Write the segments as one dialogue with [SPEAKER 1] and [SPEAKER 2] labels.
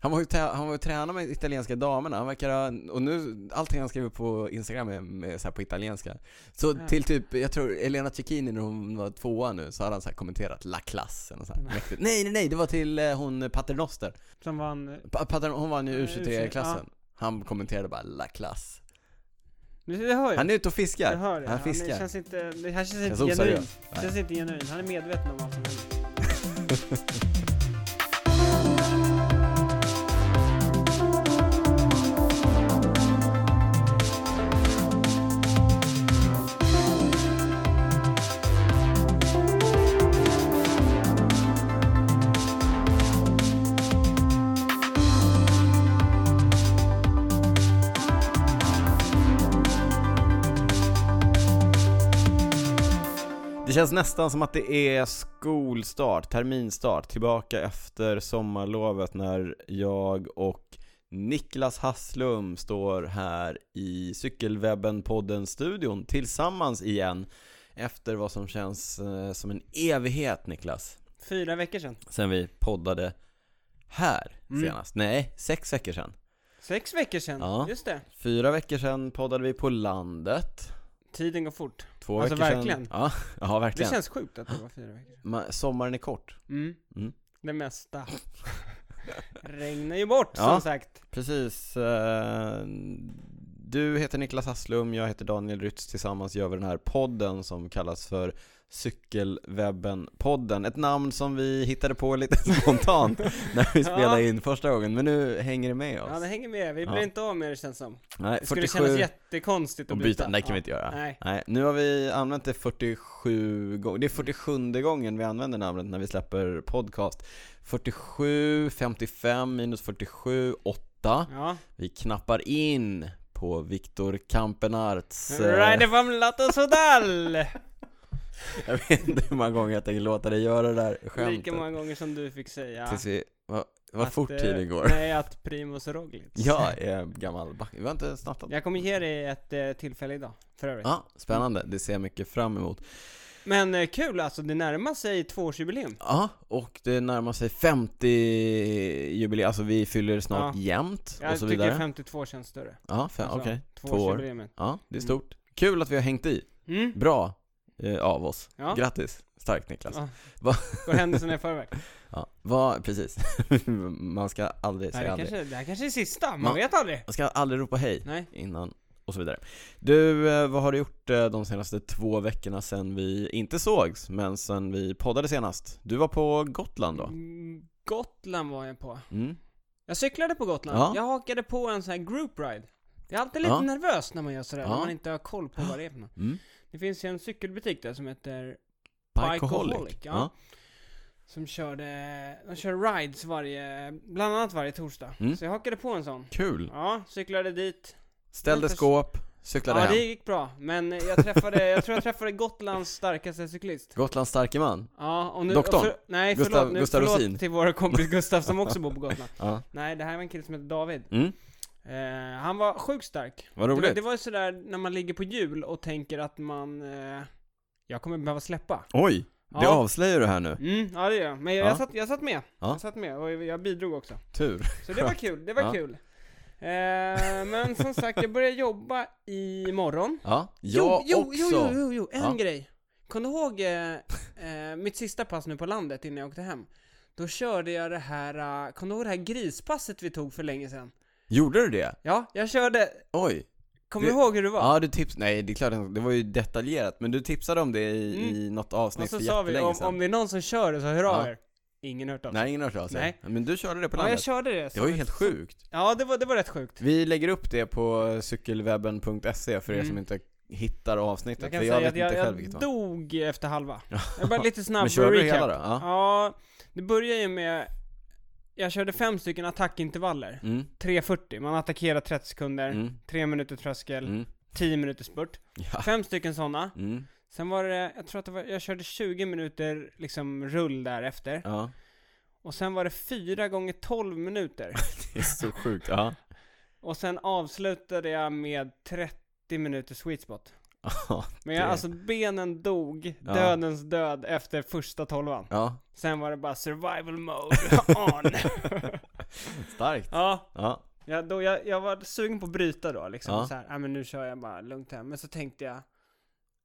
[SPEAKER 1] Han var ju, tä- han var ju tränare med italienska damerna, han verkar ha, och nu, allting han skriver på Instagram är med, så här, på italienska. Så
[SPEAKER 2] Ja.
[SPEAKER 1] till typ, jag tror Elena Cecchini när hon var tvåa nu, så hade han så här kommenterat La Classe eller så här.
[SPEAKER 2] Nej.
[SPEAKER 1] Mäktigt. Nej nej nej, det var till eh, hon Paternoster.
[SPEAKER 2] Som vann...
[SPEAKER 1] Pa- Pater, hon vann ju
[SPEAKER 2] Eh,
[SPEAKER 1] U23-klassen. Han kommenterade bara La Classe.
[SPEAKER 2] Nu, jag hör ju.
[SPEAKER 1] Han är ute och
[SPEAKER 2] jag
[SPEAKER 1] fiskar.
[SPEAKER 2] hör det.
[SPEAKER 1] Han
[SPEAKER 2] Ja,
[SPEAKER 1] fiskar.
[SPEAKER 2] Det känns inte, det här känns inte
[SPEAKER 1] Känns
[SPEAKER 2] genuint.
[SPEAKER 1] oseriöst.
[SPEAKER 2] Det känns inte genuint. Han är medveten om vad som händer.
[SPEAKER 1] Det känns nästan som att det är skolstart, terminstart, tillbaka efter sommarlovet när jag och Niklas Hasslum står här i Cykelwebben-podden-studion tillsammans igen efter vad som känns eh, som en evighet Niklas,
[SPEAKER 2] Fyra veckor sedan.
[SPEAKER 1] sen vi poddade här
[SPEAKER 2] Mm.
[SPEAKER 1] senast. Nej, sex veckor sedan.
[SPEAKER 2] Sex veckor sedan.
[SPEAKER 1] Ja.
[SPEAKER 2] Just det.
[SPEAKER 1] Fyra veckor sedan poddade vi på landet.
[SPEAKER 2] Tiden går fort.
[SPEAKER 1] Två
[SPEAKER 2] Alltså,
[SPEAKER 1] veckor
[SPEAKER 2] verkligen.
[SPEAKER 1] sedan. Ja, ja
[SPEAKER 2] Det
[SPEAKER 1] verkligen.
[SPEAKER 2] känns sjukt att det var fyra veckor sedan.
[SPEAKER 1] Ma- Sommaren är kort.
[SPEAKER 2] Mm.
[SPEAKER 1] Mm.
[SPEAKER 2] Det mesta regnar ju bort
[SPEAKER 1] Ja.
[SPEAKER 2] som sagt.
[SPEAKER 1] Precis. eh, Du heter Niklas Hasslum, jag heter Daniel Rytz. Tillsammans gör vi den här podden som kallas för Cykelwebben-podden. Ett namn som vi hittade på lite spontant när vi
[SPEAKER 2] Ja.
[SPEAKER 1] spelade in första gången, men nu hänger det med oss.
[SPEAKER 2] Ja, det hänger med. Vi blir
[SPEAKER 1] Ja.
[SPEAKER 2] inte av med det känns som.
[SPEAKER 1] Nej,
[SPEAKER 2] Det
[SPEAKER 1] 47
[SPEAKER 2] skulle kännas jättekonstigt att
[SPEAKER 1] och
[SPEAKER 2] byta.
[SPEAKER 1] byta. Nej, det kan
[SPEAKER 2] Ja.
[SPEAKER 1] vi inte göra.
[SPEAKER 2] Nej.
[SPEAKER 1] Nej, nu har vi använt det 47 gånger, det är 47 gången vi använder namnet när vi släpper podcast 47, 55, minus 47, 8
[SPEAKER 2] Ja.
[SPEAKER 1] Vi knappar in på Viktor Kampenarts... eh,
[SPEAKER 2] Ryder from Lato Sodal!
[SPEAKER 1] jag vet inte hur många gånger jag tänker låta dig göra det där
[SPEAKER 2] Lika
[SPEAKER 1] skämtet.
[SPEAKER 2] många gånger som du fick säga.
[SPEAKER 1] Tills vi... Vad, vad
[SPEAKER 2] att,
[SPEAKER 1] fort
[SPEAKER 2] eh,
[SPEAKER 1] tiden går.
[SPEAKER 2] Nej, att Primus Roglic.
[SPEAKER 1] Jag är gammal back. Vi har inte startat.
[SPEAKER 2] Jag kommer ge dig ett eh, tillfälle idag, för övrigt.
[SPEAKER 1] Ja, spännande. Det ser jag mycket fram emot.
[SPEAKER 2] Men eh, kul alltså, det närmar sig tvåårsjubileum.
[SPEAKER 1] Ja, och det närmar sig 50-jubileum, alltså vi fyller snart
[SPEAKER 2] Ja.
[SPEAKER 1] jämnt
[SPEAKER 2] Jag
[SPEAKER 1] och så
[SPEAKER 2] tycker
[SPEAKER 1] vidare.
[SPEAKER 2] 52 känns större.
[SPEAKER 1] Ja, fem,
[SPEAKER 2] Alltså,
[SPEAKER 1] okej. Två år.
[SPEAKER 2] Tvåårsjubileumet.
[SPEAKER 1] Ja, det är
[SPEAKER 2] Mm.
[SPEAKER 1] stort. Kul att vi har hängt i.
[SPEAKER 2] Mm.
[SPEAKER 1] Bra eh, av oss.
[SPEAKER 2] Ja.
[SPEAKER 1] Grattis. Starkt Niklas.
[SPEAKER 2] Ja.
[SPEAKER 1] Va-
[SPEAKER 2] Går händelserna i förväg?
[SPEAKER 1] Ja, vad, precis. man ska aldrig
[SPEAKER 2] Det här,
[SPEAKER 1] säga
[SPEAKER 2] är
[SPEAKER 1] aldrig.
[SPEAKER 2] kanske, det här kanske är sista, man
[SPEAKER 1] Man-
[SPEAKER 2] vet aldrig.
[SPEAKER 1] Man ska aldrig ropa hej
[SPEAKER 2] Nej.
[SPEAKER 1] innan och så vidare. Du, eh, vad har du gjort eh, de senaste två veckorna sen vi inte sågs, men sen vi poddade senast? Du var på Gotland då?
[SPEAKER 2] Mm, Gotland var jag på.
[SPEAKER 1] Mm.
[SPEAKER 2] Jag cyklade på Gotland.
[SPEAKER 1] Ja.
[SPEAKER 2] Jag hakade på en sån här group ride. Jag är alltid lite
[SPEAKER 1] Ja.
[SPEAKER 2] nervös när man gör sådär, när
[SPEAKER 1] Ja.
[SPEAKER 2] man inte har koll på vad det är för något.
[SPEAKER 1] Mm.
[SPEAKER 2] Det finns ju en cykelbutik där som heter Bikeaholic,
[SPEAKER 1] Bikeaholic?
[SPEAKER 2] ja. Som körde, de kör rides varje, bland annat varje torsdag.
[SPEAKER 1] Mm.
[SPEAKER 2] Så jag hakade på en sån.
[SPEAKER 1] Kul.
[SPEAKER 2] Ja, cyklade dit.
[SPEAKER 1] Ställde
[SPEAKER 2] Först-
[SPEAKER 1] skåp, cyklade
[SPEAKER 2] Ja,
[SPEAKER 1] hem.
[SPEAKER 2] det gick bra. Men jag träffade, jag tror jag träffade Gotlands starkaste cyklist.
[SPEAKER 1] Gotlands starke man?
[SPEAKER 2] Ja, och nu...
[SPEAKER 1] Doktorn?
[SPEAKER 2] Och för, nej,
[SPEAKER 1] Gustav-
[SPEAKER 2] förlåt, nu,
[SPEAKER 1] Gustav
[SPEAKER 2] förlåt
[SPEAKER 1] Rosin?
[SPEAKER 2] till vår kompis Gustav som också bor på Gotland.
[SPEAKER 1] Ja.
[SPEAKER 2] Nej, det här var en kille som hette David.
[SPEAKER 1] Mm.
[SPEAKER 2] Eh, han var sjukt stark.
[SPEAKER 1] Vad
[SPEAKER 2] Det, var-
[SPEAKER 1] roligt.
[SPEAKER 2] det var ju sådär när man ligger på jul och tänker att man... Eh, jag kommer behöva släppa.
[SPEAKER 1] Oj, det
[SPEAKER 2] Ja.
[SPEAKER 1] avslöjar du här nu.
[SPEAKER 2] Mm, ja det gör jag. Men jag,
[SPEAKER 1] Ja.
[SPEAKER 2] jag, satt, jag satt med.
[SPEAKER 1] Ja.
[SPEAKER 2] Jag satt med och jag bidrog också.
[SPEAKER 1] Tur.
[SPEAKER 2] Så det var kul, det var
[SPEAKER 1] Ja.
[SPEAKER 2] kul. Eh, men som sagt, jag börjar jobba imorgon.
[SPEAKER 1] Ja, jag
[SPEAKER 2] jo,
[SPEAKER 1] också.
[SPEAKER 2] jo, jo, jo, jo, en
[SPEAKER 1] Ja.
[SPEAKER 2] grej. Kom du ihåg eh, eh, mitt sista pass nu på landet innan jag åkte hem? Då körde jag det här, eh, kom du ihåg det här grispasset vi tog för länge sedan?
[SPEAKER 1] Gjorde du det?
[SPEAKER 2] Ja, jag körde,
[SPEAKER 1] Oj.
[SPEAKER 2] kommer
[SPEAKER 1] Det-
[SPEAKER 2] du ihåg hur det var?
[SPEAKER 1] Ja, du tips... Nej, det är klart, det var ju detaljerat, men du tipsade om det i,
[SPEAKER 2] Mm.
[SPEAKER 1] i något
[SPEAKER 2] Och
[SPEAKER 1] avsnitt
[SPEAKER 2] så
[SPEAKER 1] för
[SPEAKER 2] sa vi,
[SPEAKER 1] jättelänge
[SPEAKER 2] om,
[SPEAKER 1] sedan.
[SPEAKER 2] om det är någon som kör det så hör av
[SPEAKER 1] Ja.
[SPEAKER 2] er. Ingen hört av sig.
[SPEAKER 1] Alltså. Nej, ingen har hört av sig.
[SPEAKER 2] Nej.
[SPEAKER 1] Men du körde det på
[SPEAKER 2] Ja, jag
[SPEAKER 1] landet.
[SPEAKER 2] körde det.
[SPEAKER 1] Det
[SPEAKER 2] som
[SPEAKER 1] var ju
[SPEAKER 2] ett-
[SPEAKER 1] helt sjukt.
[SPEAKER 2] Ja, det var, det var rätt sjukt.
[SPEAKER 1] Vi lägger upp det på cykelwebben.se för er
[SPEAKER 2] Mm.
[SPEAKER 1] som inte hittar avsnittet,
[SPEAKER 2] Jag kan
[SPEAKER 1] för
[SPEAKER 2] säga
[SPEAKER 1] jag vet
[SPEAKER 2] att jag,
[SPEAKER 1] inte själv
[SPEAKER 2] jag
[SPEAKER 1] vilket det var.
[SPEAKER 2] dog efter halva. Jag bara lite snabb
[SPEAKER 1] Men körde du
[SPEAKER 2] recap.
[SPEAKER 1] hela då?
[SPEAKER 2] Ja.
[SPEAKER 1] Ja.
[SPEAKER 2] det börjar ju med... Jag körde fem stycken attackintervaller.
[SPEAKER 1] Mm.
[SPEAKER 2] 3.40, man attackerar 30 sekunder,
[SPEAKER 1] Mm.
[SPEAKER 2] 3 minuter tröskel,
[SPEAKER 1] Mm. Ah.
[SPEAKER 2] 10 minuter spurt.
[SPEAKER 1] Ja.
[SPEAKER 2] Fem stycken sådana.
[SPEAKER 1] Mm.
[SPEAKER 2] Sen var det, jag tror att det var, jag körde 20 minuter liksom rull därefter.
[SPEAKER 1] Ja.
[SPEAKER 2] Och sen var det 4 gånger 12 minuter.
[SPEAKER 1] Det är så sjukt. Ja.
[SPEAKER 2] Och sen avslutade jag med 30 minuter sweet spot.
[SPEAKER 1] Ja.
[SPEAKER 2] Men jag,
[SPEAKER 1] Det-
[SPEAKER 2] alltså benen dog,
[SPEAKER 1] Ja.
[SPEAKER 2] dödens död efter första tolvan.
[SPEAKER 1] Ja.
[SPEAKER 2] Sen var det bara survival mode on.
[SPEAKER 1] Starkt.
[SPEAKER 2] Ja,
[SPEAKER 1] Ja.
[SPEAKER 2] jag, då, jag, jag var sugen på att bryta då liksom.
[SPEAKER 1] Ja.
[SPEAKER 2] Så här, "Ah, men nu kör jag bara lugnt hem. Men så tänkte jag,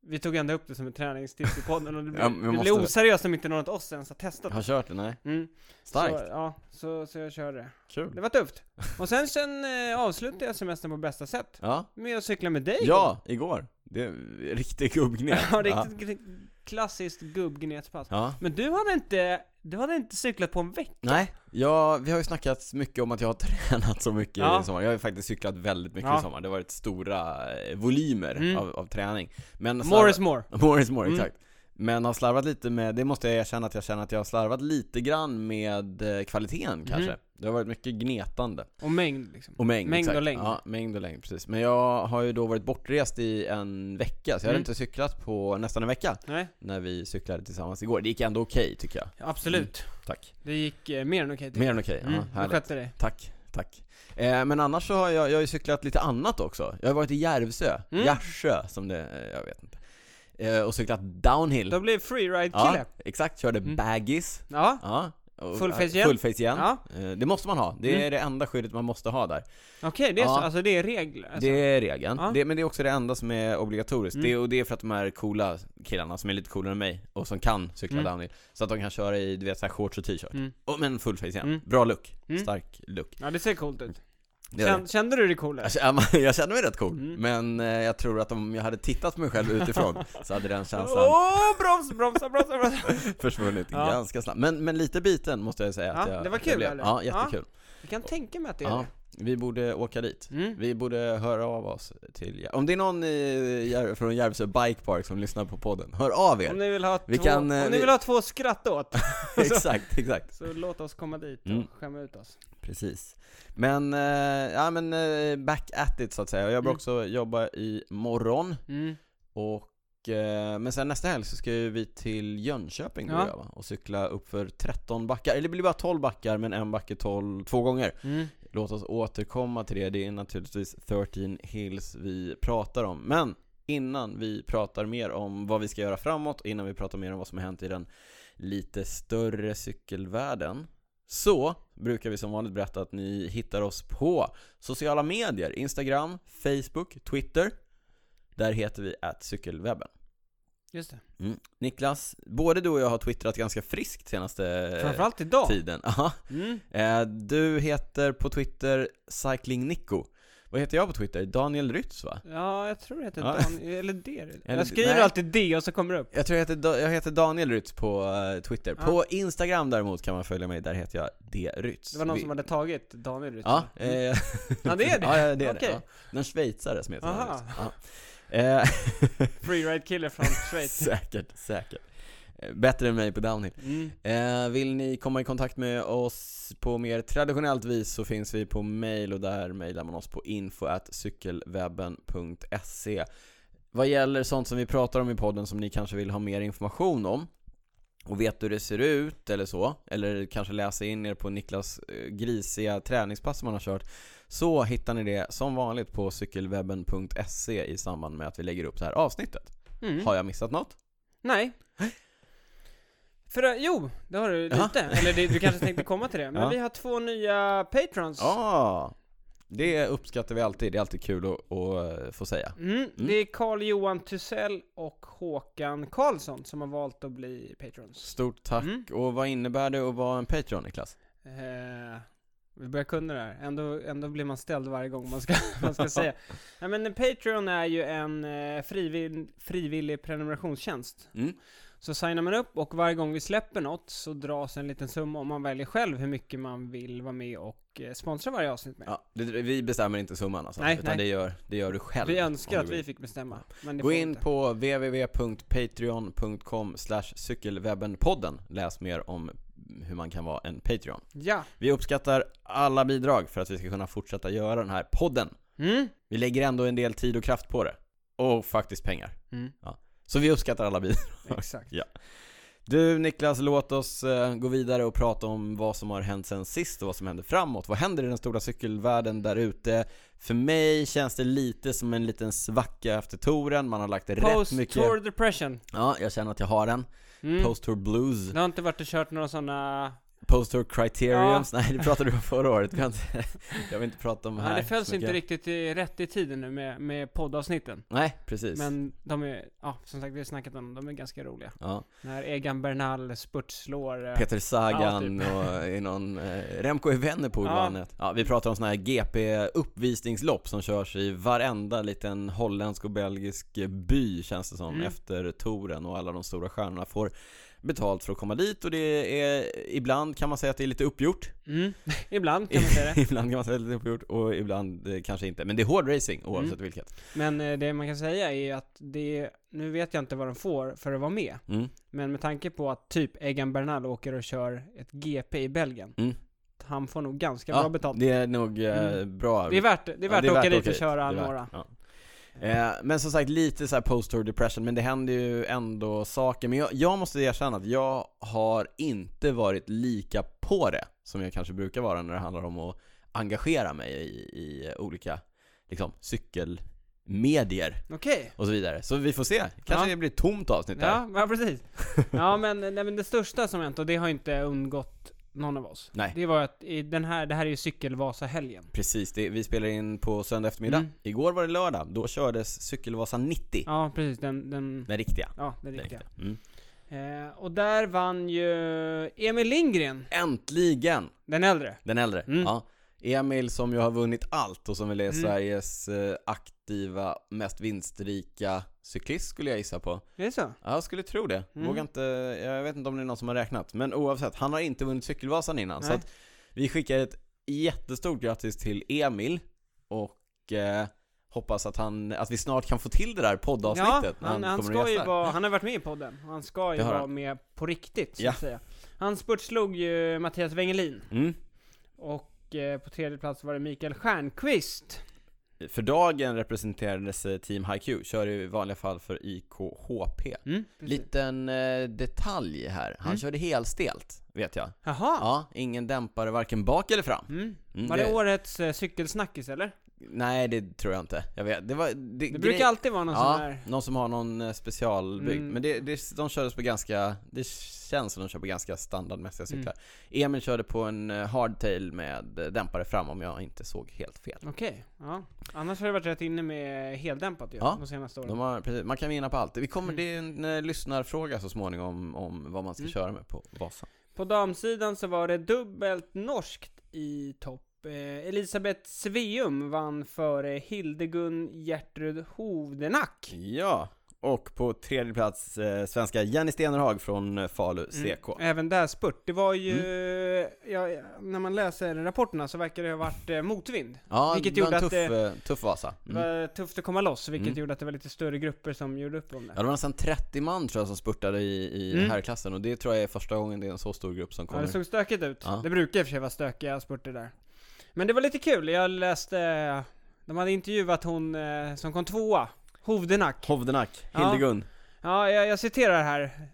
[SPEAKER 2] vi tog ändå upp det som ett träningstips i podden och det blir,
[SPEAKER 1] Ja, men vi
[SPEAKER 2] det blir
[SPEAKER 1] måste-
[SPEAKER 2] oseriöst om inte någon av oss ens har testat.
[SPEAKER 1] Har kört det? Nej.
[SPEAKER 2] Mm.
[SPEAKER 1] Starkt.
[SPEAKER 2] Så, ja, så, så jag körde det. Det
[SPEAKER 1] Kul.
[SPEAKER 2] var tufft. Och sen, sen eh, avslutade jag semestern på bästa sätt.
[SPEAKER 1] Ja.
[SPEAKER 2] Med att cykla med dig.
[SPEAKER 1] Ja, igår. Det är riktig gubbgnet.
[SPEAKER 2] Ja, riktigt gr- klassiskt gubbgnetspass.
[SPEAKER 1] Ja.
[SPEAKER 2] Men du hade inte, du hade inte cyklat på en vecka.
[SPEAKER 1] Nej, jag, vi har ju snackat mycket om att jag har tränat så mycket
[SPEAKER 2] Ja.
[SPEAKER 1] i sommar. Jag har ju faktiskt cyklat väldigt mycket
[SPEAKER 2] Ja.
[SPEAKER 1] i sommar. Det har varit stora eh, volymer
[SPEAKER 2] Mm.
[SPEAKER 1] av, av träning. Men
[SPEAKER 2] More is more.
[SPEAKER 1] more, is more
[SPEAKER 2] Mm.
[SPEAKER 1] exakt. Men har slarvat lite med, det måste jag erkänna att jag känner att jag har slarvat lite grann med eh, kvaliteten
[SPEAKER 2] Mhm.
[SPEAKER 1] kanske. Det har varit mycket gnetande.
[SPEAKER 2] Och mängd liksom.
[SPEAKER 1] Och mängd,
[SPEAKER 2] Mängd
[SPEAKER 1] exakt.
[SPEAKER 2] och längd.
[SPEAKER 1] Ja, mängd och längd, precis. Men jag har ju då varit bortrest i en vecka, så jag hade
[SPEAKER 2] Mm.
[SPEAKER 1] inte cyklat på nästan en vecka
[SPEAKER 2] Nej,
[SPEAKER 1] när vi cyklade tillsammans igår. Det gick ändå okej tycker jag.
[SPEAKER 2] absolut.
[SPEAKER 1] Tack.
[SPEAKER 2] Det gick eh, mer än okej. tycker
[SPEAKER 1] Mm. Mer än okej.
[SPEAKER 2] jag. Mm,
[SPEAKER 1] Ja,
[SPEAKER 2] du
[SPEAKER 1] härligt.
[SPEAKER 2] skötte dig.
[SPEAKER 1] Tack, tack. Eh, men annars så har jag, jag har ju cyklat lite annat också. Jag har varit i Järvsö,
[SPEAKER 2] Mm.
[SPEAKER 1] Järvsö som det, eh, jag vet inte. Eh, och cyklat downhill.
[SPEAKER 2] Då blev freeride-kille.
[SPEAKER 1] ja, exakt. Körde
[SPEAKER 2] Mm.
[SPEAKER 1] baggies.
[SPEAKER 2] Ja.
[SPEAKER 1] Ja. och-
[SPEAKER 2] Full face
[SPEAKER 1] ja,
[SPEAKER 2] igen.
[SPEAKER 1] Full face igen.
[SPEAKER 2] Ja.
[SPEAKER 1] Eh, Det måste man ha. Det är
[SPEAKER 2] Mm.
[SPEAKER 1] det enda skyddet man måste ha där.
[SPEAKER 2] Okej, det är
[SPEAKER 1] Ja.
[SPEAKER 2] så. Alltså det är regler. Alltså.
[SPEAKER 1] Det är regeln.
[SPEAKER 2] Ja.
[SPEAKER 1] Det, men det är också det enda som är obligatoriskt.
[SPEAKER 2] Mm.
[SPEAKER 1] Det, och det är för att de här coola killarna som är lite coolare än mig och som kan cykla
[SPEAKER 2] Mm.
[SPEAKER 1] downhill. Så att de kan köra i, du vet, så här shorts och t-shirt.
[SPEAKER 2] Mm.
[SPEAKER 1] Och, men full face igen.
[SPEAKER 2] Mm.
[SPEAKER 1] Bra look.
[SPEAKER 2] Mm.
[SPEAKER 1] Stark look.
[SPEAKER 2] Ja, det ser coolt ut.
[SPEAKER 1] Det gör det.
[SPEAKER 2] Kände, kände du det cool ut?
[SPEAKER 1] Jag känner, jag känner mig rätt cool,
[SPEAKER 2] Mm.
[SPEAKER 1] men eh, jag tror att om jag hade tittat på mig själv utifrån så hade den
[SPEAKER 2] Åh,
[SPEAKER 1] känslan
[SPEAKER 2] bromsa, bromsa, bromsa, bromsa.
[SPEAKER 1] försvunnit
[SPEAKER 2] Ja.
[SPEAKER 1] ganska snabbt. Men, men lite biten måste jag säga att
[SPEAKER 2] Ja,
[SPEAKER 1] jag,
[SPEAKER 2] det var
[SPEAKER 1] att
[SPEAKER 2] kul,
[SPEAKER 1] jag blev.
[SPEAKER 2] eller?
[SPEAKER 1] Ja, jättekul.
[SPEAKER 2] Jag kan tänka mig att det är
[SPEAKER 1] Ja. Vi borde åka dit.
[SPEAKER 2] det. Mm.
[SPEAKER 1] Vi borde höra av oss till, Jär- om det är någon i, Jär- från Järvsö Bike Park som lyssnar på podden, hör av
[SPEAKER 2] Om
[SPEAKER 1] er!
[SPEAKER 2] ni vill ha
[SPEAKER 1] Vi
[SPEAKER 2] två,
[SPEAKER 1] kan, eh,
[SPEAKER 2] om ni
[SPEAKER 1] vi-
[SPEAKER 2] vill ha två skratt åt,
[SPEAKER 1] exakt, exakt.
[SPEAKER 2] så låt oss komma dit och
[SPEAKER 1] Mm.
[SPEAKER 2] skämma ut oss.
[SPEAKER 1] Precis. Men, eh, ja men eh, back at it så att säga. Och Jag bör
[SPEAKER 2] Mm.
[SPEAKER 1] också jobba i morgon
[SPEAKER 2] Mm.
[SPEAKER 1] Och, eh, men sen nästa helg så ska ju vi till Jönköping
[SPEAKER 2] Ja.
[SPEAKER 1] ja. va? och cykla upp för 13 backar, eller det blir bara 12 backar men en backe 12 två gånger.
[SPEAKER 2] Mm.
[SPEAKER 1] Låt oss återkomma till det, det är naturligtvis 13 Hills vi pratar om. Men innan vi pratar mer om vad vi ska göra framåt, innan vi pratar mer om vad som har hänt i den lite större cykelvärlden, så brukar vi som vanligt berätta att ni hittar oss på sociala medier, Instagram, Facebook, Twitter. Där heter vi att cykelwebben.
[SPEAKER 2] Just det.
[SPEAKER 1] Mm. Niklas, både du och jag har twittrat ganska friskt senaste eh,
[SPEAKER 2] Framförallt idag.
[SPEAKER 1] tiden. Ja.
[SPEAKER 2] Mm.
[SPEAKER 1] Eh, Du heter på Twitter CyclingNico. Vad heter jag på Twitter? Daniel Rytz va?
[SPEAKER 2] Ja, jag tror det heter
[SPEAKER 1] Ja.
[SPEAKER 2] Dan, eller D. är det.
[SPEAKER 1] Eller-
[SPEAKER 2] Jag skriver
[SPEAKER 1] nej.
[SPEAKER 2] alltid D och så kommer det upp.
[SPEAKER 1] Jag tror jag heter, Da- jag heter Daniel Rytz på eh, Twitter.
[SPEAKER 2] Ja.
[SPEAKER 1] På Instagram däremot kan man följa mig, där heter jag D. Rytz.
[SPEAKER 2] Det var någon
[SPEAKER 1] Vi-
[SPEAKER 2] som hade tagit Daniel Rytz.
[SPEAKER 1] Ja,
[SPEAKER 2] Mm.
[SPEAKER 1] eh,
[SPEAKER 2] Ja, det är det.
[SPEAKER 1] ja, ja, det är
[SPEAKER 2] Okej.
[SPEAKER 1] det. Ja. Den schweizare som heter Daniel
[SPEAKER 2] Aha.
[SPEAKER 1] Rytz. Ja. Eh,
[SPEAKER 2] Freeride-kille från Schweiz.
[SPEAKER 1] säkert, säkert. Eh, Bättre än mig på downhill.
[SPEAKER 2] Mm.
[SPEAKER 1] Eh, vill ni komma i kontakt med oss på mer traditionellt vis så finns vi på mail och där mailar man oss på info.cykelwebben.se Vad gäller sånt som vi pratar om i podden som ni kanske vill ha mer information om och vet hur det ser ut eller så, eller kanske läsa in er på Niklas eh, grisiga träningspass som han har kört så hittar ni det som vanligt på cykelwebben.se i samband med att vi lägger upp det här avsnittet.
[SPEAKER 2] Mm.
[SPEAKER 1] Har jag missat något?
[SPEAKER 2] Nej. För, eh, jo, det har du
[SPEAKER 1] Ja.
[SPEAKER 2] lite. Eller det, du kanske tänkte komma till det. Men
[SPEAKER 1] Ja.
[SPEAKER 2] vi har två nya patrons.
[SPEAKER 1] Ja, det uppskattar vi alltid. Det är alltid kul att, att eh, få säga.
[SPEAKER 2] Mm. Det är Carl Johan Tusell och Håkan Karlsson som har valt att bli patrons.
[SPEAKER 1] Stort tack.
[SPEAKER 2] Mm.
[SPEAKER 1] Och vad innebär det att vara en Patreon, Niklas?
[SPEAKER 2] Eh, vi börjar kunna det här. Ändå, ändå blir man ställd varje gång man ska, man ska säga. Nej men eh, Patreon är ju en eh, frivill, frivillig prenumerationstjänst.
[SPEAKER 1] Mm.
[SPEAKER 2] Så signar man upp och varje gång vi släpper något så dras en liten summa om man väljer själv hur mycket man vill vara med och eh, sponsra varje avsnitt med.
[SPEAKER 1] Ja, det, vi bestämmer inte summan alltså,
[SPEAKER 2] Nej,
[SPEAKER 1] utan
[SPEAKER 2] nej.
[SPEAKER 1] Det, gör, det gör du själv.
[SPEAKER 2] vi
[SPEAKER 1] om
[SPEAKER 2] önskar
[SPEAKER 1] du
[SPEAKER 2] att
[SPEAKER 1] vill.
[SPEAKER 2] vi fick bestämma. Men det
[SPEAKER 1] Gå
[SPEAKER 2] får vi
[SPEAKER 1] in
[SPEAKER 2] inte.
[SPEAKER 1] på www.patreon.com cykelwebbenpodden. Läs mer om hur man kan vara en Patreon.
[SPEAKER 2] Ja.
[SPEAKER 1] Vi uppskattar alla bidrag för att vi ska kunna fortsätta göra den här podden.
[SPEAKER 2] Mm.
[SPEAKER 1] Vi lägger ändå en del tid och kraft på det. Och faktiskt pengar.
[SPEAKER 2] Mm.
[SPEAKER 1] Så vi uppskattar alla bidrag.
[SPEAKER 2] Exakt.
[SPEAKER 1] Ja. Du Niklas, låt oss eh, gå vidare och prata om vad som har hänt sen sist och vad som händer framåt. Vad händer i den stora cykelvärlden där ute? För mig känns det lite som en liten svacka efter touren. Man har lagt rätt
[SPEAKER 2] Post
[SPEAKER 1] mycket...
[SPEAKER 2] tour depression.
[SPEAKER 1] Ja, jag känner att jag har den.
[SPEAKER 2] Mm.
[SPEAKER 1] Post-tour blues.
[SPEAKER 2] Det har inte varit och kört några sådana
[SPEAKER 1] Poster criteriums, nej det pratade du om förra året, vi har inte, jag vill inte prata om
[SPEAKER 2] Ja,
[SPEAKER 1] här
[SPEAKER 2] det
[SPEAKER 1] så
[SPEAKER 2] följs
[SPEAKER 1] mycket.
[SPEAKER 2] inte riktigt i, rätt i tiden nu med, med poddavsnitten.
[SPEAKER 1] Nej, precis.
[SPEAKER 2] Men de är, ja som sagt vi har snackat om dem, de är ganska roliga.
[SPEAKER 1] Ja.
[SPEAKER 2] När Egan Bernal spurtslår... eh,
[SPEAKER 1] Peter Sagan
[SPEAKER 2] Ja, typ.
[SPEAKER 1] och i någon, eh, Remco i Vänerpool
[SPEAKER 2] Ja.
[SPEAKER 1] vann ett. Ja, vi pratar om sådana här GP-uppvisningslopp som körs i varenda liten holländsk och belgisk by känns det som
[SPEAKER 2] Mm.
[SPEAKER 1] efter touren och alla de stora stjärnorna får betalt för att komma dit och det är, ibland kan man säga att det är lite uppgjort.
[SPEAKER 2] Mm, ibland kan man säga det.
[SPEAKER 1] ibland kan man säga att det är lite uppgjort och ibland eh, kanske inte. Men det är hård racing oavsett
[SPEAKER 2] Mm.
[SPEAKER 1] vilket.
[SPEAKER 2] Men eh, det man kan säga är att det, nu vet jag inte vad de får för att vara med.
[SPEAKER 1] Mm.
[SPEAKER 2] Men med tanke på att typ Egan Bernal åker och kör ett GP i Belgien.
[SPEAKER 1] Mm.
[SPEAKER 2] Han får nog ganska
[SPEAKER 1] Ja,
[SPEAKER 2] bra betalt.
[SPEAKER 1] Det är nog eh,
[SPEAKER 2] Mm.
[SPEAKER 1] bra.
[SPEAKER 2] Det är värt det, är värt
[SPEAKER 1] Ja,
[SPEAKER 2] att åka
[SPEAKER 1] värt
[SPEAKER 2] dit och köra
[SPEAKER 1] Det är värt,
[SPEAKER 2] några.
[SPEAKER 1] ja. Eh, men som sagt, lite så här post-tour depression, men det händer ju ändå saker. Men jag, jag måste erkänna att jag har inte varit lika på det som jag kanske brukar vara när det handlar om att engagera mig i, i olika liksom, cykelmedier
[SPEAKER 2] Okej.
[SPEAKER 1] och så vidare. Så vi får se, kanske
[SPEAKER 2] Ja.
[SPEAKER 1] det blir ett tomt avsnitt där.
[SPEAKER 2] Ja, ja, precis. Ja, men, nej, men det största som hänt, och det har inte undgått någon av oss.
[SPEAKER 1] Nej.
[SPEAKER 2] Det var att i den här, det här är ju Cykelvasa-helgen.
[SPEAKER 1] Precis, det, vi spelar in på söndag eftermiddag.
[SPEAKER 2] Mm.
[SPEAKER 1] Igår var det lördag, då kördes Cykelvasa 90,
[SPEAKER 2] Ja, precis. Den, den,
[SPEAKER 1] den riktiga.
[SPEAKER 2] ja, den
[SPEAKER 1] Den
[SPEAKER 2] riktiga.
[SPEAKER 1] riktiga. Mm.
[SPEAKER 2] Eh, och där vann ju Emil Lindgren,
[SPEAKER 1] Äntligen!
[SPEAKER 2] den äldre.
[SPEAKER 1] Den äldre?
[SPEAKER 2] Mm.
[SPEAKER 1] Ja. Emil som ju har vunnit allt och som väl är
[SPEAKER 2] Mm.
[SPEAKER 1] Sveriges eh, aktiva, mest vinstrika cyklist skulle jag gissa på.
[SPEAKER 2] Det är så?
[SPEAKER 1] Ja, jag skulle tro det.
[SPEAKER 2] Mm.
[SPEAKER 1] Vågar inte, jag vet inte om det är någon som har räknat. Men oavsett, han har inte vunnit Cykelvasan innan. Så
[SPEAKER 2] Nej.
[SPEAKER 1] att vi skickar ett jättestort grattis till Emil och eh, hoppas att, han, att vi snart kan få till det där poddavsnittet
[SPEAKER 2] ja, han, han,
[SPEAKER 1] kommer och
[SPEAKER 2] ska ju
[SPEAKER 1] gästar.
[SPEAKER 2] vara, han har varit med i podden, och han ska ju
[SPEAKER 1] Det har
[SPEAKER 2] vara
[SPEAKER 1] han.
[SPEAKER 2] med på riktigt, så
[SPEAKER 1] Ja.
[SPEAKER 2] att säga. Han spurtslog ju Mattias Wengelin,
[SPEAKER 1] Mm.
[SPEAKER 2] och eh, på tredje plats var det Mikael Stjernqvist.
[SPEAKER 1] För dagen representerades eh, Team HiQ, kör i vanliga fall för IKHP.
[SPEAKER 2] Mm, precis.
[SPEAKER 1] Liten eh, detalj här. Han
[SPEAKER 2] Mm.
[SPEAKER 1] körde helstelt, vet jag.
[SPEAKER 2] Jaha!
[SPEAKER 1] Ja, ingen dämpare varken bak eller fram.
[SPEAKER 2] Mm.
[SPEAKER 1] Mm,
[SPEAKER 2] Var det årets eh, cykelsnackis eller?
[SPEAKER 1] Nej, det tror jag inte. Jag vet. Det, var, det,
[SPEAKER 2] Det brukar alltid vara någon sån
[SPEAKER 1] ja,
[SPEAKER 2] här...
[SPEAKER 1] någon som har någon eh, specialbyggd.
[SPEAKER 2] Mm.
[SPEAKER 1] Men det, det, de kördes på ganska, det känns som de kör på ganska standardmässiga
[SPEAKER 2] Mm.
[SPEAKER 1] cyklar. Emil körde på en eh, hardtail med eh, dämpare fram om jag inte såg helt fel.
[SPEAKER 2] Okej, ja. Annars har det varit rätt inne med heldämpat ju,
[SPEAKER 1] Ja,
[SPEAKER 2] de senaste åren.
[SPEAKER 1] De har, precis, man kan vinna på allt. Vi kommer,
[SPEAKER 2] Mm.
[SPEAKER 1] Det är en eh, lyssnarfråga så småningom om vad man ska
[SPEAKER 2] Mm.
[SPEAKER 1] köra med på Vasan.
[SPEAKER 2] På damsidan så var det dubbelt norskt i topp. Eh, Elisabeth Sveum vann före Hildegun Gertrud Hovdenack.
[SPEAKER 1] Ja, och på tredje plats eh, svenska Jenny Stenerhag från eh, Falu
[SPEAKER 2] Mm.
[SPEAKER 1] CK.
[SPEAKER 2] Även där spurt. Det var ju...
[SPEAKER 1] Mm.
[SPEAKER 2] eh, Ja, när man läser rapporterna så verkar det ha varit eh, motvind.
[SPEAKER 1] Ja,
[SPEAKER 2] Vilket
[SPEAKER 1] det var en
[SPEAKER 2] gjorde att
[SPEAKER 1] tuff, eh, tuff Vasa.
[SPEAKER 2] Det
[SPEAKER 1] Mm.
[SPEAKER 2] var tufft att komma loss, vilket
[SPEAKER 1] Mm.
[SPEAKER 2] gjorde att det var lite större grupper som gjorde upp om det.
[SPEAKER 1] Ja, det var nästan 30 man tror jag som spurtade i, i
[SPEAKER 2] Mm.
[SPEAKER 1] herrklassen och det tror jag är första gången det är en så stor grupp som
[SPEAKER 2] Ja,
[SPEAKER 1] kommer.
[SPEAKER 2] det såg stökigt ut.
[SPEAKER 1] Ja.
[SPEAKER 2] Det brukar i och för sig vara stökiga spurter där. Men det var lite kul, jag läste... De hade intervjuat hon eh, som kom tvåa, Hovdenack.
[SPEAKER 1] Hovdenack,
[SPEAKER 2] Ja.
[SPEAKER 1] Hildegun.
[SPEAKER 2] Ja, jag, jag citerar här.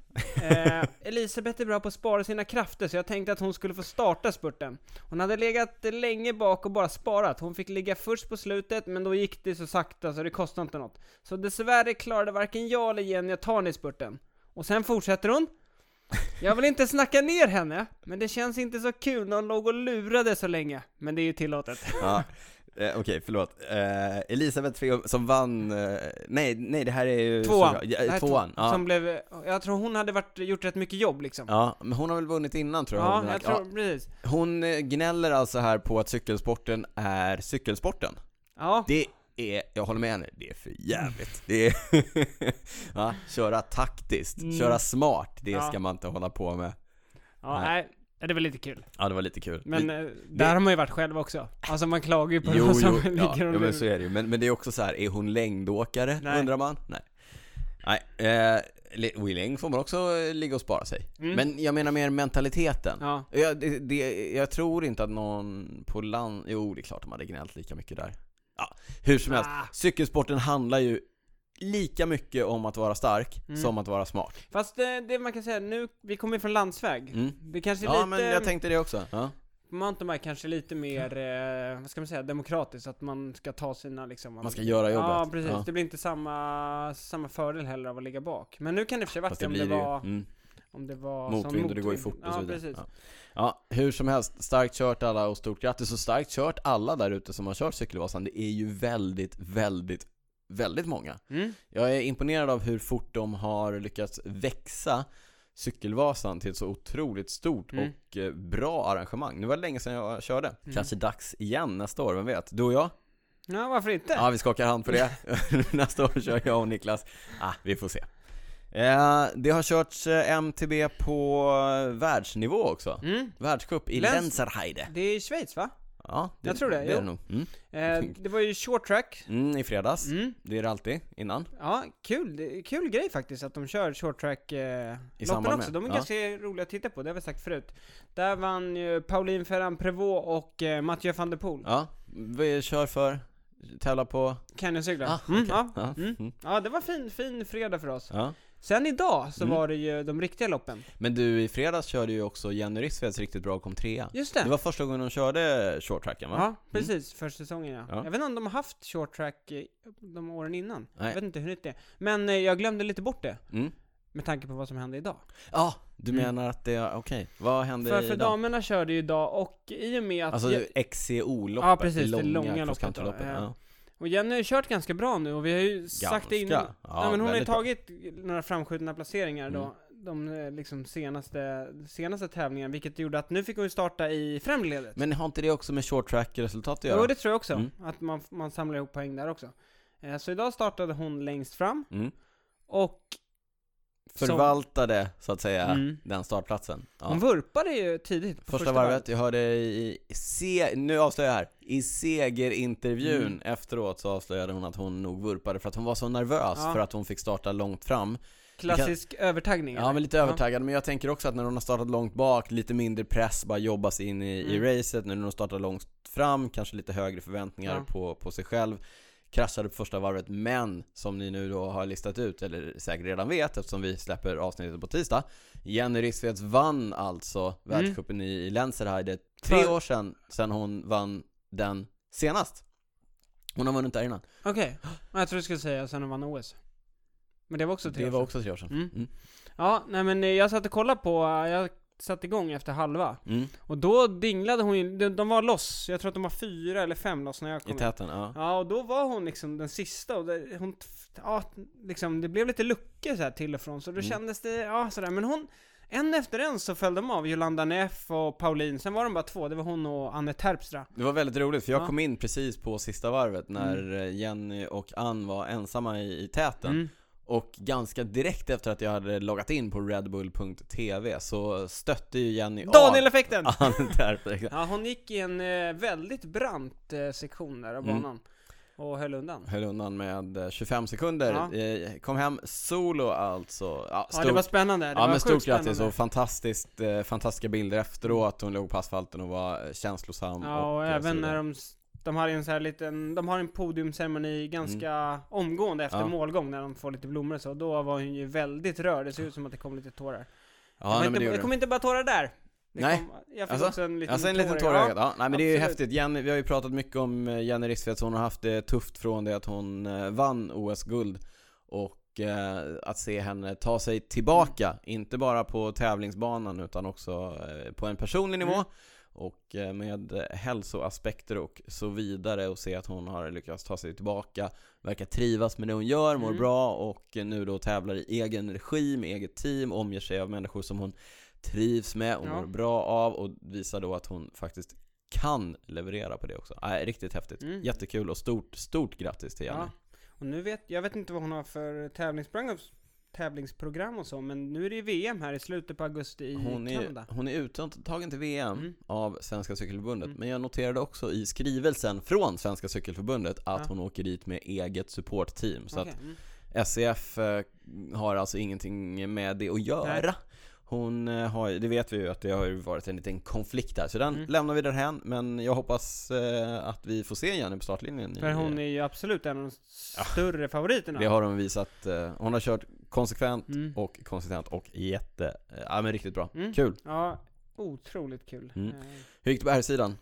[SPEAKER 2] Eh, Elisabeth är bra på att spara sina krafter, så jag tänkte att hon skulle få starta spurten. Hon hade legat länge bak och bara sparat. Hon fick ligga först på slutet, men då gick det så sakta så det kostade inte något. Så dessvärre klarade varken jag eller Jenny att ta henne i spurten. Och sen fortsätter hon. Jag vill inte snacka ner henne, men det känns inte så kul när hon låg och lurade så länge. Men det är ju tillåtet.
[SPEAKER 1] Ja. Eh, Okej, förlåt. Eh, Elisabeth Feo som vann, eh, nej, nej det här är ju...
[SPEAKER 2] Tvåan.
[SPEAKER 1] Ja,
[SPEAKER 2] Det här
[SPEAKER 1] eh, tvåan, ja.
[SPEAKER 2] Som blev, jag tror hon hade varit, gjort rätt mycket jobb liksom.
[SPEAKER 1] ja. Men hon har väl vunnit innan tror jag,
[SPEAKER 2] Ja, jag
[SPEAKER 1] Hovdenack.
[SPEAKER 2] tror, precis.
[SPEAKER 1] Ja. Hon eh, gnäller alltså här på att cykelsporten är cykelsporten.
[SPEAKER 2] Ja.
[SPEAKER 1] Det är, jag håller med henne, det är för jävligt. Det är, va? Köra taktiskt,
[SPEAKER 2] Mm.
[SPEAKER 1] köra smart, det
[SPEAKER 2] Ja.
[SPEAKER 1] ska man inte hålla på med.
[SPEAKER 2] Ja, nej. Ja, det var lite kul.
[SPEAKER 1] Ja, det var lite kul.
[SPEAKER 2] Men
[SPEAKER 1] det,
[SPEAKER 2] eh, där har man ju varit själv också. Alltså man klagar ju på
[SPEAKER 1] jo,
[SPEAKER 2] någon som
[SPEAKER 1] jo, ja,
[SPEAKER 2] ligger
[SPEAKER 1] ja,
[SPEAKER 2] och
[SPEAKER 1] men så
[SPEAKER 2] lurar.
[SPEAKER 1] är det ju. Men, men det är också så här, är hon längdåkare,
[SPEAKER 2] Nej.
[SPEAKER 1] undrar man? Nej. Nej, eh, li- wheeling får man också eh, ligga och spara sig.
[SPEAKER 2] Mm.
[SPEAKER 1] Men jag menar mer mentaliteten.
[SPEAKER 2] Ja.
[SPEAKER 1] Jag, det, det, jag tror inte att någon på land... Jo, det är klart de hade gnällt lika mycket där. Ja, hur som helst.
[SPEAKER 2] Ah,
[SPEAKER 1] Cykelsporten handlar ju lika mycket om att vara stark
[SPEAKER 2] Mm.
[SPEAKER 1] som att vara smart.
[SPEAKER 2] fast eh, det man kan säga nu, vi kommer ju från landsväg.
[SPEAKER 1] Mm.
[SPEAKER 2] Det kanske
[SPEAKER 1] Ja,
[SPEAKER 2] är lite,
[SPEAKER 1] men jag tänkte det också. Ja.
[SPEAKER 2] mountainbike kanske är lite mer, eh, vad ska man säga, demokratiskt. Att man ska ta sina liksom...
[SPEAKER 1] Man ska göra jobbet.
[SPEAKER 2] Ja, precis.
[SPEAKER 1] Ja.
[SPEAKER 2] Det blir inte samma, samma fördel heller av att ligga bak. Men nu kan det i och för sig varit
[SPEAKER 1] Fast det
[SPEAKER 2] det om
[SPEAKER 1] blir
[SPEAKER 2] det
[SPEAKER 1] det ju.
[SPEAKER 2] var,
[SPEAKER 1] Mm.
[SPEAKER 2] Om det var som
[SPEAKER 1] Motvind och det går ju
[SPEAKER 2] motvind.
[SPEAKER 1] fort och
[SPEAKER 2] ja,
[SPEAKER 1] så vidare.
[SPEAKER 2] Precis.
[SPEAKER 1] Ja. ja, hur som helst, starkt kört alla och stort grattis och starkt kört alla där ute som har kört Cykelvasan. Det är ju väldigt, väldigt, väldigt många.
[SPEAKER 2] Mm.
[SPEAKER 1] Jag är imponerad av hur fort de har lyckats växa Cykelvasan till ett så otroligt stort
[SPEAKER 2] Mm.
[SPEAKER 1] och eh, bra arrangemang. Nu var det länge sedan jag körde.
[SPEAKER 2] Mm.
[SPEAKER 1] Kanske dags igen nästa år, vem vet? Du och jag?
[SPEAKER 2] ja, varför inte?
[SPEAKER 1] Ja, vi skakar hand på det. Nästa år kör jag och Niklas. Ah, vi får se. Eh, det har körts eh, MTB på eh, världsnivå också.
[SPEAKER 2] Mm.
[SPEAKER 1] Världscup i
[SPEAKER 2] Läns-
[SPEAKER 1] Lenzerheide.
[SPEAKER 2] Det är i Schweiz va?
[SPEAKER 1] Ja,
[SPEAKER 2] Jag tror det,
[SPEAKER 1] det är
[SPEAKER 2] jo.
[SPEAKER 1] det nog. Mm.
[SPEAKER 2] Eh, det var ju short track.
[SPEAKER 1] Mm, I fredags.
[SPEAKER 2] Mm.
[SPEAKER 1] Det är det alltid, innan.
[SPEAKER 2] Ja, kul. Det är kul grej faktiskt att de kör short track eh, loppen
[SPEAKER 1] samband
[SPEAKER 2] också.
[SPEAKER 1] med,
[SPEAKER 2] De är
[SPEAKER 1] ja.
[SPEAKER 2] ganska roliga att titta på, det har vi sagt förut. Där vann ju Pauline Ferrand Prevot och eh, Mathieu van der Poel.
[SPEAKER 1] Ja, vi kör för, tävlar på...
[SPEAKER 2] Canyoncyklar.
[SPEAKER 1] Ah,
[SPEAKER 2] mm,
[SPEAKER 1] okej.
[SPEAKER 2] ja.
[SPEAKER 1] Ja,
[SPEAKER 2] Mm.
[SPEAKER 1] mm.
[SPEAKER 2] ja, det var fin, fin fredag för oss.
[SPEAKER 1] Ja.
[SPEAKER 2] Sen idag så
[SPEAKER 1] Mm.
[SPEAKER 2] var det ju de riktiga loppen.
[SPEAKER 1] Men du, i fredags körde ju också Jenny Rissveds riktigt bra och kom trea.
[SPEAKER 2] Just det.
[SPEAKER 1] Det var första gången hon körde short tracken va? Mm.
[SPEAKER 2] Ja, precis. För säsongen ja.
[SPEAKER 1] Ja.
[SPEAKER 2] Jag vet inte om de har haft short track eh, de åren innan.
[SPEAKER 1] Nej.
[SPEAKER 2] Jag vet inte hur nytt det är. Men eh, jag glömde lite bort det.
[SPEAKER 1] Mm.
[SPEAKER 2] Med tanke på vad som hände idag.
[SPEAKER 1] Ja, du
[SPEAKER 2] Mm.
[SPEAKER 1] menar att det, okej. Vad hände
[SPEAKER 2] För,
[SPEAKER 1] i
[SPEAKER 2] för
[SPEAKER 1] dag?
[SPEAKER 2] damerna körde ju idag och i och med att...
[SPEAKER 1] Alltså
[SPEAKER 2] Je-
[SPEAKER 1] XCO-loppet,
[SPEAKER 2] Ja, precis, det
[SPEAKER 1] det
[SPEAKER 2] långa
[SPEAKER 1] långa
[SPEAKER 2] loppet
[SPEAKER 1] crosscountryloppet.
[SPEAKER 2] då,
[SPEAKER 1] Ja.
[SPEAKER 2] och Jenny har ju kört ganska bra nu och vi har ju sagt det innan.
[SPEAKER 1] Ganska.
[SPEAKER 2] Nej, men hon har ju
[SPEAKER 1] väldigt bra.
[SPEAKER 2] tagit några framskjutna placeringar då.
[SPEAKER 1] Mm.
[SPEAKER 2] De eh, liksom senaste, senaste tävlingarna, vilket gjorde att nu fick hon ju starta i främre ledet.
[SPEAKER 1] Men har inte det också med short track-resultat att göra?
[SPEAKER 2] Jo, det tror jag också.
[SPEAKER 1] Mm.
[SPEAKER 2] Att man, man samlar ihop poäng där också. Eh, Så idag startade hon längst fram
[SPEAKER 1] Mm.
[SPEAKER 2] och som-
[SPEAKER 1] Förvaltade, så att säga,
[SPEAKER 2] Mm.
[SPEAKER 1] den startplatsen. Ja.
[SPEAKER 2] hon vurpade ju tidigt på
[SPEAKER 1] Första, varvet, jag hörde i, i se, nu avslöjar jag här, i segerintervjun
[SPEAKER 2] Mm.
[SPEAKER 1] efteråt så avslöjade hon att hon nog vurpade för att hon var så nervös
[SPEAKER 2] Ja.
[SPEAKER 1] för att hon fick starta långt fram.
[SPEAKER 2] Klassisk övertaggning.
[SPEAKER 1] Ja,
[SPEAKER 2] eller?
[SPEAKER 1] men lite övertaggad, men jag tänker också att när hon har startat långt bak, lite mindre press, bara jobba sig in i,
[SPEAKER 2] Mm.
[SPEAKER 1] i racet. Nu när hon startar långt fram, kanske lite högre förväntningar
[SPEAKER 2] Ja.
[SPEAKER 1] på, på sig själv. Kraschade på första varvet, men som ni nu då har listat ut, eller säkert redan vet eftersom vi släpper avsnittet på tisdag. Jenny Rissveds vann alltså världscupen i, i Lenzerheide tre
[SPEAKER 2] Mm. För-
[SPEAKER 1] år sedan, sedan hon vann den senast. Hon har vunnit där innan.
[SPEAKER 2] Okej, Ja, jag tror du skulle säga sen hon vann OS. Men det var också tre
[SPEAKER 1] Det
[SPEAKER 2] år
[SPEAKER 1] var
[SPEAKER 2] sedan.
[SPEAKER 1] också tre år sedan.
[SPEAKER 2] Mm.
[SPEAKER 1] Mm.
[SPEAKER 2] Ja, nej men eh, jag satt och kollade på, eh, jag satte igång efter halva.
[SPEAKER 1] Mm.
[SPEAKER 2] Och då dinglade hon ju, de, de var loss, jag tror att de var fyra eller fem loss när jag
[SPEAKER 1] I
[SPEAKER 2] kom in.
[SPEAKER 1] täten, ja.
[SPEAKER 2] Ja, och då var hon liksom den sista och det, hon, t- ja, liksom, det blev lite luckor så här till och från så då
[SPEAKER 1] Mm.
[SPEAKER 2] kändes det, ja sådär. Men hon, en efter en så föll de av, Jolanda Neff och Pauline. Sen var de bara två, det var hon och Anne Terpstra.
[SPEAKER 1] Det var väldigt roligt för jag
[SPEAKER 2] Ja.
[SPEAKER 1] kom in precis på sista varvet när eh, Jenny och Ann var ensamma i, i täten
[SPEAKER 2] Mm.
[SPEAKER 1] Och ganska direkt efter att jag hade loggat in på redbull.tv så stötte ju Jenny
[SPEAKER 2] Daniel-effekten!
[SPEAKER 1] av Ann Terp
[SPEAKER 2] Ja, hon gick i en eh, väldigt brant eh, sektion där av
[SPEAKER 1] Mm.
[SPEAKER 2] banan. Och höll undan.
[SPEAKER 1] Höll undan med eh, 25 sekunder,
[SPEAKER 2] Ja.
[SPEAKER 1] Eh, kom hem solo alltså ja,
[SPEAKER 2] Ja, det var spännande. Det
[SPEAKER 1] ja
[SPEAKER 2] var
[SPEAKER 1] men
[SPEAKER 2] sjukt
[SPEAKER 1] stort grattis
[SPEAKER 2] spännande.
[SPEAKER 1] och fantastiskt, eh, fantastiska bilder efteråt, hon låg på asfalten och var eh, känslosam
[SPEAKER 2] Ja, och,
[SPEAKER 1] eh, så
[SPEAKER 2] även
[SPEAKER 1] vidare.
[SPEAKER 2] när de, s- de har en så här liten, de har en podiumceremoni ganska omgående efter
[SPEAKER 1] Mm. Ja.
[SPEAKER 2] målgång när de får lite blommor och så. Då var hon ju väldigt rörd, det ser ut som att det kom lite tårar.
[SPEAKER 1] Ja,
[SPEAKER 2] det
[SPEAKER 1] nej, men
[SPEAKER 2] var
[SPEAKER 1] det
[SPEAKER 2] inte,
[SPEAKER 1] gjorde
[SPEAKER 2] det kom inte bara tårar där. Det
[SPEAKER 1] Nej.
[SPEAKER 2] Kom, jag fick
[SPEAKER 1] Alltså,
[SPEAKER 2] också en liten
[SPEAKER 1] Alltså en liten
[SPEAKER 2] i
[SPEAKER 1] tår i
[SPEAKER 2] ögat.
[SPEAKER 1] ögat. Ja, nej, men det är ju
[SPEAKER 2] absolut.
[SPEAKER 1] häftigt. Jenny, vi har ju pratat mycket om eh, Jenny Rissveds, hon har haft det tufft från det att hon eh, vann OS-guld. Och eh, att se henne ta sig tillbaka,
[SPEAKER 2] Mm.
[SPEAKER 1] inte bara på tävlingsbanan utan också eh, på en personlig nivå.
[SPEAKER 2] Mm.
[SPEAKER 1] Och eh, med eh, hälsoaspekter och så vidare och se att hon har lyckats ta sig tillbaka, verkar trivas med det hon gör, mår
[SPEAKER 2] Mm.
[SPEAKER 1] bra och eh, nu då tävlar i egen regi med eget team, omger sig av människor som hon trivs med och
[SPEAKER 2] Ja.
[SPEAKER 1] mår bra av och visar då att hon faktiskt kan leverera på det också. Nej, riktigt häftigt.
[SPEAKER 2] Mm.
[SPEAKER 1] Jättekul och stort, stort grattis till Jenny.
[SPEAKER 2] Ja. Och nu vet, jag vet inte vad hon har för tävlingsprogram, tävlingsprogram och så, men nu är det ju VM här i slutet på augusti i
[SPEAKER 1] Hon
[SPEAKER 2] Kanada.
[SPEAKER 1] är, hon är uttagen till VM
[SPEAKER 2] Mm.
[SPEAKER 1] av Svenska Cykelförbundet,
[SPEAKER 2] Mm.
[SPEAKER 1] men jag noterade också i skrivelsen från Svenska Cykelförbundet att
[SPEAKER 2] Ja.
[SPEAKER 1] hon åker dit med eget supportteam. Så
[SPEAKER 2] Okej, mm.
[SPEAKER 1] att SEF eh, har alltså ingenting med det att göra. Hon eh, har ju- det vet vi ju att det har ju varit en liten konflikt där, så den
[SPEAKER 2] Mm.
[SPEAKER 1] lämnar vi därhän. Men jag hoppas eh, att vi får se Jenny på startlinjen.
[SPEAKER 2] För
[SPEAKER 1] i- eh,
[SPEAKER 2] hon är ju absolut en av de
[SPEAKER 1] Ja.
[SPEAKER 2] större favoriterna.
[SPEAKER 1] Det har hon visat. eh, Hon har kört konsekvent
[SPEAKER 2] Mm.
[SPEAKER 1] och konsistent och jätte... eh, Ja men riktigt bra.
[SPEAKER 2] Mm.
[SPEAKER 1] Kul.
[SPEAKER 2] Ja, otroligt kul.
[SPEAKER 1] Mm.
[SPEAKER 2] Eh,
[SPEAKER 1] Hur gick det på här sidan?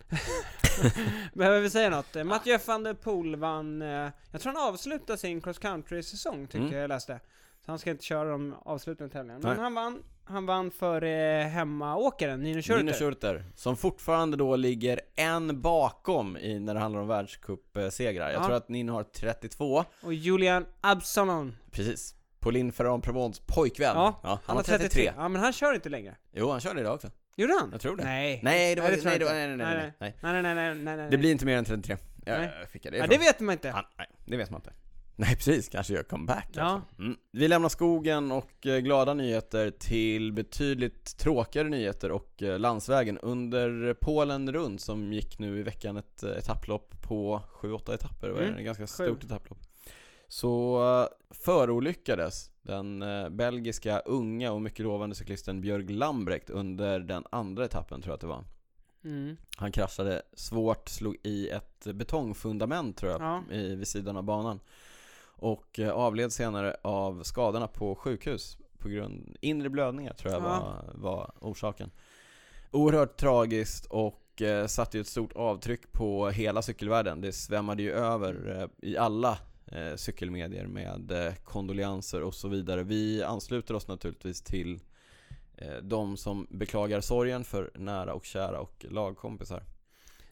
[SPEAKER 2] Behöver vi säga något? Eh, Mathieu van der Poel vann, eh, jag tror han avslutade sin cross country-säsong tyckte
[SPEAKER 1] Mm.
[SPEAKER 2] jag jag läste. Så han ska inte köra de avslutande tävlingarna. Men
[SPEAKER 1] Nej.
[SPEAKER 2] han vann Han vann för eh, hemmaåkaren Nino Schurter.
[SPEAKER 1] Nino Schurter, som fortfarande då ligger en bakom i när det handlar om världscupsegrar. Jag
[SPEAKER 2] Ja.
[SPEAKER 1] tror att Nino har 32,
[SPEAKER 2] Och Julian Absalon.
[SPEAKER 1] precis. Pauline Ferrand Provence pojkvän.
[SPEAKER 2] Ja,
[SPEAKER 1] han, har 33.
[SPEAKER 2] Ja, men han kör inte längre.
[SPEAKER 1] Jo, han körde idag också.
[SPEAKER 2] Gjorde han?
[SPEAKER 1] Jag tror det.
[SPEAKER 2] Nej.
[SPEAKER 1] Nej, det var, nej,
[SPEAKER 2] tror jag
[SPEAKER 1] det var, nej,
[SPEAKER 2] inte.
[SPEAKER 1] nej, nej, nej, nej.
[SPEAKER 2] Nej, nej, nej, nej, nej, nej.
[SPEAKER 1] Det blir inte mer än 33. Jag,
[SPEAKER 2] Nej.
[SPEAKER 1] jag fick det
[SPEAKER 2] Ja,
[SPEAKER 1] ifrån.
[SPEAKER 2] det vet man inte.
[SPEAKER 1] Han, Ah, nej, det vet man inte. Nej precis, kanske gör comeback
[SPEAKER 2] Ja.
[SPEAKER 1] alltså. mm. Vi lämnar skogen och eh, glada nyheter till betydligt tråkigare nyheter och eh, landsvägen under Polen runt som gick nu i veckan ett eh, etapplopp på 7-8 etapper, vad är
[SPEAKER 2] Mm,
[SPEAKER 1] det? Ett ganska
[SPEAKER 2] sju.
[SPEAKER 1] stort etapplopp. Så eh, förolyckades den eh, belgiska unga och mycket lovande cyklisten Björg Lambrecht under den andra etappen tror jag att det var.
[SPEAKER 2] Mm.
[SPEAKER 1] Han kraschade svårt, slog i ett betongfundament tror jag,
[SPEAKER 2] Ja.
[SPEAKER 1] i, vid sidan av banan. Och eh, avled senare av skadorna på sjukhus på grund inre blödningar tror jag
[SPEAKER 2] Ja.
[SPEAKER 1] var, var orsaken. Oerhört tragiskt och eh, satte ju ett stort avtryck på hela cykelvärlden. Det svämmade ju över eh, i alla eh, cykelmedier med eh, kondolenser och så vidare. Vi ansluter oss naturligtvis till eh, de som beklagar sorgen för nära och kära och lagkompisar.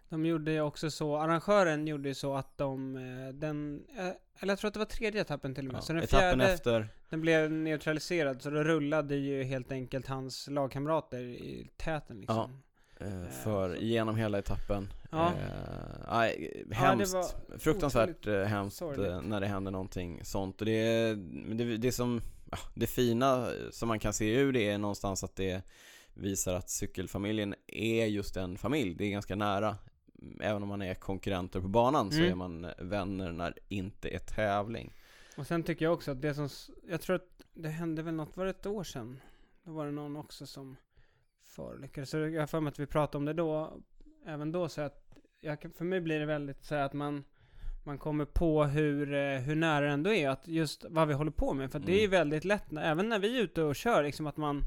[SPEAKER 2] De gjorde ju också så, arrangören gjorde ju så att de, eh, den, eh, eller jag tror att det var tredje etappen till och med.
[SPEAKER 1] Ja,
[SPEAKER 2] Så den
[SPEAKER 1] etappen
[SPEAKER 2] fjärde,
[SPEAKER 1] efter,
[SPEAKER 2] den blev neutraliserad, så då rullade ju helt enkelt hans lagkamrater i täten liksom.
[SPEAKER 1] eh,
[SPEAKER 2] Eh,
[SPEAKER 1] för
[SPEAKER 2] så-
[SPEAKER 1] genom hela etappen.
[SPEAKER 2] Ja.
[SPEAKER 1] Eh, nej,
[SPEAKER 2] det
[SPEAKER 1] hemskt.
[SPEAKER 2] var
[SPEAKER 1] Fruktansvärt eh, hemskt
[SPEAKER 2] sorgligt.
[SPEAKER 1] eh, när det händer någonting sånt. Och det, är- men det, det som, ja, det fina eh, som man kan se ur det är någonstans att det visar att cykelfamiljen är just en familj. Det är ganska nära. Även om man är konkurrenter på banan så
[SPEAKER 2] Mm.
[SPEAKER 1] är man vänner när det inte är tävling.
[SPEAKER 2] Och sen tycker jag också att det som, s- jag tror att det hände väl något, var det ett år sedan? Då var det någon också som förolyckades. Så jag har för mig att vi pratade om det då, även då så att, jag kan, för mig blir det väldigt så här att man, man kommer på hur, eh, hur nära det ändå är, att just vad vi håller på med. För att det är ju
[SPEAKER 1] Mm.
[SPEAKER 2] väldigt lätt, när, även när vi är ute och kör, liksom att man,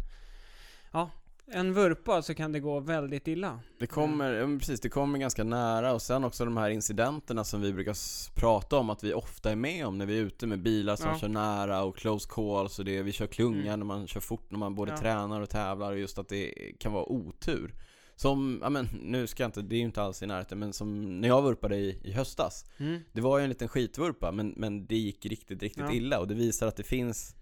[SPEAKER 2] ja, en vurpa så kan det gå väldigt illa.
[SPEAKER 1] Det
[SPEAKER 2] Mm.
[SPEAKER 1] kommer, ja, men precis, det kommer ganska nära och sen också de här incidenterna som vi brukar s- prata om att vi ofta är med om när vi är ute med bilar som
[SPEAKER 2] Ja.
[SPEAKER 1] kör nära och close calls och det, vi kör klunga
[SPEAKER 2] Mm.
[SPEAKER 1] när man kör fort när man både
[SPEAKER 2] Ja.
[SPEAKER 1] tränar och tävlar och just att det kan vara otur. Som, ja men nu ska jag inte, det är ju inte alls i närheten men som när jag vurpade i, i höstas.
[SPEAKER 2] Mm.
[SPEAKER 1] Det var ju en liten skitvurpa men, men det gick riktigt, riktigt
[SPEAKER 2] Ja.
[SPEAKER 1] illa och det visar att det finns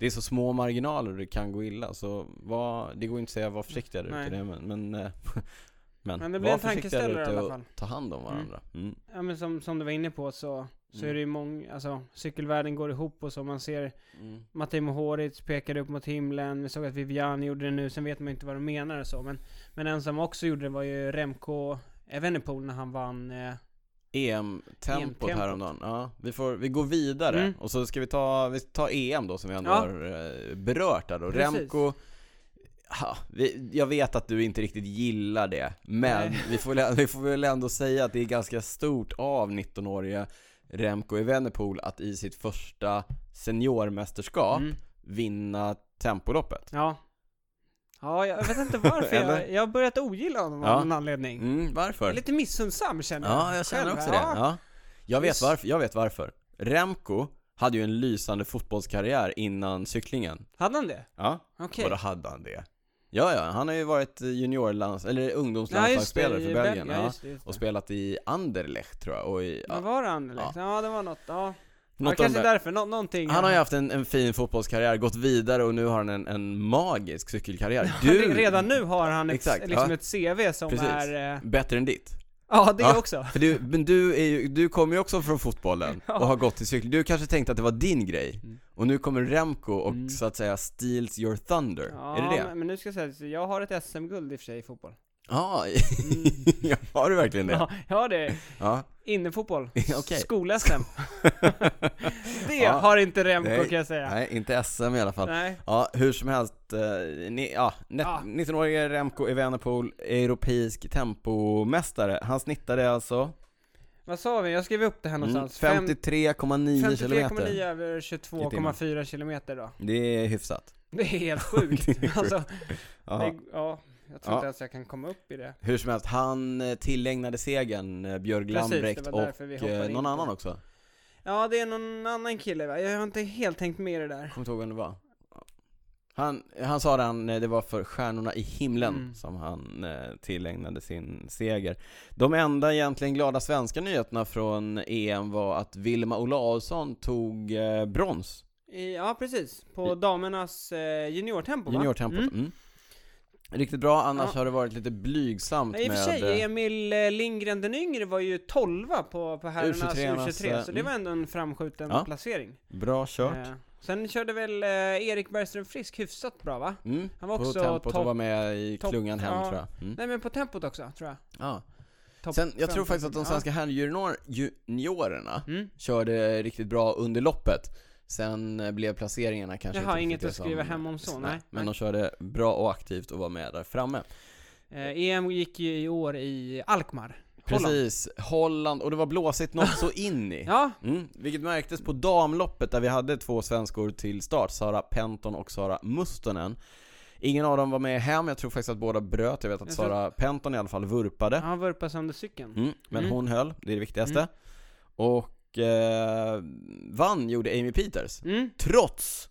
[SPEAKER 1] det är så små marginaler och det kan gå illa så var, det går inte att säga var försiktiga där ute
[SPEAKER 2] Nej.
[SPEAKER 1] det, men, men, eh, men,
[SPEAKER 2] Men det blir
[SPEAKER 1] var
[SPEAKER 2] en
[SPEAKER 1] försiktiga där
[SPEAKER 2] tankeställare i
[SPEAKER 1] ute
[SPEAKER 2] alla
[SPEAKER 1] och
[SPEAKER 2] fall.
[SPEAKER 1] ta hand om varandra. Mm.
[SPEAKER 2] Ja men som, som du var inne på så, så
[SPEAKER 1] Mm.
[SPEAKER 2] är det ju många, alltså cykelvärlden går ihop och så, man ser
[SPEAKER 1] Mm.
[SPEAKER 2] Matteo Mohoric pekade upp mot himlen, vi såg att Vivian gjorde det nu, sen vet man inte vad de menar och så men Men en som också gjorde det var ju Remco Evenepoel när han vann eh,
[SPEAKER 1] EM-tempot
[SPEAKER 2] EM-tempot.
[SPEAKER 1] E häromdagen. Ja, vi, får, vi går vidare
[SPEAKER 2] E Mm.
[SPEAKER 1] och så ska vi ta, vi tar EM då som vi ändå
[SPEAKER 2] Ja.
[SPEAKER 1] har eh, berört där då.
[SPEAKER 2] Precis.
[SPEAKER 1] Remco, ha, vi, jag vet att du inte riktigt gillar det, men
[SPEAKER 2] Nej.
[SPEAKER 1] vi får, väl- vi får väl ändå säga att det är ganska stort av 19-årige Remco Evenepoel att i sitt första seniormästerskap
[SPEAKER 2] mm.
[SPEAKER 1] vinna tempoloppet.
[SPEAKER 2] Ja Ja, jag vet inte varför
[SPEAKER 1] Eller?
[SPEAKER 2] jag, jag har börjat ogilla honom
[SPEAKER 1] Ja.
[SPEAKER 2] av någon anledning
[SPEAKER 1] Mm, varför?
[SPEAKER 2] Jag är lite missunnsam känner
[SPEAKER 1] Ja, jag känner
[SPEAKER 2] själv
[SPEAKER 1] också
[SPEAKER 2] här.
[SPEAKER 1] det. Ja. Jag, vet
[SPEAKER 2] Just-
[SPEAKER 1] varför, jag vet varför. Remco hade ju en lysande fotbollskarriär innan cyklingen.
[SPEAKER 2] Hade han det?
[SPEAKER 1] Ja,
[SPEAKER 2] Okej
[SPEAKER 1] vadå hade han det? Ja, ja, han har ju varit juniorlands, eller
[SPEAKER 2] Ja, just det,
[SPEAKER 1] ungdomslandslagsspelare
[SPEAKER 2] i
[SPEAKER 1] för Belgien.
[SPEAKER 2] Ja,
[SPEAKER 1] Ja,
[SPEAKER 2] just det, just
[SPEAKER 1] och
[SPEAKER 2] det.
[SPEAKER 1] spelat i Anderlecht tror jag, och i,
[SPEAKER 2] Vad
[SPEAKER 1] ja,
[SPEAKER 2] var det Anderlecht? Ja, det var något, ja
[SPEAKER 1] något
[SPEAKER 2] Det
[SPEAKER 1] av de
[SPEAKER 2] kanske
[SPEAKER 1] där.
[SPEAKER 2] därför, nå- någonting
[SPEAKER 1] Han har ju haft en, en fin fotbollskarriär, gått vidare och nu har han en, en magisk cykelkarriär.
[SPEAKER 2] du... Redan nu har han ett,
[SPEAKER 1] Exakt,
[SPEAKER 2] liksom
[SPEAKER 1] ja.
[SPEAKER 2] ett CV som
[SPEAKER 1] Precis.
[SPEAKER 2] är... eh,
[SPEAKER 1] Bättre än ditt.
[SPEAKER 2] Ja, det
[SPEAKER 1] Ja.
[SPEAKER 2] också.
[SPEAKER 1] För du, men du, är ju, du kommer ju också från fotbollen
[SPEAKER 2] Ja.
[SPEAKER 1] och har gått till cykel. Du kanske tänkte att det var din grej.
[SPEAKER 2] Mm.
[SPEAKER 1] Och nu kommer Remco och
[SPEAKER 2] Mm.
[SPEAKER 1] så att säga steals your thunder.
[SPEAKER 2] Ja,
[SPEAKER 1] är det det?
[SPEAKER 2] Men, men nu ska jag säga att jag har ett SM-guld i och för sig i fotboll.
[SPEAKER 1] Ja,
[SPEAKER 2] Mm.
[SPEAKER 1] ja, har du verkligen det?
[SPEAKER 2] Ja, jag har det.
[SPEAKER 1] Ja.
[SPEAKER 2] Innefotboll.
[SPEAKER 1] Okej.
[SPEAKER 2] Skol-SM. det
[SPEAKER 1] Ja.
[SPEAKER 2] har inte Remco
[SPEAKER 1] Nej.
[SPEAKER 2] kan jag säga.
[SPEAKER 1] Nej, inte SM i alla fall.
[SPEAKER 2] Nej.
[SPEAKER 1] Ja, hur som helst, eh, ni, ja, net-
[SPEAKER 2] Ja.
[SPEAKER 1] 19-årige Remco Evenepoel, europeisk tempomästare. Han snittade alltså
[SPEAKER 2] Vad sa vi? Jag skrev upp det här
[SPEAKER 1] mm,
[SPEAKER 2] någonstans.
[SPEAKER 1] 53,9
[SPEAKER 2] 53,9
[SPEAKER 1] kilometer.
[SPEAKER 2] över
[SPEAKER 1] I timmen.
[SPEAKER 2] 22,4 kilometer då.
[SPEAKER 1] Det är hyfsat.
[SPEAKER 2] Det är helt sjukt. alltså,
[SPEAKER 1] Ja.
[SPEAKER 2] det, ja, jag tror
[SPEAKER 1] Ja.
[SPEAKER 2] inte ens jag kan komma upp i det.
[SPEAKER 1] Hur som helst, han eh, tillägnade segern eh, Björg
[SPEAKER 2] Precis, det
[SPEAKER 1] Lambrecht
[SPEAKER 2] var
[SPEAKER 1] och
[SPEAKER 2] därför vi
[SPEAKER 1] eh,
[SPEAKER 2] hoppade in
[SPEAKER 1] någon
[SPEAKER 2] på
[SPEAKER 1] annan
[SPEAKER 2] det.
[SPEAKER 1] också.
[SPEAKER 2] Ja, det är någon annan kille va? Jag har inte helt tänkt med i det där.
[SPEAKER 1] Kommer inte ihåg vem det var. Han, han sa det, han, eh, det var för Stjärnorna i himlen
[SPEAKER 2] Mm.
[SPEAKER 1] som han eh, tillägnade sin seger. De enda egentligen glada svenska nyheterna från EM var att Vilma Olausson tog eh, brons,
[SPEAKER 2] I, ja, precis. På damernas eh, juniortempo, va?
[SPEAKER 1] juniortempot.
[SPEAKER 2] Mm.
[SPEAKER 1] Mm. Riktigt bra, annars
[SPEAKER 2] Ja.
[SPEAKER 1] har det varit lite blygsamt
[SPEAKER 2] Nej, I och för
[SPEAKER 1] med...
[SPEAKER 2] sig,
[SPEAKER 1] eh,
[SPEAKER 2] Emil eh, Lindgren den yngre var ju 12 på, på herrarnas
[SPEAKER 1] U23,
[SPEAKER 2] U23, så
[SPEAKER 1] alltså,
[SPEAKER 2] det
[SPEAKER 1] mm.
[SPEAKER 2] var ändå en framskjuten
[SPEAKER 1] Ja.
[SPEAKER 2] placering.
[SPEAKER 1] Bra kört.
[SPEAKER 2] Eh, sen körde väl eh, Erik Bergström Frisk hyfsat bra va?
[SPEAKER 1] Mm.
[SPEAKER 2] Han var
[SPEAKER 1] på
[SPEAKER 2] också
[SPEAKER 1] tempot
[SPEAKER 2] topp-
[SPEAKER 1] och var med i
[SPEAKER 2] topp-
[SPEAKER 1] klungan hem
[SPEAKER 2] ja.
[SPEAKER 1] tror jag. Mm.
[SPEAKER 2] Nej men på tempot också, tror jag.
[SPEAKER 1] Ja.
[SPEAKER 2] Topp
[SPEAKER 1] Sen, jag
[SPEAKER 2] fem,
[SPEAKER 1] tror
[SPEAKER 2] topp-
[SPEAKER 1] faktiskt att de
[SPEAKER 2] ja.
[SPEAKER 1] svenska herrjuniorerna
[SPEAKER 2] Mm.
[SPEAKER 1] körde riktigt bra under loppet. Sen eh, blev placeringarna kanske
[SPEAKER 2] Jaha,
[SPEAKER 1] inte
[SPEAKER 2] inget
[SPEAKER 1] riktigt
[SPEAKER 2] att
[SPEAKER 1] det
[SPEAKER 2] skriva
[SPEAKER 1] som-
[SPEAKER 2] hem om så, nej,
[SPEAKER 1] Men
[SPEAKER 2] nej.
[SPEAKER 1] de körde bra och aktivt och var med där framme.
[SPEAKER 2] Eh, EM gick ju i år i Alkmaar. Holland.
[SPEAKER 1] Precis, Holland, och det var blåsigt något så in i.
[SPEAKER 2] Ja,
[SPEAKER 1] Mm, vilket märktes på damloppet där vi hade två svenskor till start, Sara Penton och Sara Mustonen. Ingen av dem var med hem, jag tror faktiskt att båda bröt, jag vet att
[SPEAKER 2] Jag tror-
[SPEAKER 1] Sara Penton i alla fall vurpade.
[SPEAKER 2] han vurpade sönder cykeln.
[SPEAKER 1] Mm, men
[SPEAKER 2] Mm.
[SPEAKER 1] hon höll, det är det viktigaste.
[SPEAKER 2] Mm.
[SPEAKER 1] Och eh, vann gjorde Amy Peters.
[SPEAKER 2] Mm.
[SPEAKER 1] Trots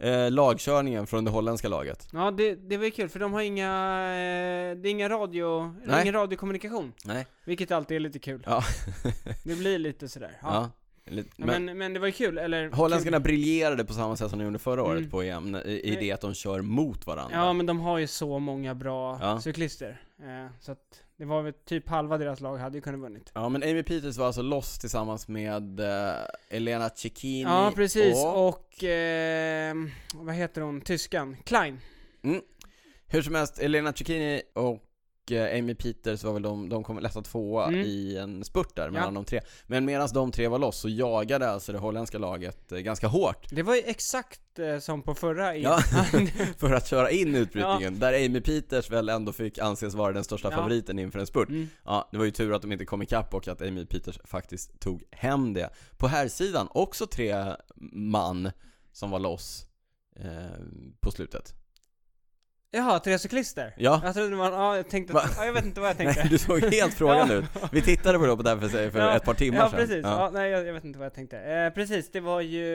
[SPEAKER 1] eh, lagkörningen från det holländska laget.
[SPEAKER 2] Ja, det, det var ju kul för de har inga, eh, det är inga radio,
[SPEAKER 1] Nej.
[SPEAKER 2] ingen radiokommunikation.
[SPEAKER 1] Nej.
[SPEAKER 2] Vilket alltid är lite kul.
[SPEAKER 1] Ja.
[SPEAKER 2] Det blir lite sådär. Ja.
[SPEAKER 1] Ja. Lite,
[SPEAKER 2] Ja,
[SPEAKER 1] men,
[SPEAKER 2] men, men det var ju kul, eller?
[SPEAKER 1] holländskarna briljerade på samma sätt som de gjorde förra året
[SPEAKER 2] Mm.
[SPEAKER 1] på EM, i, i
[SPEAKER 2] Nej.
[SPEAKER 1] det att de kör mot
[SPEAKER 2] kul.
[SPEAKER 1] varandra.
[SPEAKER 2] Ja, men de har ju så många bra
[SPEAKER 1] Ja.
[SPEAKER 2] cyklister. Eh, så att det var väl typ halva deras lag hade ju kunnat vunnit.
[SPEAKER 1] Ja, men Amy Peters var alltså loss tillsammans med eh, Elena Cecchini
[SPEAKER 2] Ja, precis.
[SPEAKER 1] och
[SPEAKER 2] Och, ehm, vad heter hon, tyskan? Klein.
[SPEAKER 1] Hur som helst, Elena Cecchini och eh, Amy Peters var väl de, de kom lätta tvåa
[SPEAKER 2] Mm.
[SPEAKER 1] i en spurt där mellan
[SPEAKER 2] Ja.
[SPEAKER 1] de tre. Men medan de tre var loss så jagade alltså det holländska laget eh, ganska hårt
[SPEAKER 2] Det var ju exakt eh, som på förra EM.
[SPEAKER 1] Ja. för att köra in utbrytningen, där Amy Peters väl ändå fick anses vara den största
[SPEAKER 2] Ja.
[SPEAKER 1] favoriten inför en spurt.
[SPEAKER 2] Mm.
[SPEAKER 1] Ja, det var ju tur att de inte kom ikapp och att Amy Peters faktiskt tog hem det. På här sidan också tre man som var loss eh, på slutet.
[SPEAKER 2] Jaha, tre cyklister?
[SPEAKER 1] Ja.
[SPEAKER 2] Jag trodde det var, ja, jag tänkte,
[SPEAKER 1] Va?
[SPEAKER 2] ja, jag vet inte vad jag tänkte.
[SPEAKER 1] Nej, du såg helt frågan ut. Vi tittade på det på det här för, för
[SPEAKER 2] Ja.
[SPEAKER 1] ett par timmar
[SPEAKER 2] Ja,
[SPEAKER 1] sedan.
[SPEAKER 2] precis. Ja. nej, jag, jag vet inte vad jag tänkte. Eh, precis, det var ju...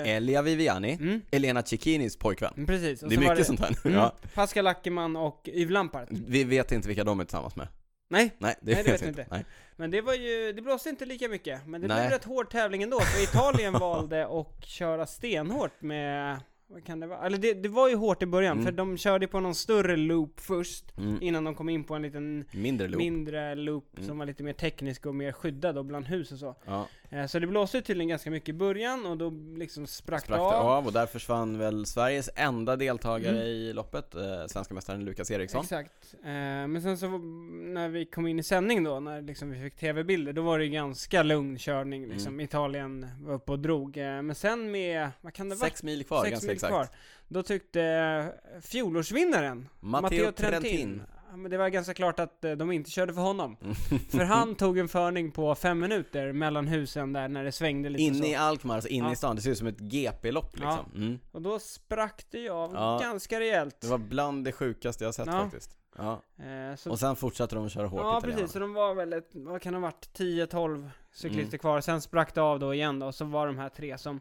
[SPEAKER 1] Elia Viviani,
[SPEAKER 2] Mm,
[SPEAKER 1] Elena Cecchinis pojkvän.
[SPEAKER 2] mm, precis. Och
[SPEAKER 1] Eh. det är
[SPEAKER 2] så var
[SPEAKER 1] mycket sånt här nu.
[SPEAKER 2] Mm,
[SPEAKER 1] Ja. Mm.
[SPEAKER 2] Pascal Ackerman och Yves Lampard.
[SPEAKER 1] Vi vet inte vilka de är tillsammans med.
[SPEAKER 2] Nej,
[SPEAKER 1] Nej, det
[SPEAKER 2] Nej, det
[SPEAKER 1] vet
[SPEAKER 2] vet
[SPEAKER 1] vi
[SPEAKER 2] vi
[SPEAKER 1] inte. Nej.
[SPEAKER 2] men det var ju, det blåste inte lika mycket. Men det
[SPEAKER 1] Nej.
[SPEAKER 2] blev rätt hård tävling ändå, för Italien valde att köra stenhårt med, vad kan det vara? Eller det, det var ju hårt i början,
[SPEAKER 1] Mm.
[SPEAKER 2] för de körde på någon större loop först,
[SPEAKER 1] Mm.
[SPEAKER 2] innan de kom in på en liten
[SPEAKER 1] Mindre loop.
[SPEAKER 2] mindre loop
[SPEAKER 1] Mm.
[SPEAKER 2] som var lite mer teknisk och mer skyddad och bland hus och så.
[SPEAKER 1] ja,
[SPEAKER 2] Eh, Så det blåste ju tydligen ganska mycket i början och då liksom sprack,
[SPEAKER 1] sprack det
[SPEAKER 2] det av.
[SPEAKER 1] av och där försvann väl Sveriges enda deltagare i loppet, eh, svenska mästaren Lukas Eriksson.
[SPEAKER 2] Mm. Exakt. Eh, Men sen så när vi kom in i sändning då, när liksom vi fick tv-bilder, då var det ju ganska lugn körning liksom.
[SPEAKER 1] Mm.
[SPEAKER 2] Italien var uppe och drog. Eh, Men sen med, vad kan det vara?
[SPEAKER 1] Sex mil kvar,
[SPEAKER 2] Sex
[SPEAKER 1] ganska
[SPEAKER 2] mil
[SPEAKER 1] exakt.
[SPEAKER 2] kvar. Då tyckte eh, fjolårsvinnaren
[SPEAKER 1] Matteo Trentin.
[SPEAKER 2] Ja, Men det var ganska klart att eh, de inte körde för honom.
[SPEAKER 1] Mm.
[SPEAKER 2] för han tog en förning på fem minuter mellan husen där när det svängde lite så.
[SPEAKER 1] Inne i Alkmaar, alltså inne
[SPEAKER 2] Ja.
[SPEAKER 1] i stan. Det ser ut som ett GP-lopp
[SPEAKER 2] Ja.
[SPEAKER 1] liksom. Mm.
[SPEAKER 2] Och då sprack det ju av
[SPEAKER 1] Ja.
[SPEAKER 2] ganska rejält.
[SPEAKER 1] Det var bland det sjukaste jag har sett
[SPEAKER 2] Ja.
[SPEAKER 1] faktiskt. Ja.
[SPEAKER 2] Eh, så
[SPEAKER 1] Och sen fortsatte de att köra hårt
[SPEAKER 2] Ja
[SPEAKER 1] italienarna.
[SPEAKER 2] precis, så de var väl ett, vad kan det ha varit, 10-12 cyklister
[SPEAKER 1] Mm.
[SPEAKER 2] kvar, sen sprack det av då igen då, och så var de här tre som,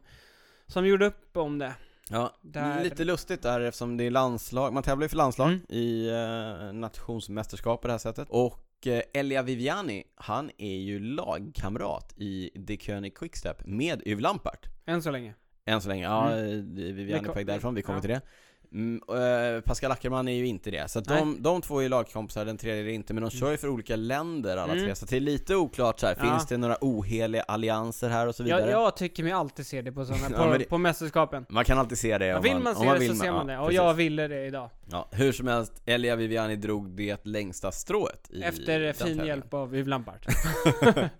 [SPEAKER 2] som gjorde upp om det.
[SPEAKER 1] Ja,
[SPEAKER 2] Där-
[SPEAKER 1] lite lustigt där eftersom det är landslag, man tävlar ju för landslag
[SPEAKER 2] Mm.
[SPEAKER 1] i eh, nationsmästerskap på det här sättet. Och eh, Elia Viviani, han är ju lagkamrat i The König Quickstep med Yves Lampart.
[SPEAKER 2] Än så länge.
[SPEAKER 1] Än så länge, ja,
[SPEAKER 2] Mm.
[SPEAKER 1] eh, Viviani
[SPEAKER 2] Vi
[SPEAKER 1] är
[SPEAKER 2] kom-
[SPEAKER 1] på väg därifrån, vi kommer
[SPEAKER 2] ja.
[SPEAKER 1] till det. Mm, och, eh, Pascal Ackerman är ju inte det, så att de, de två är ju lagkompisar, den tredje är det inte, men de kör ju för olika länder alla
[SPEAKER 2] Mm.
[SPEAKER 1] tre, så att det är lite oklart så här.
[SPEAKER 2] Ja.
[SPEAKER 1] finns det några oheliga allianser här och så vidare?
[SPEAKER 2] Jag, jag tycker mig alltid se det på sådana,
[SPEAKER 1] Ja,
[SPEAKER 2] på,
[SPEAKER 1] men det-
[SPEAKER 2] på mästerskapen.
[SPEAKER 1] Man kan alltid se det om
[SPEAKER 2] vill
[SPEAKER 1] man
[SPEAKER 2] man se
[SPEAKER 1] om man
[SPEAKER 2] det
[SPEAKER 1] vill
[SPEAKER 2] så ser man
[SPEAKER 1] ja,
[SPEAKER 2] det, och
[SPEAKER 1] precis.
[SPEAKER 2] jag ville det idag.
[SPEAKER 1] Ja, hur som helst, Elia Viviani drog det längsta strået i
[SPEAKER 2] Efter
[SPEAKER 1] den
[SPEAKER 2] fin
[SPEAKER 1] tävlingen,
[SPEAKER 2] hjälp av Yves Lampard.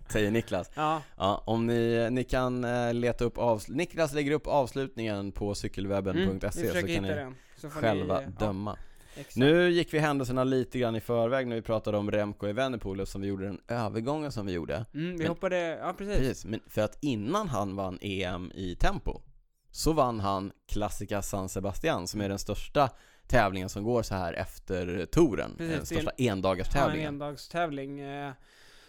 [SPEAKER 1] Säger Niklas.
[SPEAKER 2] ja,
[SPEAKER 1] Ja, om ni, ni kan eh, leta upp avsl- Niklas lägger upp avslutningen på
[SPEAKER 2] mm, vi
[SPEAKER 1] cykelwebben.se så
[SPEAKER 2] försöker
[SPEAKER 1] kan
[SPEAKER 2] hitta
[SPEAKER 1] ni
[SPEAKER 2] den. Så får
[SPEAKER 1] själva
[SPEAKER 2] ni, ja,
[SPEAKER 1] döma.
[SPEAKER 2] exakt.
[SPEAKER 1] Nu gick vi händelserna lite grann i förväg när vi pratade om Remco Evenepoel som vi gjorde den övergången som vi gjorde.
[SPEAKER 2] Mm, vi
[SPEAKER 1] men-
[SPEAKER 2] hoppade, ja precis.
[SPEAKER 1] Precis, men för att innan han vann EM i tempo så vann han Classica San Sebastian som är den största tävlingen som går så här efter touren.
[SPEAKER 2] Precis,
[SPEAKER 1] den
[SPEAKER 2] det är en-
[SPEAKER 1] största
[SPEAKER 2] Ja, en
[SPEAKER 1] endagarstävlingen.
[SPEAKER 2] endagstävling. Eh,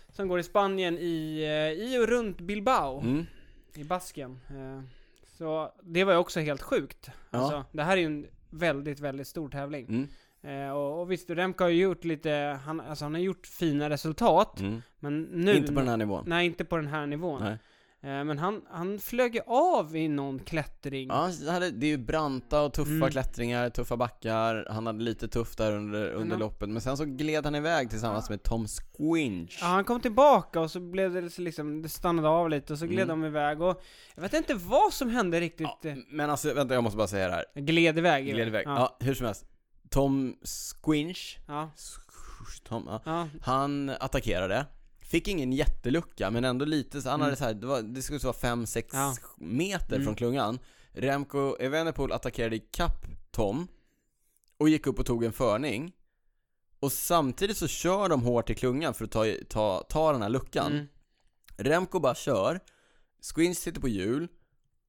[SPEAKER 2] som går i Spanien i, eh, i och runt Bilbao.
[SPEAKER 1] Mm.
[SPEAKER 2] i basken. Eh, Så det var ju också helt sjukt. Alltså, det här är ju en väldigt, väldigt stor tävling.
[SPEAKER 1] Mm.
[SPEAKER 2] Eh, och, och visst, Remco har ju gjort lite, han, alltså han har gjort fina resultat,
[SPEAKER 1] Mm.
[SPEAKER 2] men nu...
[SPEAKER 1] Inte på den här nivån.
[SPEAKER 2] Nej, inte på den här nivån.
[SPEAKER 1] Nej.
[SPEAKER 2] Eh, men han, han flög ju av i någon klättring.
[SPEAKER 1] Ja, så här är- det är ju branta och tuffa
[SPEAKER 2] Mm.
[SPEAKER 1] klättringar, tuffa backar. Han hade lite tufft där under, under
[SPEAKER 2] han-
[SPEAKER 1] loppet. Men sen så gled han iväg tillsammans med Tom Squinch.
[SPEAKER 2] Ja, han kom tillbaka och så blev det så liksom, det stannade av lite och så gled
[SPEAKER 1] Mm.
[SPEAKER 2] de iväg och jag vet inte vad som hände riktigt.
[SPEAKER 1] Ja, men alltså, vänta jag måste bara säga det här.
[SPEAKER 2] Gled iväg.
[SPEAKER 1] Gled iväg. Ja.
[SPEAKER 2] Ja.
[SPEAKER 1] hur som helst. Tom Squinch,
[SPEAKER 2] Ja.
[SPEAKER 1] Sk- Tom, ja.
[SPEAKER 2] ja.
[SPEAKER 1] han attackerade. Fick ingen jättelucka, men ändå lite, så han
[SPEAKER 2] Mm.
[SPEAKER 1] hade så här, det, var, det skulle vara 5-6
[SPEAKER 2] Ja.
[SPEAKER 1] meter
[SPEAKER 2] Mm.
[SPEAKER 1] från klungan. Remco Evenepoel attackerade i kapp Tom och gick upp och tog en förning. Och samtidigt så kör de hårt i klungan för att ta, ta, ta den här luckan.
[SPEAKER 2] Mm.
[SPEAKER 1] Remco bara kör, Squinch sitter på hjul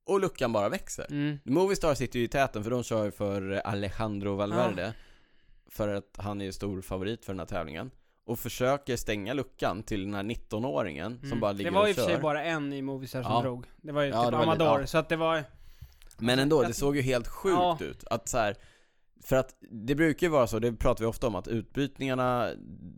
[SPEAKER 1] och luckan bara växer.
[SPEAKER 2] Mm.
[SPEAKER 1] Movistar sitter ju i täten för de kör ju för Alejandro Valverde För att han är ju stor favorit för den här tävlingen Och försöker stänga luckan till den här 19-åringen som
[SPEAKER 2] Mm.
[SPEAKER 1] bara ligger
[SPEAKER 2] Det var
[SPEAKER 1] och
[SPEAKER 2] i och för
[SPEAKER 1] kör
[SPEAKER 2] sig bara en i Movistar som
[SPEAKER 1] Ja.
[SPEAKER 2] drog. Det var ju
[SPEAKER 1] Ja,
[SPEAKER 2] typ
[SPEAKER 1] det var lite-
[SPEAKER 2] Amador,
[SPEAKER 1] ja.
[SPEAKER 2] så att det var...
[SPEAKER 1] Men ändå, det såg ju helt sjukt
[SPEAKER 2] Ja.
[SPEAKER 1] ut att så här, För att det brukar ju vara så, det pratar vi ofta om, att utbytningarna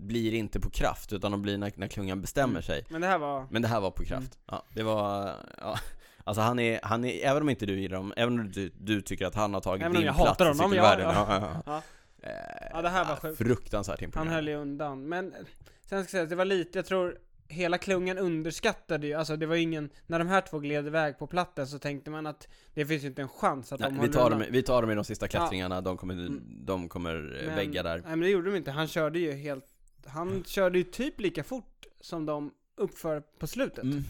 [SPEAKER 1] blir inte på kraft utan de blir när, när klungan bestämmer
[SPEAKER 2] Mm.
[SPEAKER 1] sig
[SPEAKER 2] Men det här var...
[SPEAKER 1] Men det här var på kraft,
[SPEAKER 2] Mm.
[SPEAKER 1] ja, det var, ja Alltså han är, han är, även om inte du gillar honom, även om du, du tycker att han har tagit
[SPEAKER 2] Även om
[SPEAKER 1] din
[SPEAKER 2] jag
[SPEAKER 1] plats
[SPEAKER 2] hatar
[SPEAKER 1] i
[SPEAKER 2] honom, ja,
[SPEAKER 1] cykelvärlden
[SPEAKER 2] ja.
[SPEAKER 1] Ja, ja, ja.
[SPEAKER 2] Ja.
[SPEAKER 1] Eh,
[SPEAKER 2] Ja, det här var
[SPEAKER 1] ah,
[SPEAKER 2] sjukt.
[SPEAKER 1] Fruktansvärt
[SPEAKER 2] Han
[SPEAKER 1] imponerande.
[SPEAKER 2] höll ju undan. Men eh, sen ska jag säga att det var lite, jag tror hela klungan underskattade ju, alltså det var ju ingen... När de här två gled iväg på platten så tänkte man att det finns ju inte en chans att de
[SPEAKER 1] Nej, vi,
[SPEAKER 2] håller
[SPEAKER 1] tar
[SPEAKER 2] undan.
[SPEAKER 1] dem, vi tar dem i de sista klättringarna, de kommer, de kommer eh,
[SPEAKER 2] Mm. Men- Mm.
[SPEAKER 1] vägga där. Mm.
[SPEAKER 2] Nej men det gjorde de inte, han körde ju helt... Han körde ju typ lika fort som de uppför på slutet.
[SPEAKER 1] Mm.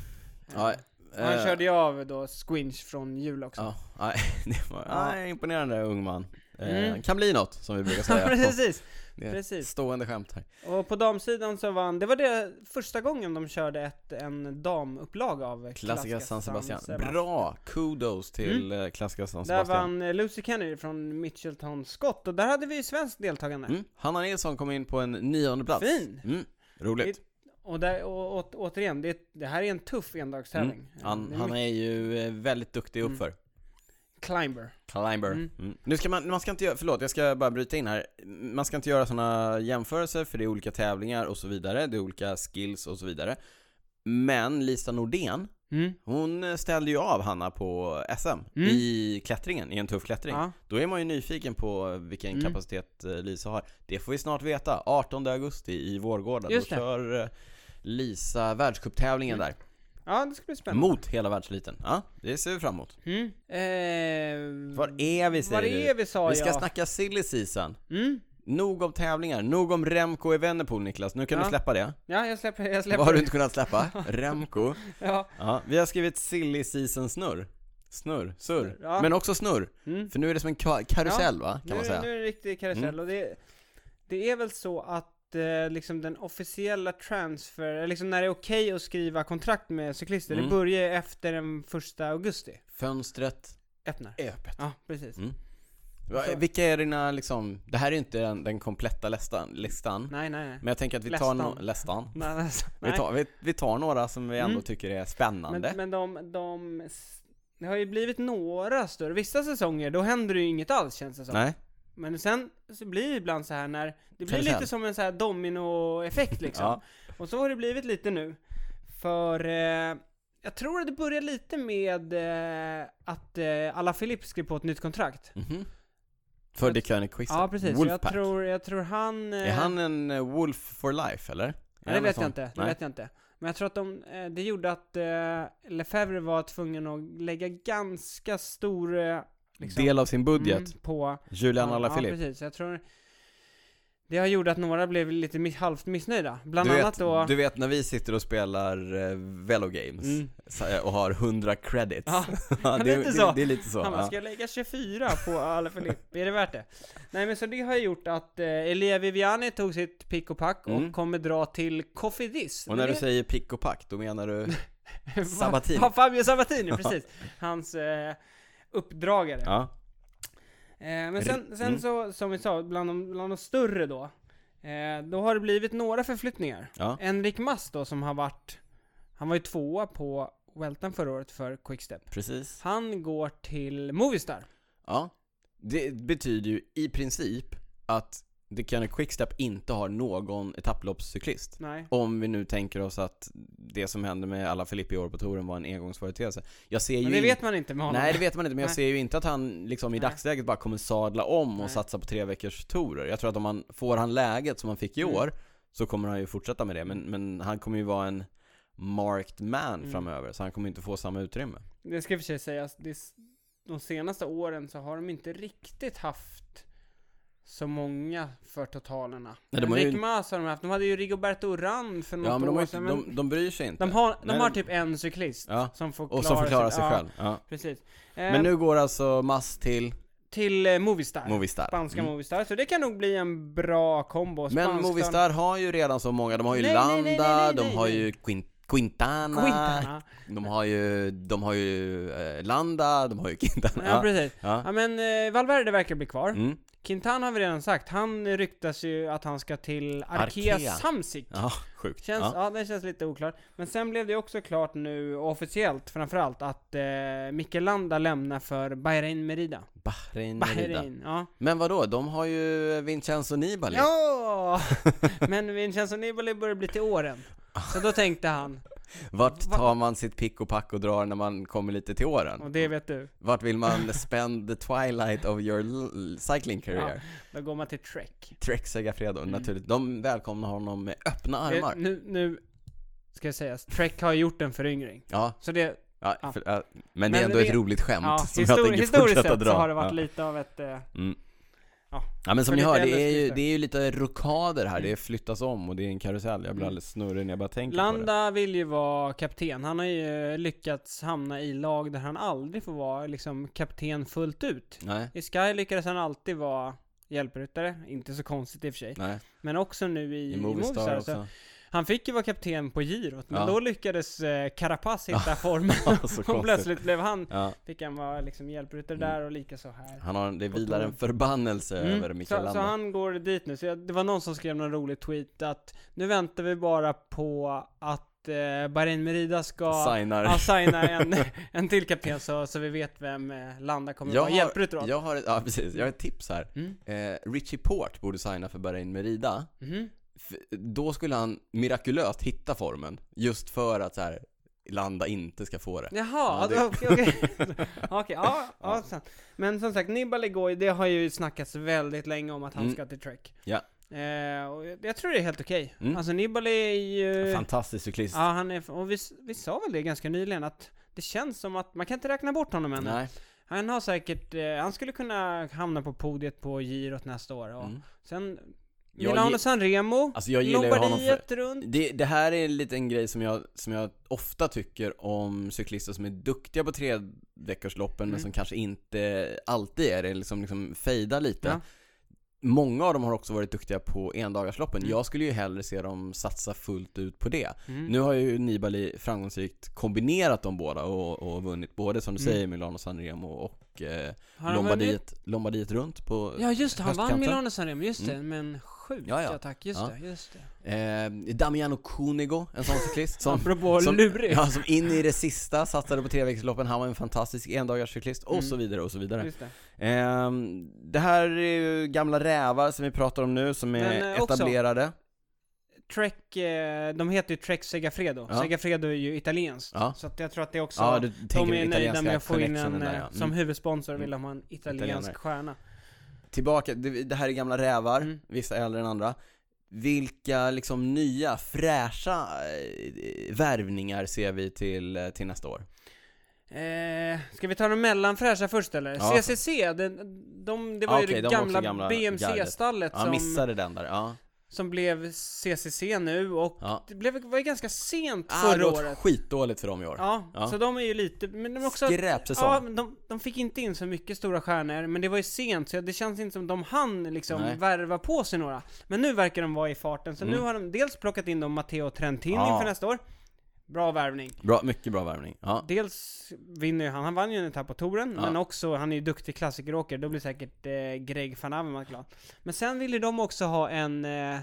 [SPEAKER 1] Ja,
[SPEAKER 2] Och han
[SPEAKER 1] eh,
[SPEAKER 2] körde ju av då Squinch från jul också.
[SPEAKER 1] Ja, nej, det var,
[SPEAKER 2] Ja.
[SPEAKER 1] nej, imponerande ung man. Eh,
[SPEAKER 2] Mm.
[SPEAKER 1] Kan bli något, som vi brukar
[SPEAKER 2] Ja,
[SPEAKER 1] säga.
[SPEAKER 2] precis,
[SPEAKER 1] Det är
[SPEAKER 2] precis.
[SPEAKER 1] Stående skämt här.
[SPEAKER 2] Och på damsidan så vann, det var det första gången de körde ett, en damupplaga av
[SPEAKER 1] Klassiska San Sebastian.
[SPEAKER 2] Sebastian.
[SPEAKER 1] Bra! Kudos till mm. Klassiska San
[SPEAKER 2] Där
[SPEAKER 1] Sebastian.
[SPEAKER 2] vann eh, Lucy Kennedy från Mitchelton Scott och där hade vi ju svenskt deltagande.
[SPEAKER 1] Mm. Hanna Nilsson kom in på en nionde plats.
[SPEAKER 2] Fin!
[SPEAKER 1] Mm. Roligt.
[SPEAKER 2] Och, där, och, och återigen, det, det här är en tuff endagstävling.
[SPEAKER 1] Mm.
[SPEAKER 2] Eh,
[SPEAKER 1] Han,
[SPEAKER 2] det är
[SPEAKER 1] han
[SPEAKER 2] mycket
[SPEAKER 1] är ju eh, väldigt duktig
[SPEAKER 2] Mm.
[SPEAKER 1] uppför.
[SPEAKER 2] Climber.
[SPEAKER 1] Climber.
[SPEAKER 2] Mm.
[SPEAKER 1] Mm. Nu ska man, man ska inte göra, förlåt jag ska bara bryta in här. Man ska inte göra sådana jämförelser för det är olika tävlingar och så vidare, det är olika skills och så vidare. Men Lisa Nordén,
[SPEAKER 2] Mm.
[SPEAKER 1] hon eh, ställde ju av Hanna på SM i klättringen, i en tuff klättring.
[SPEAKER 2] Ja.
[SPEAKER 1] Då är man ju nyfiken på vilken
[SPEAKER 2] Mm.
[SPEAKER 1] kapacitet eh, Lisa har. Det får vi snart veta, 18 augusti i Vårgårda.
[SPEAKER 2] Just
[SPEAKER 1] Då
[SPEAKER 2] det.
[SPEAKER 1] kör eh, Lisa världscuptävlingen där.
[SPEAKER 2] ja, det ska bli spännande.
[SPEAKER 1] Mot hela världseliten. Ja, det ser vi fram emot.
[SPEAKER 2] Mm. Eh,
[SPEAKER 1] Var är vi säger
[SPEAKER 2] var
[SPEAKER 1] du?
[SPEAKER 2] är vi sa
[SPEAKER 1] Vi ska
[SPEAKER 2] jag?
[SPEAKER 1] snacka silly season.
[SPEAKER 2] Mm.
[SPEAKER 1] Nog om tävlingar, nog om Remco i Vänerpool Niklas, nu kan
[SPEAKER 2] Ja.
[SPEAKER 1] du släppa det.
[SPEAKER 2] Ja, jag släpper jag
[SPEAKER 1] Vad har
[SPEAKER 2] släpper
[SPEAKER 1] du inte kunnat släppa? Remco.
[SPEAKER 2] Ja.
[SPEAKER 1] Ja, vi har skrivit silly season snurr. Snurr, surr.
[SPEAKER 2] Ja.
[SPEAKER 1] Men också snurr.
[SPEAKER 2] Mm.
[SPEAKER 1] För nu är det som en ka- karusell va, kan
[SPEAKER 2] Nu,
[SPEAKER 1] man säga.
[SPEAKER 2] nu är det en riktig karusell
[SPEAKER 1] Mm.
[SPEAKER 2] och det, det är väl så att eh, liksom den officiella transfer, eller liksom när det är okej att skriva kontrakt med cyklister,
[SPEAKER 1] Mm.
[SPEAKER 2] det börjar ju efter den första augusti.
[SPEAKER 1] Fönstret
[SPEAKER 2] Öppnar.
[SPEAKER 1] är öppet.
[SPEAKER 2] Ja, precis.
[SPEAKER 1] Eh. Mm. Va,
[SPEAKER 2] Så-
[SPEAKER 1] Vilka är dina liksom, det här är ju inte den, den kompletta listan, listan.
[SPEAKER 2] Nej, nej, nej.
[SPEAKER 1] Men jag tänker att vi tar,
[SPEAKER 2] Lästan.
[SPEAKER 1] no- lästan.
[SPEAKER 2] nej, nej, så-
[SPEAKER 1] Vi,
[SPEAKER 2] nej.
[SPEAKER 1] tar, vi, vi tar några som vi ändå
[SPEAKER 2] Mm.
[SPEAKER 1] tycker är spännande.
[SPEAKER 2] Men, men de, de, s- det har ju blivit några större, vissa säsonger då händer det ju inget alls känns det som.
[SPEAKER 1] Nej,
[SPEAKER 2] Men sen så blir det ibland så här när, det blir
[SPEAKER 1] Karusell.
[SPEAKER 2] lite som en så här dominoeffekt liksom.
[SPEAKER 1] Ja.
[SPEAKER 2] Och så har det blivit lite nu. För eh, jag tror att det börjar lite med eh, att eh, alla Philips skrev på ett nytt kontrakt.
[SPEAKER 1] Mhm. För Dick Koenig-quizen.
[SPEAKER 2] Ja precis, Så jag
[SPEAKER 1] Wolfpack.
[SPEAKER 2] tror, jag tror han... eh,
[SPEAKER 1] Är han en eh, Wolf for life eller?
[SPEAKER 2] Nej, det vet jag
[SPEAKER 1] Amazon?
[SPEAKER 2] inte, det
[SPEAKER 1] Nej.
[SPEAKER 2] vet jag inte. Men jag tror att de, eh, det gjorde att eh, Lefebvre var tvungen att lägga ganska stor eh, liksom,
[SPEAKER 1] Del av sin budget,
[SPEAKER 2] mm, på
[SPEAKER 1] Julian
[SPEAKER 2] Ja,
[SPEAKER 1] Alaphilippe.
[SPEAKER 2] Ja, precis. Jag tror det har gjort att några blev lite mi- halvt missnöjda. Bland
[SPEAKER 1] du,
[SPEAKER 2] annat
[SPEAKER 1] vet,
[SPEAKER 2] då...
[SPEAKER 1] du vet när vi sitter och spelar eh, Velo Games
[SPEAKER 2] Mm.
[SPEAKER 1] så- eh, och har 100 credits.
[SPEAKER 2] Ja,
[SPEAKER 1] Ja,
[SPEAKER 2] lite så.
[SPEAKER 1] Det, det är lite så.
[SPEAKER 2] han bara,
[SPEAKER 1] Ja.
[SPEAKER 2] ska jag lägga 24 på Alaphilippe? är det värt det? Nej men så det har gjort att eh, Elia Viviani tog sitt pick och pack och
[SPEAKER 1] Mm.
[SPEAKER 2] kommer dra till Cofidis.
[SPEAKER 1] Och när du
[SPEAKER 2] Det-
[SPEAKER 1] säger pick och pack, då menar du Sabatini.
[SPEAKER 2] Ja, Fabio Sabatini, precis. Hans eh, uppdragare.
[SPEAKER 1] ja.
[SPEAKER 2] Eh, men sen, sen
[SPEAKER 1] Mm.
[SPEAKER 2] så, som vi sa, bland de, bland de större då, eh, då har det blivit några förflyttningar.
[SPEAKER 1] Ja.
[SPEAKER 2] Enrik Mas då, som har varit, han var ju tvåa på Weltan förra året för Quickstep.
[SPEAKER 1] Precis.
[SPEAKER 2] Han går till Movistar.
[SPEAKER 1] Ja. Det betyder ju i princip att The Kind Quickstep inte har någon etapploppscyklist.
[SPEAKER 2] Nej.
[SPEAKER 1] Om vi nu tänker oss att det som hände med alla Filippi i år på touren var en engångsföreteelse. Jag ser ju
[SPEAKER 2] Men det
[SPEAKER 1] inte-
[SPEAKER 2] vet man inte med honom.
[SPEAKER 1] Nej det vet man inte, men jag
[SPEAKER 2] Nej.
[SPEAKER 1] ser ju inte att han liksom i
[SPEAKER 2] Nej.
[SPEAKER 1] dagsläget bara kommer sadla om och
[SPEAKER 2] Nej.
[SPEAKER 1] satsa på tre veckors tourer. Jag tror att om han får han läget som han fick i
[SPEAKER 2] Mm.
[SPEAKER 1] år så kommer han ju fortsätta med det, men, men han kommer ju vara en marked man
[SPEAKER 2] Mm.
[SPEAKER 1] framöver, så han kommer inte få samma utrymme.
[SPEAKER 2] Det ska i och för sig sägas, det, är s- de senaste åren så har de inte riktigt haft så många för totalerna.
[SPEAKER 1] de
[SPEAKER 2] Enric
[SPEAKER 1] har ju-
[SPEAKER 2] Mas har de haft, de hade ju Rigoberto Urán för något
[SPEAKER 1] Ja men de, har
[SPEAKER 2] år
[SPEAKER 1] inte,
[SPEAKER 2] sedan. men
[SPEAKER 1] de, de bryr sig inte.
[SPEAKER 2] de, har, de
[SPEAKER 1] Nej,
[SPEAKER 2] har
[SPEAKER 1] de-
[SPEAKER 2] typ en cyklist
[SPEAKER 1] Ja.
[SPEAKER 2] som får klara
[SPEAKER 1] Och som förklarar sig
[SPEAKER 2] ja,
[SPEAKER 1] själv. Ja.
[SPEAKER 2] Precis. Eh,
[SPEAKER 1] Men nu går alltså Mass till
[SPEAKER 2] till eh, Movistar.
[SPEAKER 1] Movistar.
[SPEAKER 2] Spanska
[SPEAKER 1] Mm.
[SPEAKER 2] Movistar, så det kan nog bli en bra kombo. Spanska-
[SPEAKER 1] Men Movistar har ju redan så många, de har ju
[SPEAKER 2] Nej, nej, nej, nej,
[SPEAKER 1] Landa,
[SPEAKER 2] nej,
[SPEAKER 1] de
[SPEAKER 2] nej,
[SPEAKER 1] har
[SPEAKER 2] nej.
[SPEAKER 1] ju Quin- Quintana,
[SPEAKER 2] Quintana.
[SPEAKER 1] de har ju, de har ju eh, Landa, de har ju Quintana.
[SPEAKER 2] Ja, precis.
[SPEAKER 1] Ja.
[SPEAKER 2] Ja men eh, Valverde verkar bli kvar.
[SPEAKER 1] Mm.
[SPEAKER 2] Quintana har vi redan sagt, han ryktas ju att han ska till Arkea,
[SPEAKER 1] Arkea.
[SPEAKER 2] Samsic.
[SPEAKER 1] ja, sjukt.
[SPEAKER 2] Känns,
[SPEAKER 1] ja.
[SPEAKER 2] ja. det känns lite oklart. Men sen blev det också klart nu, officiellt framförallt, att eh, Mikel Landa lämnar för Bahrain Merida.
[SPEAKER 1] Bahrain, Merida.
[SPEAKER 2] Bahrain, ja.
[SPEAKER 1] Men vadå, de har ju Vincenzo Nibali.
[SPEAKER 2] Ja! Men Vincenzo Nibali börjar bli till åren. Så då tänkte han,
[SPEAKER 1] Vart
[SPEAKER 2] Va-
[SPEAKER 1] tar man sitt pick och pack och drar när man kommer lite till
[SPEAKER 2] och
[SPEAKER 1] åren?
[SPEAKER 2] det vet du,
[SPEAKER 1] Vart vill man spend the twilight of your l- cycling career?
[SPEAKER 2] då går man till Trek.
[SPEAKER 1] Trek Segafredo,
[SPEAKER 2] Mm.
[SPEAKER 1] naturligt. De välkomnar honom med öppna armar.
[SPEAKER 2] Det- Eh, Nu, nu ska jag säga, Trek har gjort en föryngring.
[SPEAKER 1] Ja,
[SPEAKER 2] Så det,
[SPEAKER 1] ja,
[SPEAKER 2] Ja.
[SPEAKER 1] för, ja, men det är
[SPEAKER 2] Men
[SPEAKER 1] ändå
[SPEAKER 2] det-
[SPEAKER 1] ett roligt skämt
[SPEAKER 2] ja,
[SPEAKER 1] som jag
[SPEAKER 2] histori-
[SPEAKER 1] tänker
[SPEAKER 2] historiskt
[SPEAKER 1] fortsätta
[SPEAKER 2] sett
[SPEAKER 1] dra.
[SPEAKER 2] så har det
[SPEAKER 1] ja.
[SPEAKER 2] varit lite av ett... Eh,
[SPEAKER 1] Mm. Ja.
[SPEAKER 2] Ja,
[SPEAKER 1] men som
[SPEAKER 2] för
[SPEAKER 1] ni
[SPEAKER 2] lite
[SPEAKER 1] hör, det
[SPEAKER 2] äldre
[SPEAKER 1] är, ju,
[SPEAKER 2] cyklister.
[SPEAKER 1] det är ju lite rokader här,
[SPEAKER 2] Mm.
[SPEAKER 1] det flyttas om och det är en karusell, jag blir
[SPEAKER 2] Mm.
[SPEAKER 1] alldeles snurrig när jag bara tänker på det
[SPEAKER 2] Landa vill ju vara kapten. Han har ju eh, lyckats hamna i lag där han aldrig får vara liksom kapten fullt ut.
[SPEAKER 1] Nej,
[SPEAKER 2] I Sky lyckades han alltid vara hjälpryttare, inte så konstigt i och för sig.
[SPEAKER 1] nej,
[SPEAKER 2] Men också nu i,
[SPEAKER 1] i
[SPEAKER 2] i
[SPEAKER 1] Movistar
[SPEAKER 2] Movistar. alltså.
[SPEAKER 1] också
[SPEAKER 2] Så han fick ju vara kapten på girot, men
[SPEAKER 1] Ja.
[SPEAKER 2] då lyckades eh, Carapaz hitta formen.
[SPEAKER 1] Ja, så
[SPEAKER 2] och
[SPEAKER 1] konstigt.
[SPEAKER 2] plötsligt blev han,
[SPEAKER 1] Ja,
[SPEAKER 2] fick han vara liksom hjälpryttare
[SPEAKER 1] Mm.
[SPEAKER 2] där och likaså här.
[SPEAKER 1] han har, det
[SPEAKER 2] Och
[SPEAKER 1] vilar
[SPEAKER 2] då-
[SPEAKER 1] en förbannelse över
[SPEAKER 2] Mm.
[SPEAKER 1] Mikael
[SPEAKER 2] Så, så
[SPEAKER 1] Landa.
[SPEAKER 2] han går dit nu. Så jag, det var någon som skrev någon rolig tweet att nu väntar vi bara på att eh, Bahrain Merida ska
[SPEAKER 1] Signar.
[SPEAKER 2] ja, signa en, en till kapten så, så vi vet vem eh, Landa kommer
[SPEAKER 1] jag,
[SPEAKER 2] vara. Hjälper du
[SPEAKER 1] har,
[SPEAKER 2] åt?
[SPEAKER 1] jag har, ett- ja precis, jag har ett tips här.
[SPEAKER 2] Mm.
[SPEAKER 1] Eh, Richie Port borde signa för Bahrain Merida.
[SPEAKER 2] Mhm.
[SPEAKER 1] F- då skulle han mirakulöst hitta formen, just för att så här, Landa inte ska få det.
[SPEAKER 2] Jaha,
[SPEAKER 1] Ja, det-
[SPEAKER 2] okej, okej. Okej, ja, ja, sant. Men som sagt, Nibali går ju, det har ju snackats väldigt länge om att han
[SPEAKER 1] Mm.
[SPEAKER 2] ska till Trek.
[SPEAKER 1] Ja.
[SPEAKER 2] Eh, och jag, jag tror det är helt okej.
[SPEAKER 1] Mm.
[SPEAKER 2] Alltså Nibali är ju...
[SPEAKER 1] Fantastisk cyklist.
[SPEAKER 2] Eh. Ja, han är, och vi, s- vi sa väl det ganska nyligen att det känns som att man kan inte räkna bort honom än.
[SPEAKER 1] Nej.
[SPEAKER 2] Han har säkert, eh, han skulle kunna hamna på podiet på girot nästa år. Och
[SPEAKER 1] Mm.
[SPEAKER 2] Sen,
[SPEAKER 1] Jag
[SPEAKER 2] Milano
[SPEAKER 1] gi-
[SPEAKER 2] Sanremo,
[SPEAKER 1] Alltså jag gillar ju honom för,
[SPEAKER 2] Lombardiet runt.
[SPEAKER 1] Det, det här är en liten grej som jag, som jag ofta tycker om cyklister som är duktiga på treveckorsloppen men
[SPEAKER 2] Mm.
[SPEAKER 1] som kanske inte alltid är det, liksom, liksom fejdar lite.
[SPEAKER 2] Ja.
[SPEAKER 1] Många av dem har också varit duktiga på endagarsloppen.
[SPEAKER 2] Mm.
[SPEAKER 1] Jag skulle ju hellre se dem satsa fullt ut på det.
[SPEAKER 2] Mm.
[SPEAKER 1] Nu har ju Nibali framgångsrikt kombinerat de båda och, och vunnit både som du
[SPEAKER 2] Mm.
[SPEAKER 1] säger Milano Sanremo och eh,
[SPEAKER 2] Har han vunnit?
[SPEAKER 1] Lombardiet, Lombardiet runt på
[SPEAKER 2] Ja just det, han vann
[SPEAKER 1] höstkanten.
[SPEAKER 2] Milano Sanremo, just det. Men sjukt
[SPEAKER 1] Mm. Ja,
[SPEAKER 2] ja,
[SPEAKER 1] ja.
[SPEAKER 2] tack, just
[SPEAKER 1] Ja.
[SPEAKER 2] det, just det.
[SPEAKER 1] eh, Damiano Cunego, en sån cyklist som
[SPEAKER 2] Apropå
[SPEAKER 1] som-
[SPEAKER 2] lurig.
[SPEAKER 1] Ja, som in i det sista satsade på treväxelloppen. Han var en fantastisk endagarscyklist och
[SPEAKER 2] Mm.
[SPEAKER 1] så vidare och så vidare.
[SPEAKER 2] Just det.
[SPEAKER 1] Ehm, det här är ju gamla rävar som vi pratar om nu som är
[SPEAKER 2] Men, eh, också-
[SPEAKER 1] etablerade.
[SPEAKER 2] Trek, eh, de heter ju Trek Segafredo.
[SPEAKER 1] Ja.
[SPEAKER 2] Segafredo är ju italienskt.
[SPEAKER 1] Ja.
[SPEAKER 2] Så att jag tror att det också,
[SPEAKER 1] ja, du tänker
[SPEAKER 2] de är
[SPEAKER 1] den
[SPEAKER 2] nöjda med att få in en,
[SPEAKER 1] connectionen där,
[SPEAKER 2] eh,
[SPEAKER 1] ja.
[SPEAKER 2] som
[SPEAKER 1] mm.
[SPEAKER 2] huvudsponsor vill de ha en
[SPEAKER 1] Italienare.
[SPEAKER 2] italiensk stjärna.
[SPEAKER 1] Tillbaka, det, det här är gamla rävar,
[SPEAKER 2] Mm.
[SPEAKER 1] vissa äldre än andra. Vilka liksom nya, fräscha eh, värvningar ser vi till, eh, till nästa år?
[SPEAKER 2] Eh, ska vi ta de mellanfräscha först eller?
[SPEAKER 1] Ja.
[SPEAKER 2] CCC, den, de, det var
[SPEAKER 1] Ja,
[SPEAKER 2] ju
[SPEAKER 1] okej,
[SPEAKER 2] det
[SPEAKER 1] de var också
[SPEAKER 2] gamla,
[SPEAKER 1] gamla
[SPEAKER 2] BMC-stallet
[SPEAKER 1] Ja,
[SPEAKER 2] som,
[SPEAKER 1] missade den där, ja.
[SPEAKER 2] som blev CCC nu och
[SPEAKER 1] ja.
[SPEAKER 2] det blev, var ju ganska sent
[SPEAKER 1] Ah, det
[SPEAKER 2] förra
[SPEAKER 1] har
[SPEAKER 2] året.
[SPEAKER 1] gått skitdåligt för dem i år.
[SPEAKER 2] Ja,
[SPEAKER 1] Ja.
[SPEAKER 2] så de är ju lite, men de är också...
[SPEAKER 1] Skräpsäsong.
[SPEAKER 2] Ja, men de, de fick inte in så mycket stora stjärnor, men det var ju sent så det känns inte som de hann liksom
[SPEAKER 1] Nej.
[SPEAKER 2] värva på sig några. Men nu verkar de vara i farten, så
[SPEAKER 1] Mm.
[SPEAKER 2] nu har de dels plockat in dem Matteo Trentin
[SPEAKER 1] Ja.
[SPEAKER 2] inför nästa år. Bra värvning.
[SPEAKER 1] Bra, mycket bra värvning. Ja.
[SPEAKER 2] Dels vinner ju han, han vann ju en etapp på touren,
[SPEAKER 1] Ja.
[SPEAKER 2] men också, han är ju duktig klassikeråkare, då blir säkert eh, Greg van Avermaet glad. Men sen vill ju de också ha en... Eh, en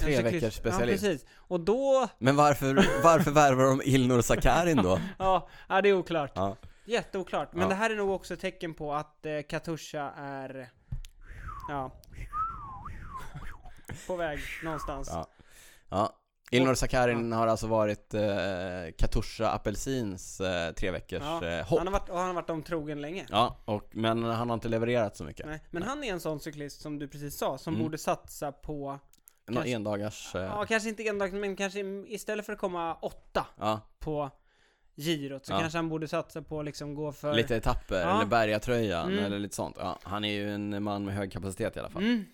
[SPEAKER 1] Tre
[SPEAKER 2] cyklist-
[SPEAKER 1] veckors specialist.
[SPEAKER 2] Ja, precis. Och då...
[SPEAKER 1] Men varför, varför värvar de Ilnur Sakarin då?
[SPEAKER 2] Ja, ja, det är oklart.
[SPEAKER 1] Ja.
[SPEAKER 2] Jätteoklart. Men
[SPEAKER 1] Ja.
[SPEAKER 2] det här är nog också ett tecken på att eh, Katusha är... Ja. På väg någonstans.
[SPEAKER 1] Ja. Ja. Ilnur Sakarin har alltså varit eh, Katusha Apelsins eh, tre veckors
[SPEAKER 2] Ja.
[SPEAKER 1] eh, hopp.
[SPEAKER 2] Han har varit, och han har varit dem trogen länge.
[SPEAKER 1] Ja, och, men han har inte levererat så mycket.
[SPEAKER 2] Nej. Men han är en sån cyklist som du precis sa, som
[SPEAKER 1] Mm.
[SPEAKER 2] borde satsa på...
[SPEAKER 1] Någon
[SPEAKER 2] Kanske-
[SPEAKER 1] endagars... Eh,
[SPEAKER 2] Ja, kanske inte endags, men kanske istället för att komma åtta
[SPEAKER 1] ja,
[SPEAKER 2] på girot så
[SPEAKER 1] Ja.
[SPEAKER 2] kanske han borde satsa på att liksom gå för...
[SPEAKER 1] lite etapper,
[SPEAKER 2] Ja.
[SPEAKER 1] eller bärgartröjan
[SPEAKER 2] Mm.
[SPEAKER 1] eller lite sånt. Ja, han är ju en man med hög kapacitet i alla fall.
[SPEAKER 2] Mm.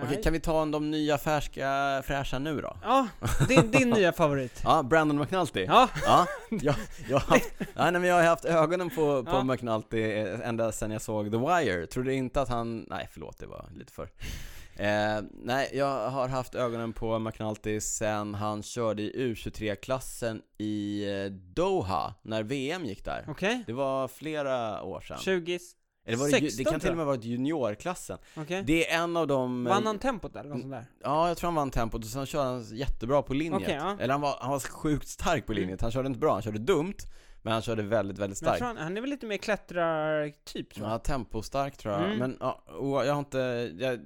[SPEAKER 2] Eh,
[SPEAKER 1] Okej, kan vi ta de nya färska fräscha nu då?
[SPEAKER 2] Ja, din, din nya favorit.
[SPEAKER 1] Ja, Brandon McNulty.
[SPEAKER 2] Ja,
[SPEAKER 1] Ja, jag, jag, har haft, nej, men jag har haft ögonen på, på
[SPEAKER 2] Ja.
[SPEAKER 1] McNulty eh, ända sedan jag såg The Wire. Trodde inte att han, nej förlåt det var lite för. Eh, nej, jag har haft ögonen på McNulty sen han körde i U23-klassen i eh, Doha, när VM gick där.
[SPEAKER 2] okej.
[SPEAKER 1] Det var flera år sedan.
[SPEAKER 2] 20...
[SPEAKER 1] Eller var det, ju- det
[SPEAKER 2] 16,
[SPEAKER 1] kan till och
[SPEAKER 2] tror jag.
[SPEAKER 1] med ha varit juniorklassen.
[SPEAKER 2] Okej.
[SPEAKER 1] Det är en av de...
[SPEAKER 2] Vann han tempot eller något sånt där?
[SPEAKER 1] Ja, jag tror han vann tempot och sen körde han jättebra på linjet.
[SPEAKER 2] Okej, ja.
[SPEAKER 1] Eller han var, han var sjukt stark på
[SPEAKER 2] Mm.
[SPEAKER 1] linjet. Han körde inte bra, han körde dumt, men han körde väldigt, väldigt
[SPEAKER 2] Men
[SPEAKER 1] starkt.
[SPEAKER 2] jag tror han, han är väl lite mer klättrar-typ tror jag.
[SPEAKER 1] Ja, tempostark tror jag.
[SPEAKER 2] Mm.
[SPEAKER 1] Men ja, och jag har inte, jag har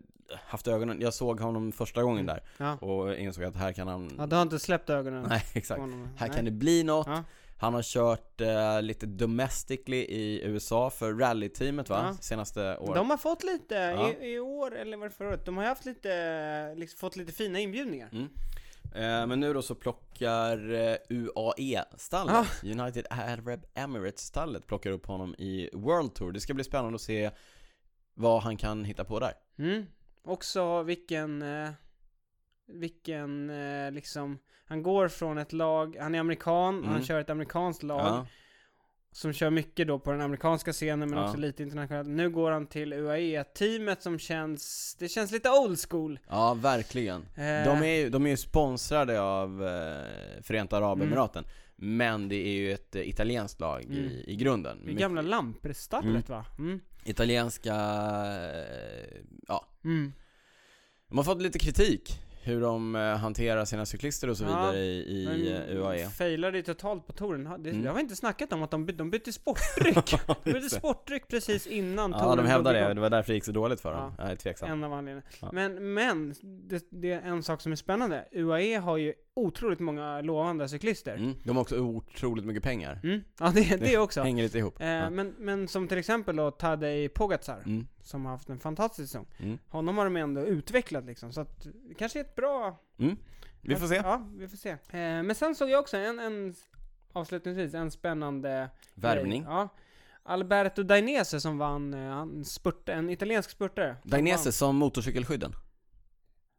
[SPEAKER 1] haft ögonen, jag såg honom första gången där
[SPEAKER 2] Ja.
[SPEAKER 1] och insåg att här kan han...
[SPEAKER 2] ja, du har inte släppt ögonen
[SPEAKER 1] Nej,
[SPEAKER 2] på
[SPEAKER 1] exakt.
[SPEAKER 2] honom?
[SPEAKER 1] Här
[SPEAKER 2] Nej.
[SPEAKER 1] kan det bli något.
[SPEAKER 2] Ja.
[SPEAKER 1] Han har kört eh, lite domestically i USA för rallyteamet va?
[SPEAKER 2] Ja.
[SPEAKER 1] Senaste året.
[SPEAKER 2] De har fått lite,
[SPEAKER 1] Ja.
[SPEAKER 2] i, i år eller var det förra året, de har ju haft lite, liksom, fått lite fina inbjudningar.
[SPEAKER 1] Eh, men nu då så plockar eh, UAE-stallet,
[SPEAKER 2] Ah.
[SPEAKER 1] United Arab Emirates-stallet, plockar upp honom i World Tour. Det ska bli spännande att se vad han kan hitta på där.
[SPEAKER 2] Mm. Också vilken, eh, vilken eh, liksom, han går från ett lag, han är amerikan,
[SPEAKER 1] Mm.
[SPEAKER 2] han kör ett amerikanskt lag
[SPEAKER 1] Ja,
[SPEAKER 2] som kör mycket då på den amerikanska scenen men
[SPEAKER 1] Ja.
[SPEAKER 2] också lite internationellt. Nu går han till UAE-teamet som känns, det känns lite old school.
[SPEAKER 1] ja verkligen.
[SPEAKER 2] Eh,
[SPEAKER 1] De är, ju, de är ju sponsrade av eh, Förenta Arabemiraten, men det är ju ett eh, italienskt lag
[SPEAKER 2] Mm.
[SPEAKER 1] i, i grunden.
[SPEAKER 2] det
[SPEAKER 1] Mycket
[SPEAKER 2] gamla Lampre-stallet va? Mm.
[SPEAKER 1] Italienska, eh, ja.
[SPEAKER 2] Mm.
[SPEAKER 1] De har fått lite kritik hur de eh, hanterar sina cyklister och så
[SPEAKER 2] Ja,
[SPEAKER 1] vidare i, i eh, UAE.
[SPEAKER 2] failade ju totalt på touren. Ha- Det,
[SPEAKER 1] Mm.
[SPEAKER 2] det har vi inte snackat om att de, by- de bytte sportdryck. de bytte sportdryck precis innan
[SPEAKER 1] Ja, de
[SPEAKER 2] drog
[SPEAKER 1] hävdar det.
[SPEAKER 2] igång.
[SPEAKER 1] Det var därför det gick så dåligt för dem.
[SPEAKER 2] Ja.
[SPEAKER 1] Jag är tveksam.
[SPEAKER 2] En av anledningarna.
[SPEAKER 1] Ja.
[SPEAKER 2] Men, men det, det är en sak som är spännande. UAE har ju otroligt många lovande cyklister. Mm.
[SPEAKER 1] Mm. De har också otroligt mycket pengar.
[SPEAKER 2] Ja, det, det också.
[SPEAKER 1] Hänger lite ihop.
[SPEAKER 2] Eh,
[SPEAKER 1] ja.
[SPEAKER 2] men, men som till exempel då Tadej Pogacar,
[SPEAKER 1] mm.
[SPEAKER 2] som har haft en fantastisk säsong.
[SPEAKER 1] Mm.
[SPEAKER 2] Honom har de ändå utvecklat liksom, så att det kanske är ett bra...
[SPEAKER 1] Mm. Vi får se.
[SPEAKER 2] Ja, vi får se. Eh, men sen såg jag också en, en avslutningsvis, en spännande
[SPEAKER 1] Värvning.
[SPEAKER 2] grej. Ja. Alberto Dainese som vann, eh, han spurt, en italiensk spurtare. som
[SPEAKER 1] Dagnese
[SPEAKER 2] vann.
[SPEAKER 1] som motorcykelskydden.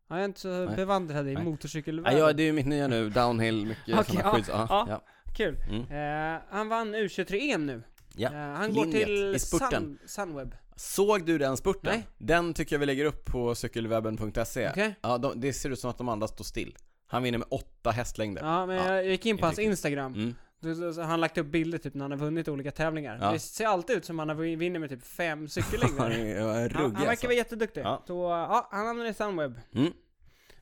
[SPEAKER 2] Ja, jag är inte så
[SPEAKER 1] Nej.
[SPEAKER 2] bevandrad
[SPEAKER 1] Nej.
[SPEAKER 2] i
[SPEAKER 1] Ja,
[SPEAKER 2] motorcykelvärlden.
[SPEAKER 1] ja, det är ju mitt nya nu. Downhill, mycket
[SPEAKER 2] Okej,
[SPEAKER 1] sådana
[SPEAKER 2] ja,
[SPEAKER 1] skydds... Ja,
[SPEAKER 2] ja.
[SPEAKER 1] ja.
[SPEAKER 2] Kul.
[SPEAKER 1] Mm.
[SPEAKER 2] Eh, han vann U23-EM nu.
[SPEAKER 1] Ja.
[SPEAKER 2] Eh, han går
[SPEAKER 1] Linjet i
[SPEAKER 2] till
[SPEAKER 1] spurten.
[SPEAKER 2] Sun, Sunweb.
[SPEAKER 1] Såg du den spurten?
[SPEAKER 2] Nej.
[SPEAKER 1] Den tycker jag vi lägger upp på cykelwebben.se.
[SPEAKER 2] Okej.
[SPEAKER 1] Ja, de, det ser ut som att de andra står still. Han vinner med åtta hästlängder.
[SPEAKER 2] Ja, men
[SPEAKER 1] Ja,
[SPEAKER 2] jag gick in på hans
[SPEAKER 1] riktigt.
[SPEAKER 2] Instagram.
[SPEAKER 1] Mm.
[SPEAKER 2] Då- då- så har Han lagt upp bilder typ när han har vunnit olika tävlingar.
[SPEAKER 1] Ja.
[SPEAKER 2] Det ser alltid ut som att han har vin- vinner med typ fem
[SPEAKER 1] Han
[SPEAKER 2] cykellängder.
[SPEAKER 1] är han är
[SPEAKER 2] han,
[SPEAKER 1] ruggig
[SPEAKER 2] han verkar
[SPEAKER 1] alltså.
[SPEAKER 2] vara jätteduktig.
[SPEAKER 1] Ja.
[SPEAKER 2] Så, ja, han hamnar i Sunweb.
[SPEAKER 1] Mm.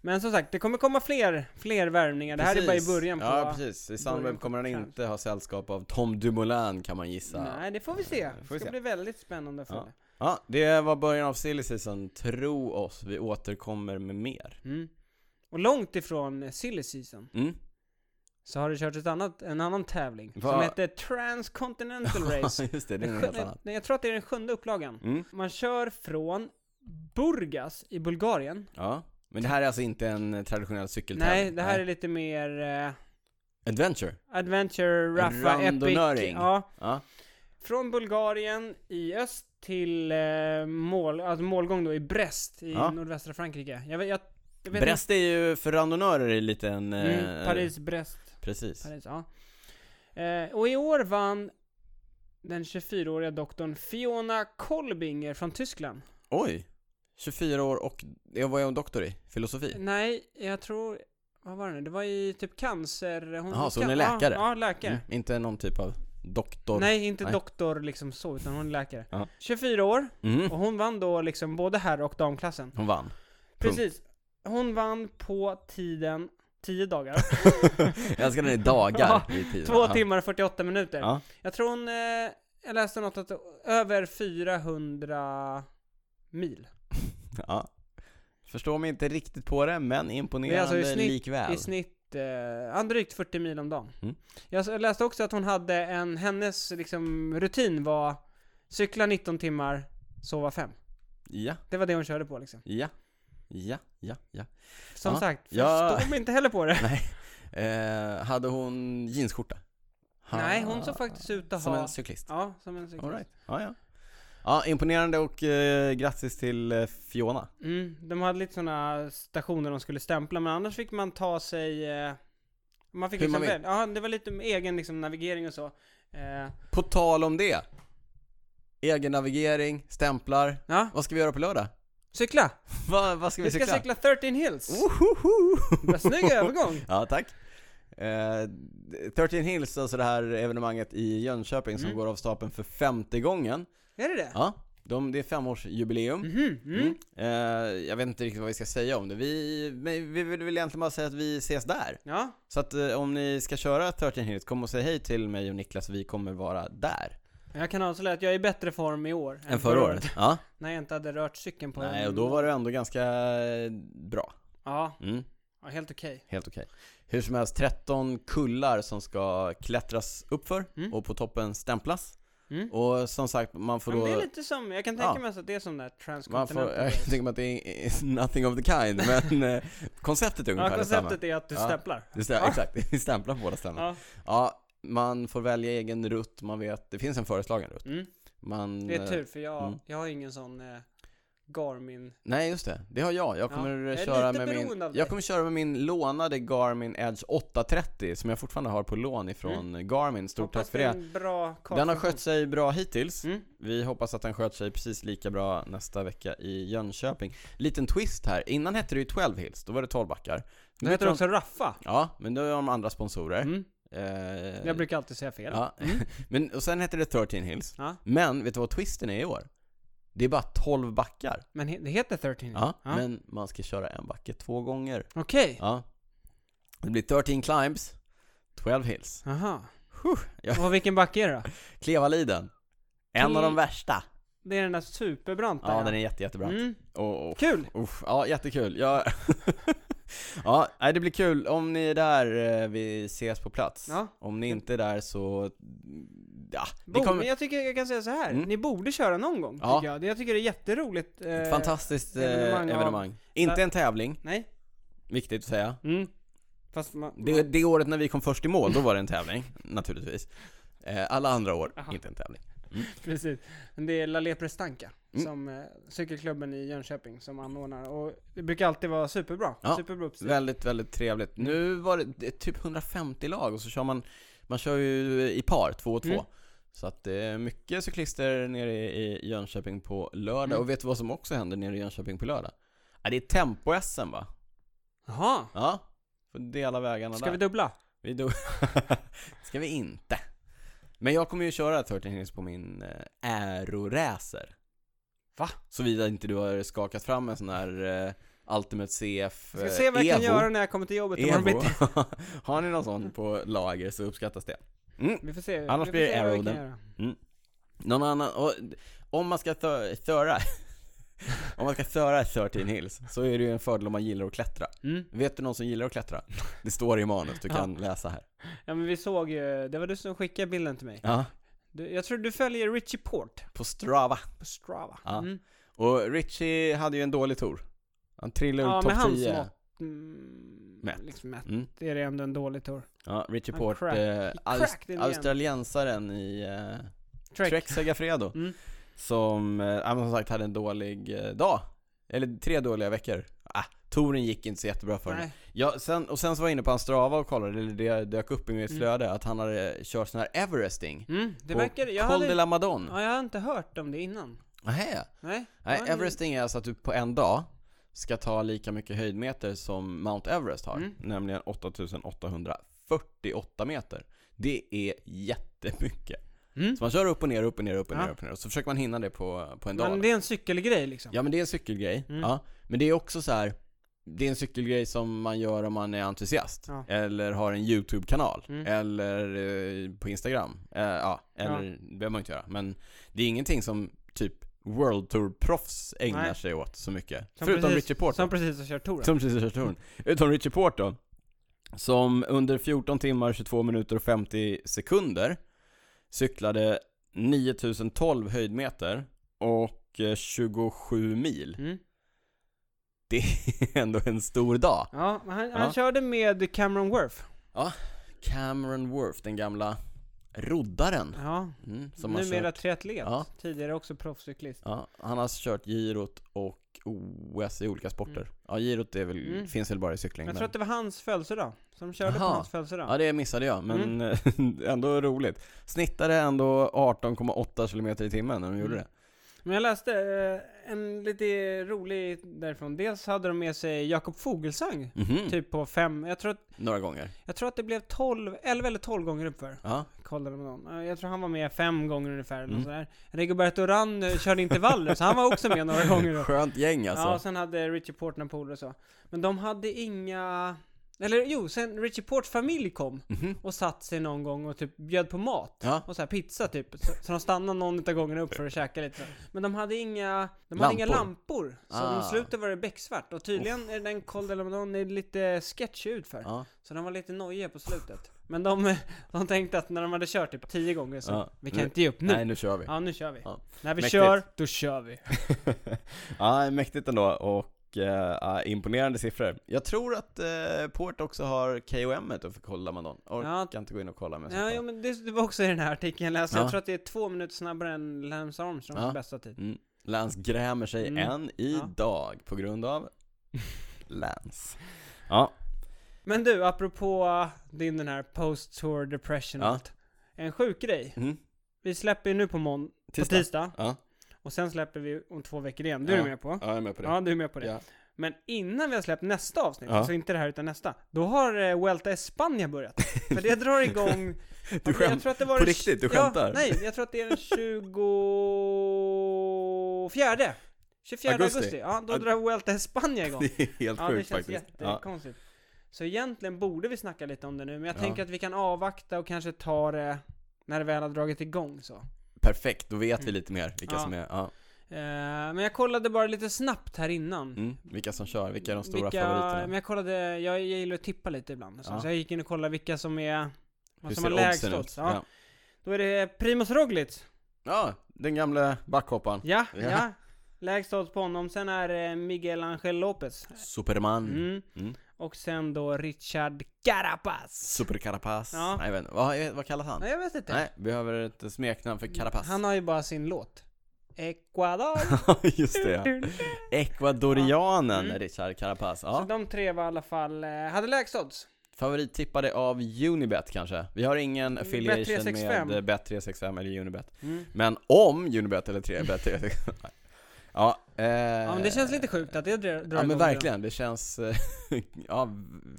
[SPEAKER 2] Men som sagt, det kommer komma fler, fler värvningar. Det här är bara
[SPEAKER 1] Precis.
[SPEAKER 2] i början på...
[SPEAKER 1] Ja, precis. I
[SPEAKER 2] början
[SPEAKER 1] Sunweb
[SPEAKER 2] på
[SPEAKER 1] kommer han
[SPEAKER 2] trend.
[SPEAKER 1] inte ha sällskap av Tom Dumoulin kan man gissa.
[SPEAKER 2] Nej, det får vi se.
[SPEAKER 1] får
[SPEAKER 2] Det
[SPEAKER 1] vi
[SPEAKER 2] ska
[SPEAKER 1] se.
[SPEAKER 2] bli väldigt spännande att
[SPEAKER 1] Ja.
[SPEAKER 2] följa.
[SPEAKER 1] Ja, det var början av silly season. Tro oss, vi återkommer med mer.
[SPEAKER 2] Mm. Och långt ifrån silly season
[SPEAKER 1] Mm.
[SPEAKER 2] så har det kört ett annat, en annan tävling
[SPEAKER 1] Va?
[SPEAKER 2] som heter Transcontinental Race.
[SPEAKER 1] Just det, det är
[SPEAKER 2] Den
[SPEAKER 1] något
[SPEAKER 2] sjunde-
[SPEAKER 1] helt annat.
[SPEAKER 2] Nej, jag tror att det är den sjunde upplagan.
[SPEAKER 1] Mm.
[SPEAKER 2] Man kör från Burgas i Bulgarien.
[SPEAKER 1] Ja. Men det här är alltså inte en traditionell cykeltävling?
[SPEAKER 2] Nej, det här är lite mer eh,
[SPEAKER 1] Adventure?
[SPEAKER 2] Adventure, Raffa, Epic.
[SPEAKER 1] randonöring.
[SPEAKER 2] Ja,
[SPEAKER 1] Ja.
[SPEAKER 2] från Bulgarien i öst till eh, mål, alltså målgång då i Brest i
[SPEAKER 1] Ja.
[SPEAKER 2] nordvästra Frankrike. Jag vet, jag, jag vet
[SPEAKER 1] Brest är ju för randonörer i liten...
[SPEAKER 2] inte.
[SPEAKER 1] eh,
[SPEAKER 2] Mm, Paris, Brest.
[SPEAKER 1] Precis.
[SPEAKER 2] Paris, ja. Eh, och i år vann den 24-åriga doktorn Fiona Kolbinger från Tyskland.
[SPEAKER 1] Oj! 24 år och... Jag var ju en doktor i filosofi. Mm.
[SPEAKER 2] Nej, jag tror... Vad var det nu? Det var i typ cancer... Hon,
[SPEAKER 1] Jaha, så hon är
[SPEAKER 2] ja,
[SPEAKER 1] läkare?
[SPEAKER 2] Ja, läkare.
[SPEAKER 1] Mm. Inte någon typ av doktor...
[SPEAKER 2] Nej, inte
[SPEAKER 1] Nej.
[SPEAKER 2] doktor liksom så, utan hon är läkare.
[SPEAKER 1] Ja.
[SPEAKER 2] 24 år,
[SPEAKER 1] Mm.
[SPEAKER 2] och hon vann då liksom både herr och damklassen.
[SPEAKER 1] Hon vann.
[SPEAKER 2] Precis. Hon vann på tiden 10 dagar.
[SPEAKER 1] Jag älskar när det är dagar i tiden.
[SPEAKER 2] Två
[SPEAKER 1] Ja.
[SPEAKER 2] timmar och 48 minuter.
[SPEAKER 1] Ja.
[SPEAKER 2] Jag tror hon, eh, jag läste något att över 400 mil.
[SPEAKER 1] ja. Förstår mig inte riktigt på det, men imponerande
[SPEAKER 2] alltså i snitt-
[SPEAKER 1] likväl.
[SPEAKER 2] I snitt, eh, ja, drygt 40 mil om dagen.
[SPEAKER 1] Mm.
[SPEAKER 2] Jag s- läste också att hon hade en, hennes liksom rutin var cykla 19 timmar, sova 5.
[SPEAKER 1] Ja,
[SPEAKER 2] Det var det hon körde på liksom.
[SPEAKER 1] ja, ja, ja, ja.
[SPEAKER 2] Som
[SPEAKER 1] Ja.
[SPEAKER 2] sagt,
[SPEAKER 1] Ja.
[SPEAKER 2] förstår mig inte heller på det.
[SPEAKER 1] Eh, hade hon jeansskjorta? Ha-
[SPEAKER 2] Nej, hon såg faktiskt ut att
[SPEAKER 1] Som
[SPEAKER 2] ha...
[SPEAKER 1] en cyklist?
[SPEAKER 2] Ja, som en cyklist.
[SPEAKER 1] All right. ja, ja. ja, imponerande och eh, grattis till eh, Fiona.
[SPEAKER 2] Mm, de hade lite sådana stationer de skulle stämpla, men annars fick man ta sig... Eh, man fick
[SPEAKER 1] Hur
[SPEAKER 2] liksom
[SPEAKER 1] man vill.
[SPEAKER 2] väl, ja, det var lite egen liksom, navigering och så. Eh,
[SPEAKER 1] På tal om det. Egen navigering, stämplar.
[SPEAKER 2] ja,
[SPEAKER 1] Vad ska vi göra på lördag?
[SPEAKER 2] cykla!
[SPEAKER 1] Va, vad ska vi,
[SPEAKER 2] Vi ska cykla 13 Hills!
[SPEAKER 1] Wohoho!
[SPEAKER 2] Vad Snygg övergång!
[SPEAKER 1] Ja, tack. Eh, 13 Hills, alltså det här evenemanget i Jönköping som
[SPEAKER 2] Mm.
[SPEAKER 1] går av stapeln för femte gången.
[SPEAKER 2] Är det det?
[SPEAKER 1] Ja, de, det är femårsjubileum.
[SPEAKER 2] Mhm, mm.
[SPEAKER 1] Mm. Eh, jag vet inte riktigt vad vi ska säga om det. Vi, men vi vill väl egentligen bara säga att vi ses där.
[SPEAKER 2] Ja,
[SPEAKER 1] Så att eh, om ni ska köra 13 Hills, kom och säg hej till mig och Niklas, vi kommer vara där.
[SPEAKER 2] jag kan avslöja att jag är i bättre form i år
[SPEAKER 1] Än förra året. Ja.
[SPEAKER 2] När jag inte hade rört cykeln på
[SPEAKER 1] Nej,
[SPEAKER 2] en-
[SPEAKER 1] och då var det ändå ganska eh, bra.
[SPEAKER 2] Ja,
[SPEAKER 1] Mm,
[SPEAKER 2] ja helt okej.
[SPEAKER 1] helt okej. Hur som helst, 13 kullar som ska klättras uppför
[SPEAKER 2] Mm.
[SPEAKER 1] och på toppen stämplas.
[SPEAKER 2] Mm.
[SPEAKER 1] Och som sagt, man får
[SPEAKER 2] Men
[SPEAKER 1] då...
[SPEAKER 2] det är lite som, jag kan tänka
[SPEAKER 1] Ja.
[SPEAKER 2] mig alltså att det är som där
[SPEAKER 1] Man får,
[SPEAKER 2] transcontinental
[SPEAKER 1] jag tänker mig att det är is nothing of the kind, men eh, konceptet är ungefär
[SPEAKER 2] Ja,
[SPEAKER 1] detsamma.
[SPEAKER 2] konceptet är att du
[SPEAKER 1] Ja.
[SPEAKER 2] stämplar.
[SPEAKER 1] Det stä- Exakt, vi stämplar på båda ställena. Ja.
[SPEAKER 2] Ja.
[SPEAKER 1] man får välja egen rutt, man vet, det finns en föreslagen rutt.
[SPEAKER 2] Mm.
[SPEAKER 1] Man,
[SPEAKER 2] Det är
[SPEAKER 1] eh,
[SPEAKER 2] tur för jag,
[SPEAKER 1] Mm.
[SPEAKER 2] jag har ingen sån eh, Garmin.
[SPEAKER 1] Nej just det, det har jag. Jag kommer
[SPEAKER 2] jag är
[SPEAKER 1] köra
[SPEAKER 2] lite
[SPEAKER 1] med min,
[SPEAKER 2] beroende av
[SPEAKER 1] jag
[SPEAKER 2] dig.
[SPEAKER 1] kommer köra med min lånade Garmin Edge 830 som jag fortfarande har på lån ifrån Garmin. Stort
[SPEAKER 2] Mm. Hoppas
[SPEAKER 1] tack för
[SPEAKER 2] är
[SPEAKER 1] det.
[SPEAKER 2] en Bra
[SPEAKER 1] Den har
[SPEAKER 2] kartfunktion.
[SPEAKER 1] skött sig bra hittills.
[SPEAKER 2] Mm.
[SPEAKER 1] Vi hoppas att den sköter sig precis lika bra nästa vecka i Jönköping. Liten twist här, innan hette det ju 12 Hills, då var det 12 backar.
[SPEAKER 2] Den heter också Raffa.
[SPEAKER 1] Ja, men då är de andra sponsorer.
[SPEAKER 2] Mm.
[SPEAKER 1] Eh,
[SPEAKER 2] Jag brukar alltid säga fel. Ja.
[SPEAKER 1] Ja, men och sen hette det 13 Hills.
[SPEAKER 2] Ja.
[SPEAKER 1] Men vet du vad twisten är i år? Det är bara 12 backar.
[SPEAKER 2] Men he- det heter 13.
[SPEAKER 1] Ja,
[SPEAKER 2] Ja.
[SPEAKER 1] men man ska köra en backe två gånger.
[SPEAKER 2] Okej.
[SPEAKER 1] Ja. Det blir 13 climbs, 12 hills.
[SPEAKER 2] Aha.
[SPEAKER 1] ja.
[SPEAKER 2] Och vilken backe är det då?
[SPEAKER 1] Klevaliden. En av de
[SPEAKER 2] Kle-
[SPEAKER 1] värsta.
[SPEAKER 2] Det är den där superbranta.
[SPEAKER 1] Ja, den är jätte, jättebra.
[SPEAKER 2] Mm.
[SPEAKER 1] Och, och,
[SPEAKER 2] Kul!
[SPEAKER 1] uff, ja, jättekul. Jag... ja, nej, det blir kul. Om ni är där, eh, vi ses på plats.
[SPEAKER 2] Ja.
[SPEAKER 1] Om ni inte är där så, mm, ja,
[SPEAKER 2] Bo,
[SPEAKER 1] vi kommer...
[SPEAKER 2] men jag tycker jag kan säga så här.
[SPEAKER 1] Mm.
[SPEAKER 2] Ni borde köra någon gång,
[SPEAKER 1] Ja.
[SPEAKER 2] tycker jag. Det- Jag tycker det är jätteroligt. Eh,
[SPEAKER 1] Ett fantastiskt eh,
[SPEAKER 2] evenemang
[SPEAKER 1] evenemang.
[SPEAKER 2] av-
[SPEAKER 1] Inte en tävling,
[SPEAKER 2] Nej.
[SPEAKER 1] viktigt att säga.
[SPEAKER 2] Mm. Fast man...
[SPEAKER 1] Det, det året när vi kom först i mål, då var det en tävling, naturligtvis. Eh, Alla andra år,
[SPEAKER 2] Aha.
[SPEAKER 1] inte en tävling.
[SPEAKER 2] Precis. Men det är La Leprestanka,
[SPEAKER 1] Mm.
[SPEAKER 2] som eh, cykelklubben i Jönköping som anordnar. Och det brukar alltid vara superbra.
[SPEAKER 1] Ja.
[SPEAKER 2] Superbra uppstyrt.
[SPEAKER 1] Väldigt, väldigt trevligt.
[SPEAKER 2] Mm.
[SPEAKER 1] Nu var det, det är typ 150 lag och så kör man, man kör ju i par, två och två.
[SPEAKER 2] Mm.
[SPEAKER 1] Så att det är mycket cyklister nere i i Jönköping på lördag.
[SPEAKER 2] Mm.
[SPEAKER 1] Och vet du vad som också händer nere i Jönköping på lördag? Ja, det är Tempo-SM va?
[SPEAKER 2] Jaha.
[SPEAKER 1] Ja. Får dela vägarna
[SPEAKER 2] Ska
[SPEAKER 1] där.
[SPEAKER 2] vi dubbla?
[SPEAKER 1] Vi do- ska vi inte. Men jag kommer ju köra 13 Hills på min eh, äroräser.
[SPEAKER 2] Va?
[SPEAKER 1] Såvida inte du har skakat fram en sån här eh, Ultimate CF
[SPEAKER 2] Jag ska
[SPEAKER 1] eh,
[SPEAKER 2] se vad jag kan
[SPEAKER 1] Evo.
[SPEAKER 2] göra när jag kommer till jobbet imorgon
[SPEAKER 1] Evo.
[SPEAKER 2] bitti.
[SPEAKER 1] har ni någon sån på lager så uppskattas det. Mm.
[SPEAKER 2] Vi får se.
[SPEAKER 1] Annars
[SPEAKER 2] vi får
[SPEAKER 1] blir det
[SPEAKER 2] se vad vi
[SPEAKER 1] Arrow
[SPEAKER 2] kan
[SPEAKER 1] den.
[SPEAKER 2] göra.
[SPEAKER 1] Någon annan, och, om man ska thö- thöra Om man ska thöra 13 Hills så är det ju en fördel om man gillar att klättra.
[SPEAKER 2] Mm.
[SPEAKER 1] Vet du någon som gillar att klättra? Det står i manus, du
[SPEAKER 2] Ja.
[SPEAKER 1] kan läsa här.
[SPEAKER 2] Ja men vi såg ju, det var du som skickade bilden till mig.
[SPEAKER 1] Ja,
[SPEAKER 2] Du, jag tror du följer Richie Port
[SPEAKER 1] på Strava.
[SPEAKER 2] på Strava.
[SPEAKER 1] Ja.
[SPEAKER 2] Mm.
[SPEAKER 1] Och Richie hade ju en dålig tour. Han trillade
[SPEAKER 2] Ja,
[SPEAKER 1] ur topp
[SPEAKER 2] med hans
[SPEAKER 1] 10.
[SPEAKER 2] mått. Mm,
[SPEAKER 1] Mätt.
[SPEAKER 2] Liksom mätt.
[SPEAKER 1] Mm.
[SPEAKER 2] Det är ändå en dålig tur.
[SPEAKER 1] Ja, Richie
[SPEAKER 2] Han
[SPEAKER 1] Port,
[SPEAKER 2] crack-
[SPEAKER 1] eh,
[SPEAKER 2] cracked
[SPEAKER 1] aust-
[SPEAKER 2] in
[SPEAKER 1] australiensaren i eh, Trek, Segafredo.
[SPEAKER 2] Mm.
[SPEAKER 1] Som, eh, ja, men som sagt hade en dålig eh, dag. Eller tre dåliga veckor. Ah, touren gick inte så jättebra för honom.
[SPEAKER 2] Nej.
[SPEAKER 1] Ja, sen, och sen så var jag inne på hans Strava och kollade, eller det dök upp i mitt
[SPEAKER 2] Mm.
[SPEAKER 1] flöde, att han hade eh, kört sån här Everesting.
[SPEAKER 2] Mm, det
[SPEAKER 1] på
[SPEAKER 2] verkar, jag
[SPEAKER 1] Col de
[SPEAKER 2] hade,
[SPEAKER 1] la Madone.
[SPEAKER 2] ja, jag har inte hört om det innan.
[SPEAKER 1] Nähä.
[SPEAKER 2] Nej.
[SPEAKER 1] Nej,
[SPEAKER 2] Ja, det-
[SPEAKER 1] Everesting är alltså att du på en dag ska ta lika mycket höjdmeter som Mount Everest har,
[SPEAKER 2] Mm.
[SPEAKER 1] nämligen 8848 meter. Det är jättemycket.
[SPEAKER 2] Mm.
[SPEAKER 1] Så man kör upp och ner, upp och ner, upp och ner,
[SPEAKER 2] Ja.
[SPEAKER 1] upp och ner. Och så försöker man hinna det på, på en dag.
[SPEAKER 2] Men det är en cykelgrej liksom.
[SPEAKER 1] Ja men det är en cykelgrej.
[SPEAKER 2] Mm.
[SPEAKER 1] Ja. Men det är också så här. det är en cykelgrej som man gör om man är entusiast.
[SPEAKER 2] Ja.
[SPEAKER 1] Eller har en YouTube-kanal.
[SPEAKER 2] Mm.
[SPEAKER 1] Eller eh, på Instagram. Eh, ja, eller det behöver man inte göra. Men det är ingenting som typ World Tour-proffs ägnar
[SPEAKER 2] Nej.
[SPEAKER 1] sig åt så mycket.
[SPEAKER 2] Som
[SPEAKER 1] Förutom
[SPEAKER 2] precis-
[SPEAKER 1] Richie Porte.
[SPEAKER 2] Som precis har kört touren.
[SPEAKER 1] Som precis har kört touren. Utom Richie Porte då. Som under 14 timmar, 22 minuter och 50 sekunder cyklade 9012 höjdmeter och eh, 27 mil.
[SPEAKER 2] Mm.
[SPEAKER 1] Det är ändå en stor dag.
[SPEAKER 2] Ja, men han,
[SPEAKER 1] Ja.
[SPEAKER 2] han körde med Cameron Worth.
[SPEAKER 1] Cameron Worth, den gamla roddaren.
[SPEAKER 2] Ja.
[SPEAKER 1] Mm, som har
[SPEAKER 2] Numera
[SPEAKER 1] kört,
[SPEAKER 2] triatlet.
[SPEAKER 1] Ja.
[SPEAKER 2] Tidigare också proffscyklist.
[SPEAKER 1] ja, han har kört girot och OS i olika sporter.
[SPEAKER 2] Mm.
[SPEAKER 1] Ja, girot är väl,
[SPEAKER 2] Mm.
[SPEAKER 1] finns väl bara i cykling.
[SPEAKER 2] Jag
[SPEAKER 1] men-
[SPEAKER 2] tror att det var hans födelsedag. Som körde på
[SPEAKER 1] Aha.
[SPEAKER 2] hans födelsedag.
[SPEAKER 1] Ja, det missade jag, men
[SPEAKER 2] Mm.
[SPEAKER 1] ändå roligt. Snittade ändå 18,8 km i timmen när de gjorde
[SPEAKER 2] Mm.
[SPEAKER 1] det.
[SPEAKER 2] Men jag läste eh, en lite rolig därifrån. Dels hade de med sig Jakob Fogelsang.
[SPEAKER 1] Mhm,
[SPEAKER 2] Typ på fem, jag tror, att-
[SPEAKER 1] Några gånger.
[SPEAKER 2] jag tror att det blev 12, 11 eller 12 gånger uppför.
[SPEAKER 1] Ja.
[SPEAKER 2] Kollade med någon. Eh, Jag tror han var med fem gånger ungefär
[SPEAKER 1] Mm.
[SPEAKER 2] eller mm. sådär. Rigoberto Urán eh, körde intervaller, så han var också med några gånger. Då.
[SPEAKER 1] Skönt gäng
[SPEAKER 2] Ja, och
[SPEAKER 1] alltså.
[SPEAKER 2] sen hade Richie Port några polare och så. Men de hade inga... Eller jo, sen Richie Ports familj kom
[SPEAKER 1] Mhm.
[SPEAKER 2] och satt sig någon gång och typ bjöd på mat.
[SPEAKER 1] Ja.
[SPEAKER 2] Och så här pizza typ. Så, så de stannade någon utav gångerna upp för att käka lite. Men de hade inga, de hade inga
[SPEAKER 1] Lampor.
[SPEAKER 2] lampor. Så
[SPEAKER 1] Ah.
[SPEAKER 2] de slutade var det becksvart. Och tydligen är den Col de Lemonon är lite sketchig ut för.
[SPEAKER 1] Ja.
[SPEAKER 2] Så de var lite nojiga på slutet. Men de, de tänkte att när de hade kört typ tio gånger så,
[SPEAKER 1] Ja.
[SPEAKER 2] vi kan
[SPEAKER 1] Nu-
[SPEAKER 2] inte ge upp nu.
[SPEAKER 1] Nej, nu kör vi.
[SPEAKER 2] Ja, nu kör vi.
[SPEAKER 1] Ja.
[SPEAKER 2] När vi
[SPEAKER 1] Mäktigt.
[SPEAKER 2] kör, då kör vi.
[SPEAKER 1] ja, mäktigt ändå och eh, ja, imponerande siffror. Jag tror att eh, Port också har KOM et för kolla man dem. Orkar inte gå in och kolla men jag ska
[SPEAKER 2] Ja,
[SPEAKER 1] kolla.
[SPEAKER 2] jo, men det, det var också i den här artikeln jag läste.
[SPEAKER 1] Ja.
[SPEAKER 2] Jag tror att det är två minuter snabbare än Lance Armstrongs
[SPEAKER 1] Ja.
[SPEAKER 2] bästa tid.
[SPEAKER 1] Mm. Lance grämer sig
[SPEAKER 2] Mm.
[SPEAKER 1] än
[SPEAKER 2] Ja.
[SPEAKER 1] idag på grund av Lance. Ja,
[SPEAKER 2] Men du, apropå din den här post tour depression och
[SPEAKER 1] Ja.
[SPEAKER 2] allt. En sjuk grej.
[SPEAKER 1] mm.
[SPEAKER 2] Vi släpper ju nu på mån- på tisdag.
[SPEAKER 1] Ja.
[SPEAKER 2] Och sen släpper vi om två veckor igen. Du
[SPEAKER 1] Ja.
[SPEAKER 2] är med på?
[SPEAKER 1] ja, jag är med på det.
[SPEAKER 2] Ja, du är med på det.
[SPEAKER 1] Ja.
[SPEAKER 2] Men innan vi har släppt nästa avsnitt,
[SPEAKER 1] Ja.
[SPEAKER 2] alltså inte det här utan nästa, då har eh, Vuelta Espanja börjat. För det drar igång...
[SPEAKER 1] Du skämt-
[SPEAKER 2] tror att det var
[SPEAKER 1] på
[SPEAKER 2] den-
[SPEAKER 1] riktigt, du
[SPEAKER 2] Ja,
[SPEAKER 1] skämtar?
[SPEAKER 2] nej, jag tror att det är den 24 24 augusti.
[SPEAKER 1] Augusti.
[SPEAKER 2] Ja, då
[SPEAKER 1] Ja.
[SPEAKER 2] drar Vuelta Espanja igång.
[SPEAKER 1] Det är helt
[SPEAKER 2] Ja, det
[SPEAKER 1] sjukt
[SPEAKER 2] känns
[SPEAKER 1] faktiskt. Ja.
[SPEAKER 2] jättekonstigt. Så egentligen borde vi snacka lite om det nu, men jag
[SPEAKER 1] Ja.
[SPEAKER 2] tänker att vi kan avvakta och kanske ta det när det väl har dragit igång så. Eh,
[SPEAKER 1] Perfekt, då vet vi lite mer vilka
[SPEAKER 2] Mm. Ja.
[SPEAKER 1] som är, ja.
[SPEAKER 2] Eh, men jag kollade bara lite snabbt här innan.
[SPEAKER 1] mm. vilka som kör, vilka är de stora
[SPEAKER 2] vilka, Men
[SPEAKER 1] favoriterna?
[SPEAKER 2] jag kollade, jag gillar att tippa lite ibland. och Så,
[SPEAKER 1] Ja.
[SPEAKER 2] så jag gick in och kollade vilka som är, vad
[SPEAKER 1] Hur
[SPEAKER 2] som har
[SPEAKER 1] ser
[SPEAKER 2] lägst
[SPEAKER 1] oddsen ut?
[SPEAKER 2] odds. Ja. Då är det Primoz Roglic.
[SPEAKER 1] ja, den gamla backhopparen.
[SPEAKER 2] Ja, ja.
[SPEAKER 1] Ja.
[SPEAKER 2] Lägst odds på honom. Sen är det Miguel Angel Lopez.
[SPEAKER 1] Superman.
[SPEAKER 2] Mm.
[SPEAKER 1] Mm.
[SPEAKER 2] Och sen då Richard Carapaz.
[SPEAKER 1] Superkarapaz.
[SPEAKER 2] Ja.
[SPEAKER 1] Nej, jag vet inte. Vad, vad kallas han?
[SPEAKER 2] Nej, jag vet inte.
[SPEAKER 1] Nej, behöver ett smeknamn för Carapaz.
[SPEAKER 2] Han har ju bara sin låt. Ecuador.
[SPEAKER 1] Just det. ja. Ecuadorianen
[SPEAKER 2] Mm.
[SPEAKER 1] Richard Carapaz.
[SPEAKER 2] Så
[SPEAKER 1] Ja.
[SPEAKER 2] de tre var i alla fall, eh, hade lägst odds.
[SPEAKER 1] Favorittippade av Unibet kanske. Vi har ingen affiliation
[SPEAKER 2] Bet365.
[SPEAKER 1] med Bet365 eller Unibet.
[SPEAKER 2] Mm.
[SPEAKER 1] Men om Unibet eller 3 Bet365. ja, eh,
[SPEAKER 2] Ja men det känns lite sjukt att det drar drar
[SPEAKER 1] Ja men
[SPEAKER 2] igång
[SPEAKER 1] verkligen, det känns eh, ja,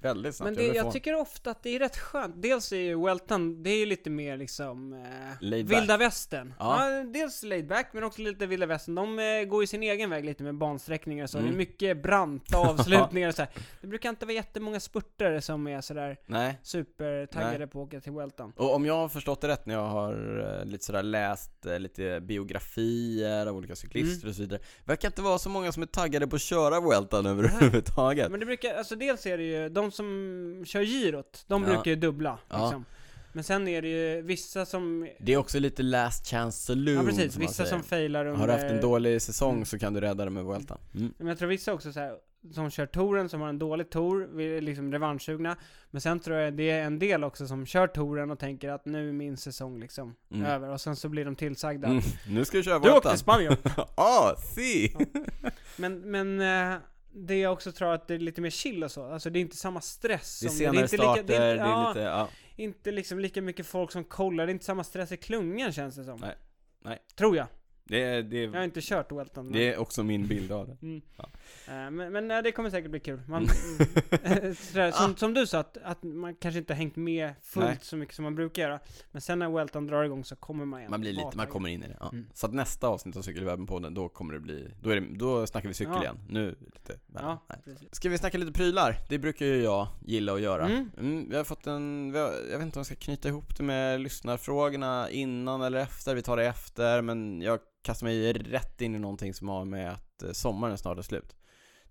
[SPEAKER 1] väldigt
[SPEAKER 2] redan.
[SPEAKER 1] snabbt.
[SPEAKER 2] Men det, jag
[SPEAKER 1] får-
[SPEAKER 2] tycker ofta att det är rätt skönt. Dels är ju Welton, det är ju lite mer liksom eh,
[SPEAKER 1] Laid back.
[SPEAKER 2] vilda västern. Ja.
[SPEAKER 1] Ja.
[SPEAKER 2] dels laid back men också lite vilda västern. De eh, går ju sin egen väg lite med bansträckningar och så. Det
[SPEAKER 1] Mm.
[SPEAKER 2] är mycket branta avslutningar och så här. Det brukar inte vara jättemånga spurtare som är sådär
[SPEAKER 1] Nej.
[SPEAKER 2] supertaggade på att åka till Welton.
[SPEAKER 1] Och om jag har förstått det rätt när jag har eh, lite sådär läst eh, lite biografier av olika cyklister
[SPEAKER 2] Mm.
[SPEAKER 1] och så vidare. Verkar inte vara så många som är taggade på att köra Vueltan överhuvudtaget.
[SPEAKER 2] Men det brukar, alltså dels är det ju, de som kör girot, de
[SPEAKER 1] Ja.
[SPEAKER 2] brukar ju dubbla
[SPEAKER 1] Ja.
[SPEAKER 2] liksom. Men sen är det ju vissa som,
[SPEAKER 1] Det är också lite last chance saloon
[SPEAKER 2] ja precis,
[SPEAKER 1] som man
[SPEAKER 2] vissa
[SPEAKER 1] säger.
[SPEAKER 2] som eh, mm. failar under...
[SPEAKER 1] Har du haft en dålig säsong så kan du rädda dig med Vueltan. Mm.
[SPEAKER 2] Men jag tror vissa också så här, som kör touren, som har en dålig tour, vi är liksom revanschsugna. Men sen tror jag det är en del också som kör touren och tänker att nu är min säsong liksom
[SPEAKER 1] Mm.
[SPEAKER 2] över. Och sen så blir de tillsagda.
[SPEAKER 1] Mm. Nu ska du köra
[SPEAKER 2] Du åkte
[SPEAKER 1] Vueltan.
[SPEAKER 2] till Spanien!
[SPEAKER 1] Ah, si!
[SPEAKER 2] men, men eh, det jag också tror att det är lite mer chill och så. Alltså det är inte samma stress.
[SPEAKER 1] Det är
[SPEAKER 2] som-
[SPEAKER 1] senare
[SPEAKER 2] inte
[SPEAKER 1] starter, det är,
[SPEAKER 2] ja,
[SPEAKER 1] lite, ja.
[SPEAKER 2] inte liksom lika mycket folk som kollar, det är inte samma stress i klungan känns det som.
[SPEAKER 1] Nej. Nej.
[SPEAKER 2] Tror jag.
[SPEAKER 1] Det är, det är
[SPEAKER 2] Jag har inte kört Welton. men-
[SPEAKER 1] Det är också min bild av det.
[SPEAKER 2] Mm.
[SPEAKER 1] Ja. Mm.
[SPEAKER 2] Eh, Men, men eh, det kommer säkert bli kul. Man, mm. sådär,
[SPEAKER 1] Ah.
[SPEAKER 2] som, som du sa, att, att man kanske inte har hängt med fullt
[SPEAKER 1] Nej.
[SPEAKER 2] så mycket som man brukar göra. Men sen när Welton drar igång så kommer man igen.
[SPEAKER 1] Man blir lite, man
[SPEAKER 2] Attaggad.
[SPEAKER 1] kommer in i det. Ja.
[SPEAKER 2] Mm.
[SPEAKER 1] Så att nästa avsnitt av Cykelwebben-podden, då kommer det bli, då, är det, då snackar vi cykel
[SPEAKER 2] Ja.
[SPEAKER 1] igen. Nu är det lite,
[SPEAKER 2] Ja,
[SPEAKER 1] nej.
[SPEAKER 2] precis.
[SPEAKER 1] Ska vi snacka lite prylar? Det brukar ju jag gilla att göra. Mm.
[SPEAKER 2] Mm.
[SPEAKER 1] vi har fått en, vi har, jag vet inte om jag ska knyta ihop det med lyssnarfrågorna innan eller efter, vi tar det efter, men jag kastar mig rätt in i någonting som har med att eh, sommaren snart är slut.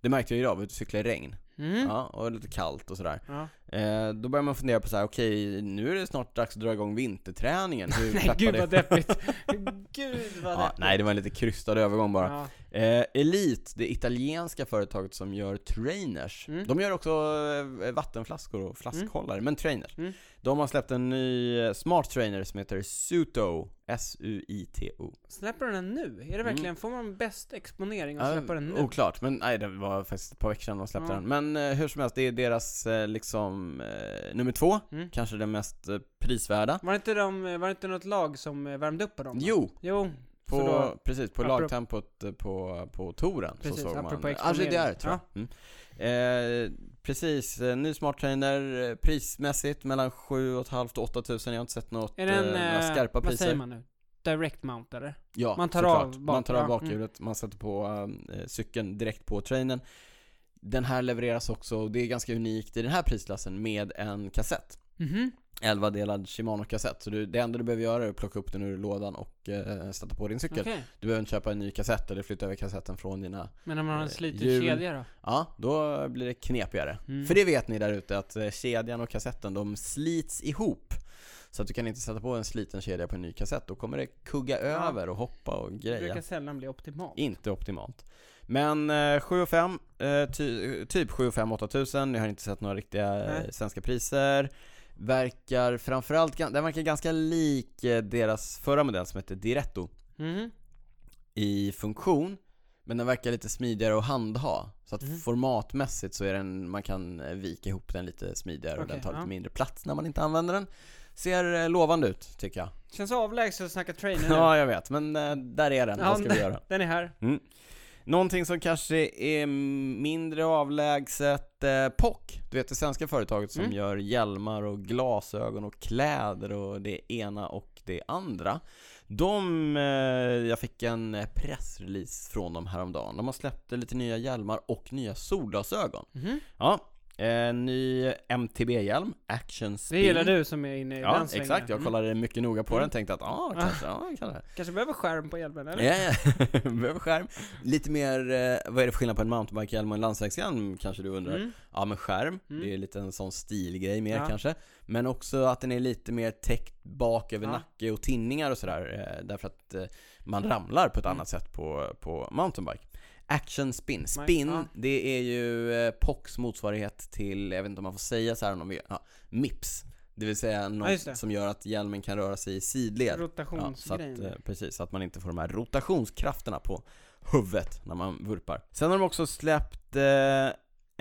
[SPEAKER 1] Det märkte jag idag, vi var ute och cyklade i regn.
[SPEAKER 2] Mm. Ja.
[SPEAKER 1] Ja, och lite kallt och sådär.
[SPEAKER 2] Ja.
[SPEAKER 1] Eh, då börjar man fundera på så här: okej, nu är det snart dags att dra igång vinterträningen. Hur
[SPEAKER 2] Nej,
[SPEAKER 1] peppad
[SPEAKER 2] gud
[SPEAKER 1] är-
[SPEAKER 2] vad deppigt. gud vad
[SPEAKER 1] Ja,
[SPEAKER 2] deppigt.
[SPEAKER 1] nej, det var en lite krystad övergång bara.
[SPEAKER 2] Ja.
[SPEAKER 1] Eh, Elite, det italienska företaget som gör trainers.
[SPEAKER 2] Mm.
[SPEAKER 1] De gör också eh, vattenflaskor och flaskhållare, men trainers.
[SPEAKER 2] Mm.
[SPEAKER 1] De har släppt en ny eh, smart trainer som heter Suto. S-U-I-T-O.
[SPEAKER 2] Släpper den nu? Är det
[SPEAKER 1] Mm.
[SPEAKER 2] verkligen, får man bäst exponering att släppa den nu?
[SPEAKER 1] Eh, Oklart, men nej det var faktiskt ett par veckor sedan de släppte
[SPEAKER 2] Ja.
[SPEAKER 1] den. Men eh, hur som helst, det är deras eh, liksom eh, nummer två.
[SPEAKER 2] Mm.
[SPEAKER 1] Kanske den mest eh, prisvärda.
[SPEAKER 2] Var det, inte de, var det inte något lag som eh, värmde upp på dem? då?
[SPEAKER 1] Jo,
[SPEAKER 2] Jo,
[SPEAKER 1] På,
[SPEAKER 2] Så då-
[SPEAKER 1] precis, på
[SPEAKER 2] apropå-
[SPEAKER 1] lagtempot eh, på, på touren
[SPEAKER 2] Precis,
[SPEAKER 1] så såg man
[SPEAKER 2] apropå exponering.
[SPEAKER 1] RGDR tror jag. Mm. Eh, precis, eh, ny smart trainer, eh, prismässigt mellan 7 500 och 8 000. Jag har inte sett något,
[SPEAKER 2] är den,
[SPEAKER 1] eh, några
[SPEAKER 2] eh,
[SPEAKER 1] skarpa
[SPEAKER 2] vad
[SPEAKER 1] priser.
[SPEAKER 2] säger man nu? Direct mount eller?
[SPEAKER 1] Ja,
[SPEAKER 2] Man tar
[SPEAKER 1] såklart.
[SPEAKER 2] av bak-
[SPEAKER 1] man tar av
[SPEAKER 2] ja, mm.
[SPEAKER 1] bakhjulet, man sätter på eh, cykeln direkt på trainern. Den här levereras också, och det är ganska unikt i den här prisklassen, med en kassett.
[SPEAKER 2] Mhm.
[SPEAKER 1] 11-delad Shimano-kassett. Så du, det enda du behöver göra är att plocka upp den ur lådan och eh, sätta på din cykel.
[SPEAKER 2] Okej.
[SPEAKER 1] Du behöver inte köpa en ny kassett eller flytta över kassetten från dina...
[SPEAKER 2] Men om man har en
[SPEAKER 1] Eh,
[SPEAKER 2] sliten
[SPEAKER 1] hjul.
[SPEAKER 2] kedja då?
[SPEAKER 1] Ja, då blir det knepigare.
[SPEAKER 2] Mm.
[SPEAKER 1] För det vet ni där ute att eh, kedjan och kassetten, de slits ihop. Så att du kan inte sätta på en sliten kedja på en ny kassett. Då kommer det kugga över och hoppa och
[SPEAKER 2] Det brukar
[SPEAKER 1] greja.
[SPEAKER 2] sällan bli optimalt.
[SPEAKER 1] Inte optimalt. Men eh, 7 5, eh, ty, typ 7 5 8000. Jag har inte sett några riktiga eh,
[SPEAKER 2] Nej.
[SPEAKER 1] svenska priser. Verkar framförallt, gan- den verkar ganska lik eh, deras förra modell som hette Diretto
[SPEAKER 2] Mhm.
[SPEAKER 1] i funktion men den verkar lite smidigare att handha. Så att
[SPEAKER 2] Mhm.
[SPEAKER 1] formatmässigt så är den, man kan eh, vika ihop den lite smidigare och
[SPEAKER 2] Okej,
[SPEAKER 1] den tar lite
[SPEAKER 2] ja.
[SPEAKER 1] mindre plats när man inte använder den. Ser eh, lovande ut, tycker jag.
[SPEAKER 2] Känns avlägset att snacka trainer nu.
[SPEAKER 1] Ja, jag vet. Men eh, där är den.
[SPEAKER 2] Ja,
[SPEAKER 1] Vad ska vi göra?
[SPEAKER 2] Den är här.
[SPEAKER 1] Någonting som kanske är mindre avlägset, eh, POC. Du vet det svenska företaget som
[SPEAKER 2] Mm.
[SPEAKER 1] gör hjälmar och glasögon och kläder och det ena och det andra. De, eh, jag fick en eh, pressrelease från dem häromdagen. De har släppt lite nya hjälmar och nya solglasögon.
[SPEAKER 2] Mhm.
[SPEAKER 1] Ja, en ny MTB-hjälm, Action
[SPEAKER 2] Det
[SPEAKER 1] Speed.
[SPEAKER 2] gillar du som är inne i
[SPEAKER 1] Ja,
[SPEAKER 2] den svängen.
[SPEAKER 1] exakt. Jag
[SPEAKER 2] Mm.
[SPEAKER 1] kollade mycket noga på
[SPEAKER 2] Mm.
[SPEAKER 1] den tänkte att ah, kanske, ja, kanske.
[SPEAKER 2] Kanske behöver skärm på hjälmen eller?
[SPEAKER 1] Ja, ja. behöver skärm. Lite mer, eh, vad är det för skillnad på en mountainbikehjälm och en landsvägshjälm kanske du undrar?
[SPEAKER 2] Mm.
[SPEAKER 1] Ja men skärm,
[SPEAKER 2] Mm.
[SPEAKER 1] det är lite en sån stilgrej mer
[SPEAKER 2] Ja.
[SPEAKER 1] kanske. Men också att den är lite mer täckt bak över
[SPEAKER 2] Ja.
[SPEAKER 1] nacke och tinningar och sådär. eh, Därför att eh, man ramlar på ett
[SPEAKER 2] Mm.
[SPEAKER 1] annat sätt på, på mountainbike. Action spin. Spin,
[SPEAKER 2] ja.
[SPEAKER 1] det är ju eh, POCs motsvarighet till, jag vet inte om man får säga så här om de vill, ja, MIPS. Det vill säga något
[SPEAKER 2] just det.
[SPEAKER 1] som gör att hjälmen kan röra sig i sidled. Ja, så att,
[SPEAKER 2] Rotationsgrejen.
[SPEAKER 1] eh, precis, så att man inte får de här rotationskrafterna på huvudet när man vurpar. Sen har de också släppt eh,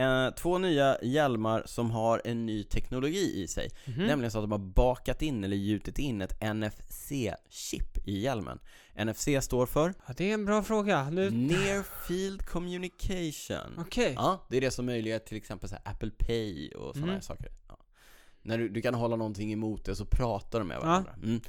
[SPEAKER 1] eh, två nya hjälmar som har en ny teknologi i sig.
[SPEAKER 2] Mhm.
[SPEAKER 1] eh, Nämligen så att de har bakat in, eller gjutit in, ett NFC-chip i hjälmen. NFC står för
[SPEAKER 2] ja, det är en bra fråga. Nu...
[SPEAKER 1] Near Field Communication.
[SPEAKER 2] Okej.
[SPEAKER 1] Mm. Ja, det är det som möjliggör till exempel så här Apple Pay och sådana
[SPEAKER 2] Mm.
[SPEAKER 1] här saker. Ja. När du, du kan hålla någonting emot det så pratar de med varandra. Mm.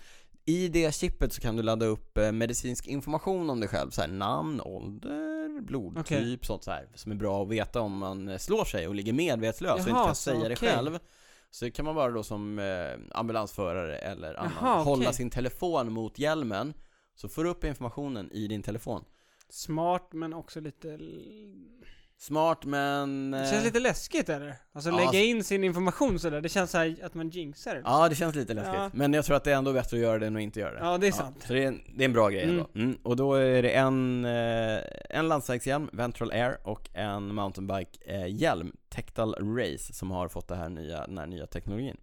[SPEAKER 1] I det chippet så kan du ladda upp eh, medicinsk information om dig själv, så här namn, ålder, blodtyp, sånt så här som är bra att veta om man eh, slår sig och ligger medvetslös och inte
[SPEAKER 2] Jaha,
[SPEAKER 1] kan
[SPEAKER 2] så,
[SPEAKER 1] säga det
[SPEAKER 2] okej.
[SPEAKER 1] själv. Så kan man vara då som eh, ambulansförare eller annan,
[SPEAKER 2] Jaha, okej.
[SPEAKER 1] hålla sin telefon mot hjälmen, så får du upp informationen i din telefon.
[SPEAKER 2] Smart men också lite... l-
[SPEAKER 1] Smart men...
[SPEAKER 2] Det
[SPEAKER 1] eh,
[SPEAKER 2] känns lite läskigt eller? Alltså
[SPEAKER 1] Ja,
[SPEAKER 2] lägga
[SPEAKER 1] alltså-
[SPEAKER 2] in sin information sådär. Det känns så här att man jinxar det.
[SPEAKER 1] Ja, det känns lite läskigt.
[SPEAKER 2] Ja.
[SPEAKER 1] Men jag tror att det är ändå bättre att göra det än att inte göra det.
[SPEAKER 2] Ja, det är sant.
[SPEAKER 1] Så det är en, det är en bra grej
[SPEAKER 2] Mm.
[SPEAKER 1] ändå. Mm. Och då är det en, eh, en landsvägshjälm, Ventral Air, och en mountainbike-hjälm, Tectal Race, som har fått det här nya, den här nya teknologin.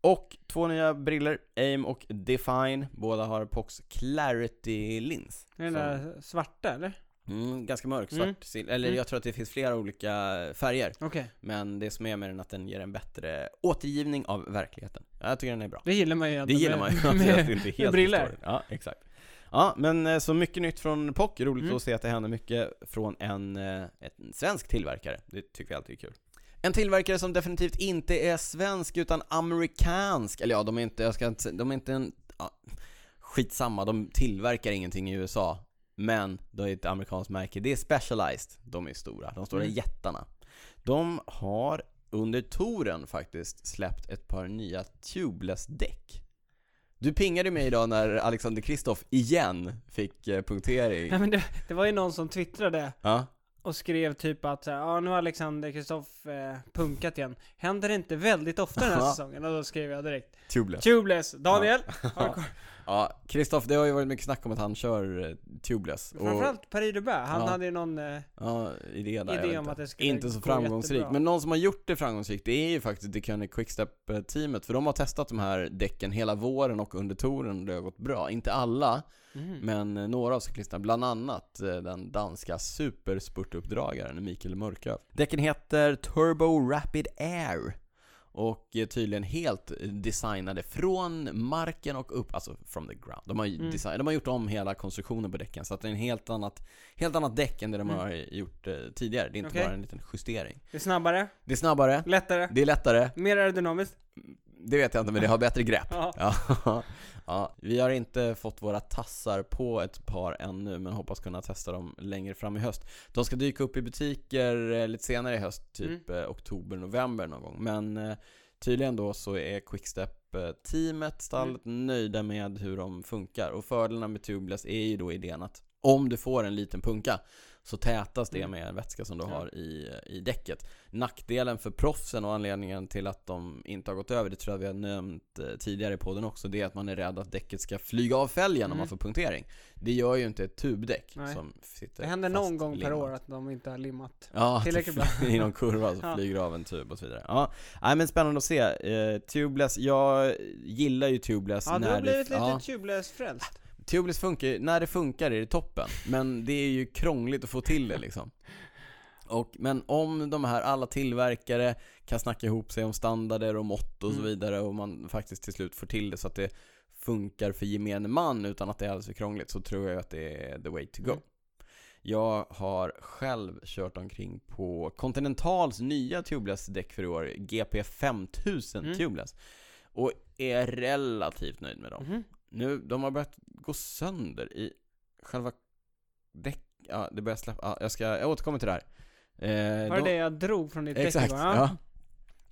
[SPEAKER 1] Och två nya briller, AIM och Define. Båda har Pox Clarity Lins.
[SPEAKER 2] Är den
[SPEAKER 1] Så-
[SPEAKER 2] där svarta eller?
[SPEAKER 1] Mm, ganska mörk, svart,
[SPEAKER 2] Mm.
[SPEAKER 1] sil- eller
[SPEAKER 2] Mm.
[SPEAKER 1] jag tror att det finns flera olika färger.
[SPEAKER 2] Okej.
[SPEAKER 1] Men det som är med den är att den ger en bättre återgivning av verkligheten. Jag tycker den är bra.
[SPEAKER 2] Det gillar man ju
[SPEAKER 1] Det
[SPEAKER 2] egentligen
[SPEAKER 1] gillar man ju, alltså,
[SPEAKER 2] med-
[SPEAKER 1] att
[SPEAKER 2] med-
[SPEAKER 1] det inte är helt
[SPEAKER 2] briller.
[SPEAKER 1] förstår. Ja, exakt. Ja, men eh, så mycket nytt från POC. Roligt
[SPEAKER 2] Mm.
[SPEAKER 1] att se att det händer mycket från en, eh, en svensk tillverkare. Det tycker vi alltid är kul. En tillverkare som definitivt inte är svensk utan amerikansk. Eller ja, de är inte, jag ska inte, säga- de är inte en... Ja, skitsamma, de tillverkar ingenting i USA. Men det är ett amerikanskt märke. Det är Specialized. De är stora. De stora
[SPEAKER 2] Mm.
[SPEAKER 1] jättarna. De har under touren faktiskt släppt ett par nya tubeless-däck. Du pingade mig idag när Alexander Kristoff igen fick eh, punktering.
[SPEAKER 2] Nej, men det, det var ju någon som twittrade
[SPEAKER 1] Ja.
[SPEAKER 2] och skrev typ att så här, ja nu har Alexander Kristoff eh, punkat igen. Händer det inte väldigt ofta den här
[SPEAKER 1] Ja.
[SPEAKER 2] säsongen? Och då skrev jag direkt.
[SPEAKER 1] Tubeless.
[SPEAKER 2] Tubeless, Daniel!
[SPEAKER 1] Ja.
[SPEAKER 2] hardcore.
[SPEAKER 1] Ja, Kristoff, det har ju varit mycket snack om att han kör eh, tubeless.
[SPEAKER 2] Framförallt Paris Dubain, han
[SPEAKER 1] Ja.
[SPEAKER 2] hade ju någon... Eh,
[SPEAKER 1] Ja, idé där. jag
[SPEAKER 2] Idé
[SPEAKER 1] vet
[SPEAKER 2] om
[SPEAKER 1] inte.
[SPEAKER 2] att det skulle
[SPEAKER 1] inte så
[SPEAKER 2] gå
[SPEAKER 1] framgångsrikt.
[SPEAKER 2] jättebra.
[SPEAKER 1] Men någon som har gjort det framgångsrikt, det är ju faktiskt Deconic Quickstep-teamet. eh, För de har testat de här däcken hela våren och under touren och det har gått bra. Inte alla,
[SPEAKER 2] mm.
[SPEAKER 1] men eh, några av cyklisterna. Bland annat eh, den danska superspurtuppdragaren Mikael Mörköv. Däcken heter Turbo Rapid Air. Och är tydligen helt eh, designade från marken och upp, alltså from the ground. De har, ju
[SPEAKER 2] Mm.
[SPEAKER 1] design, de har gjort om hela konstruktionen på däcken så att det är en helt annat helt annat däck än det de
[SPEAKER 2] Mm.
[SPEAKER 1] har gjort eh, tidigare. Det är inte
[SPEAKER 2] Okej. Mm.
[SPEAKER 1] bara en liten justering.
[SPEAKER 2] Det är snabbare,
[SPEAKER 1] Det är snabbare,
[SPEAKER 2] lättare,
[SPEAKER 1] det är lättare,
[SPEAKER 2] mer aerodynamiskt.
[SPEAKER 1] det vet jag inte men det har bättre grepp.
[SPEAKER 2] Ja.
[SPEAKER 1] Ja. ja, vi har inte fått våra tassar på ett par ännu men hoppas kunna testa dem längre fram i höst. De ska dyka upp i butiker eh, lite senare i höst, typ
[SPEAKER 2] Mm.
[SPEAKER 1] eh, oktober, november någon gång. Men eh, tydligen då så är Quickstep eh, teamet, stallet,
[SPEAKER 2] Mm.
[SPEAKER 1] nöjda med hur de funkar. Och fördelarna med tubeless är ju då idén att om du får en liten punka så tätas det
[SPEAKER 2] Mm.
[SPEAKER 1] med en vätska som du
[SPEAKER 2] Ja.
[SPEAKER 1] har i, i däcket. Nackdelen för proffsen och anledningen till att de inte har gått över, det tror jag vi har nämnt eh, tidigare i podden också, det är att man är rädd att däcket ska flyga av fälgen om
[SPEAKER 2] Mm.
[SPEAKER 1] man får punktering. Det gör ju inte ett tubdäck
[SPEAKER 2] Nej.
[SPEAKER 1] som sitter
[SPEAKER 2] Det händer någon gång per
[SPEAKER 1] fastlimmat.
[SPEAKER 2] år att de inte har limmat.
[SPEAKER 1] Ja, att
[SPEAKER 2] Tillräckligt
[SPEAKER 1] det fly- i någon kurva så
[SPEAKER 2] Ja.
[SPEAKER 1] flyger av en tub och så vidare. Ja, nej men spännande att se. Eh, tubeless, jag gillar ju tubeless
[SPEAKER 2] Ja, du
[SPEAKER 1] när
[SPEAKER 2] har blivit
[SPEAKER 1] det... ja,
[SPEAKER 2] lite tubeless-frälst.
[SPEAKER 1] tubeless funkar ju- när det funkar är det toppen. Men det är ju krångligt att få till det liksom. Och, men om de här alla tillverkare kan snacka ihop sig om standarder och mått och så
[SPEAKER 2] Mm.
[SPEAKER 1] vidare och man faktiskt till slut får till det så att det funkar för gemene man utan att det är alldeles för krångligt så tror jag att det är the way to go.
[SPEAKER 2] Mm.
[SPEAKER 1] Jag har själv kört omkring på Continentals nya tubeless däck för i år, GP5000
[SPEAKER 2] Mm.
[SPEAKER 1] tubeless. Och är relativt nöjd med dem.
[SPEAKER 2] Mhm.
[SPEAKER 1] Nu, de har börjat gå sönder i själva däck... Ja, det börjar släppa... Ja, jag ska... Jag återkommer till det här. Eh,
[SPEAKER 2] Var det
[SPEAKER 1] de-
[SPEAKER 2] det jag drog från ditt däck
[SPEAKER 1] Exakt,
[SPEAKER 2] igår?
[SPEAKER 1] ja.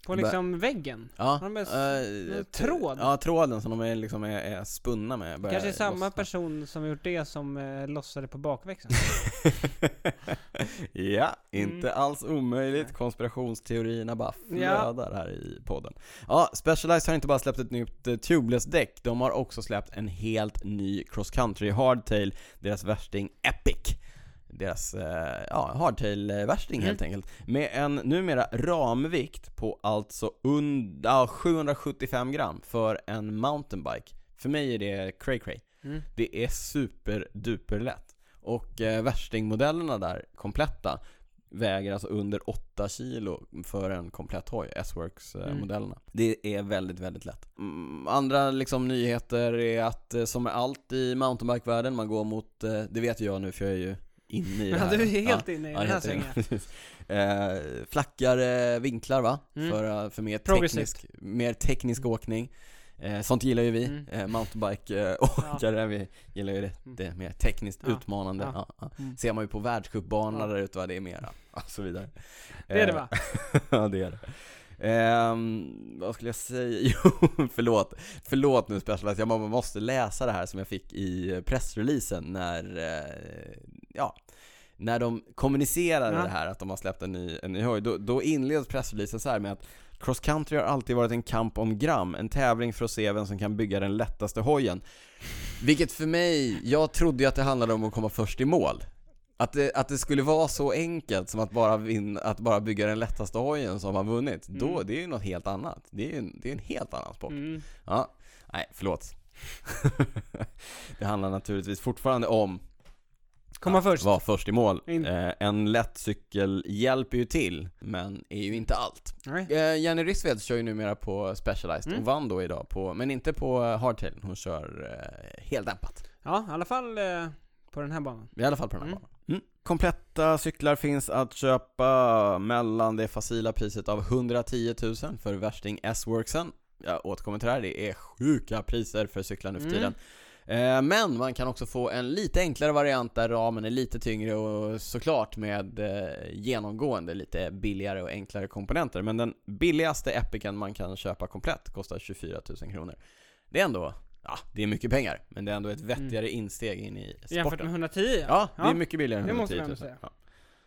[SPEAKER 2] På liksom väggen?
[SPEAKER 1] Ja.
[SPEAKER 2] Har de börjat s-
[SPEAKER 1] eh,
[SPEAKER 2] någon
[SPEAKER 1] t-
[SPEAKER 2] tråd?
[SPEAKER 1] Ja, tråden som de är, liksom är, är spunna med. börjar
[SPEAKER 2] Kanske samma
[SPEAKER 1] lossna.
[SPEAKER 2] person som gjort det som eh, lossade på bakväxeln?
[SPEAKER 1] ja, inte
[SPEAKER 2] Mm.
[SPEAKER 1] alls omöjligt.
[SPEAKER 2] Nej.
[SPEAKER 1] Konspirationsteorierna bara
[SPEAKER 2] Ja.
[SPEAKER 1] flödar här i podden. Ja, Specialized har inte bara släppt ett nytt eh, tubeless-däck, de har också släppt en helt ny cross country hardtail, deras värsting Epic. Deras eh, ja, hardtail-värsting
[SPEAKER 2] Mm.
[SPEAKER 1] helt enkelt. Med en numera ramvikt på alltså und- ja, 775 gram för en mountainbike. För mig är det cray cray.
[SPEAKER 2] Mm.
[SPEAKER 1] Det är superduperlätt. Och eh, värstingmodellerna där, kompletta, väger alltså under 8 kilo för en komplett hoj,
[SPEAKER 2] Mm.
[SPEAKER 1] S-Works-modellerna. Det är väldigt, väldigt lätt. Mm, andra liksom, nyheter är att, eh, som med allt i mountainbike-världen, man går mot, eh, det vet ju jag nu för jag är ju inne i det
[SPEAKER 2] Ja,
[SPEAKER 1] här.
[SPEAKER 2] du är helt inne i den här
[SPEAKER 1] helt
[SPEAKER 2] svängen.
[SPEAKER 1] inne. eh, flackare vinklar va?
[SPEAKER 2] Mm.
[SPEAKER 1] För, eh, för mer
[SPEAKER 2] Progressivt.
[SPEAKER 1] teknisk, mer teknisk
[SPEAKER 2] Mm.
[SPEAKER 1] åkning. Eh, sånt gillar ju vi,
[SPEAKER 2] Mm.
[SPEAKER 1] eh, mountainbike-åkare. Vi gillar ju det, det är mer tekniskt
[SPEAKER 2] Ja.
[SPEAKER 1] utmanande.
[SPEAKER 2] Ja.
[SPEAKER 1] Ja. Ja,
[SPEAKER 2] Mm.
[SPEAKER 1] Ser man ju på världscupbanorna
[SPEAKER 2] Ja.
[SPEAKER 1] där ute va, det är mera. Och så vidare.
[SPEAKER 2] Det är det
[SPEAKER 1] Eh,
[SPEAKER 2] va?
[SPEAKER 1] ja det är det. Ehm, vad skulle jag säga? Jo, förlåt. Förlåt nu Specialized, jag må- måste läsa det här som jag fick i pressreleasen när, eh, ja, när de kommunicerade
[SPEAKER 2] Ja.
[SPEAKER 1] det här att de har släppt en ny, en ny höjd. Då, då inleds pressreleasen så här med att Cross country har alltid varit en kamp om gram, en tävling för att se vem som kan bygga den lättaste hojen. Vilket för mig, jag trodde ju att det handlade om att komma först i mål. Att det, att det skulle vara så enkelt som att bara, vinna, att bara bygga den lättaste hojen som har vunnit, då,
[SPEAKER 2] Mm.
[SPEAKER 1] det är ju något helt annat. Det är ju en, det är en helt annan sport.
[SPEAKER 2] Mm.
[SPEAKER 1] Ja, nej, förlåt. det handlar naturligtvis fortfarande om
[SPEAKER 2] Komma
[SPEAKER 1] att
[SPEAKER 2] först.
[SPEAKER 1] vara först i mål.
[SPEAKER 2] In.
[SPEAKER 1] Eh, en lätt cykel hjälper ju till, men är ju inte allt.
[SPEAKER 2] Nej.
[SPEAKER 1] Eh, Jenny Rissved kör ju numera på Specialized.
[SPEAKER 2] Mm.
[SPEAKER 1] Hon vann då idag, på, men inte på eh, hardtail. Hon kör eh, heldämpat.
[SPEAKER 2] Ja, i alla fall eh, på den här banan.
[SPEAKER 1] I alla fall på den här
[SPEAKER 2] Mm.
[SPEAKER 1] banan. Mm. Kompletta cyklar finns att köpa mellan det facila priset av 110 000 för värsting S-worksen. Jag återkommer till det här, det är sjuka priser för cyklar nu för
[SPEAKER 2] Mm.
[SPEAKER 1] tiden. Eh, Men man kan också få en lite enklare variant där ramen är lite tyngre och såklart med eh, genomgående lite billigare och enklare komponenter. Men den billigaste Epicen man kan köpa komplett kostar 24 000 kronor. Det är ändå, ja det är mycket pengar, men det är ändå ett vettigare insteg in i sporten.
[SPEAKER 2] Mm. Jämfört med 110
[SPEAKER 1] Ja, det är mycket billigare än
[SPEAKER 2] Det
[SPEAKER 1] 110
[SPEAKER 2] måste
[SPEAKER 1] 000.
[SPEAKER 2] vi ändå
[SPEAKER 1] Ja.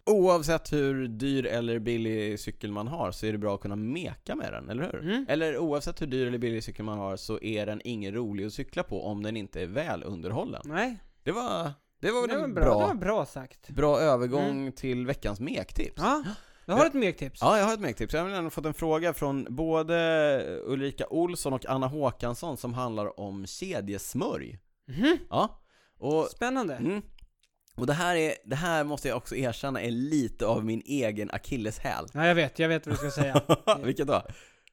[SPEAKER 1] Oavsett hur dyr eller billig cykel man har så är det bra att kunna meka med den, eller hur?
[SPEAKER 2] Mm.
[SPEAKER 1] Eller oavsett hur dyr eller billig cykel man har så är den ingen rolig att cykla på om den inte är väl underhållen.
[SPEAKER 2] Nej,
[SPEAKER 1] Det var, det var väl
[SPEAKER 2] det var
[SPEAKER 1] en
[SPEAKER 2] bra. Det var
[SPEAKER 1] bra,
[SPEAKER 2] bra sagt.
[SPEAKER 1] bra övergång till veckans mektips.
[SPEAKER 2] Ja, jag har ett mektips.
[SPEAKER 1] Ja, jag har ett mektips. Jag har även fått en fråga från både Ulrika Olsson och Anna Håkansson som handlar om kedjesmörj.
[SPEAKER 2] Mhm.
[SPEAKER 1] Ja. Och
[SPEAKER 2] Spännande.
[SPEAKER 1] Mm. Och det här, är, det här måste jag också erkänna är lite av min egen akilleshäl.
[SPEAKER 2] Ja, jag vet, jag vet vad du ska säga.
[SPEAKER 1] Vilket då?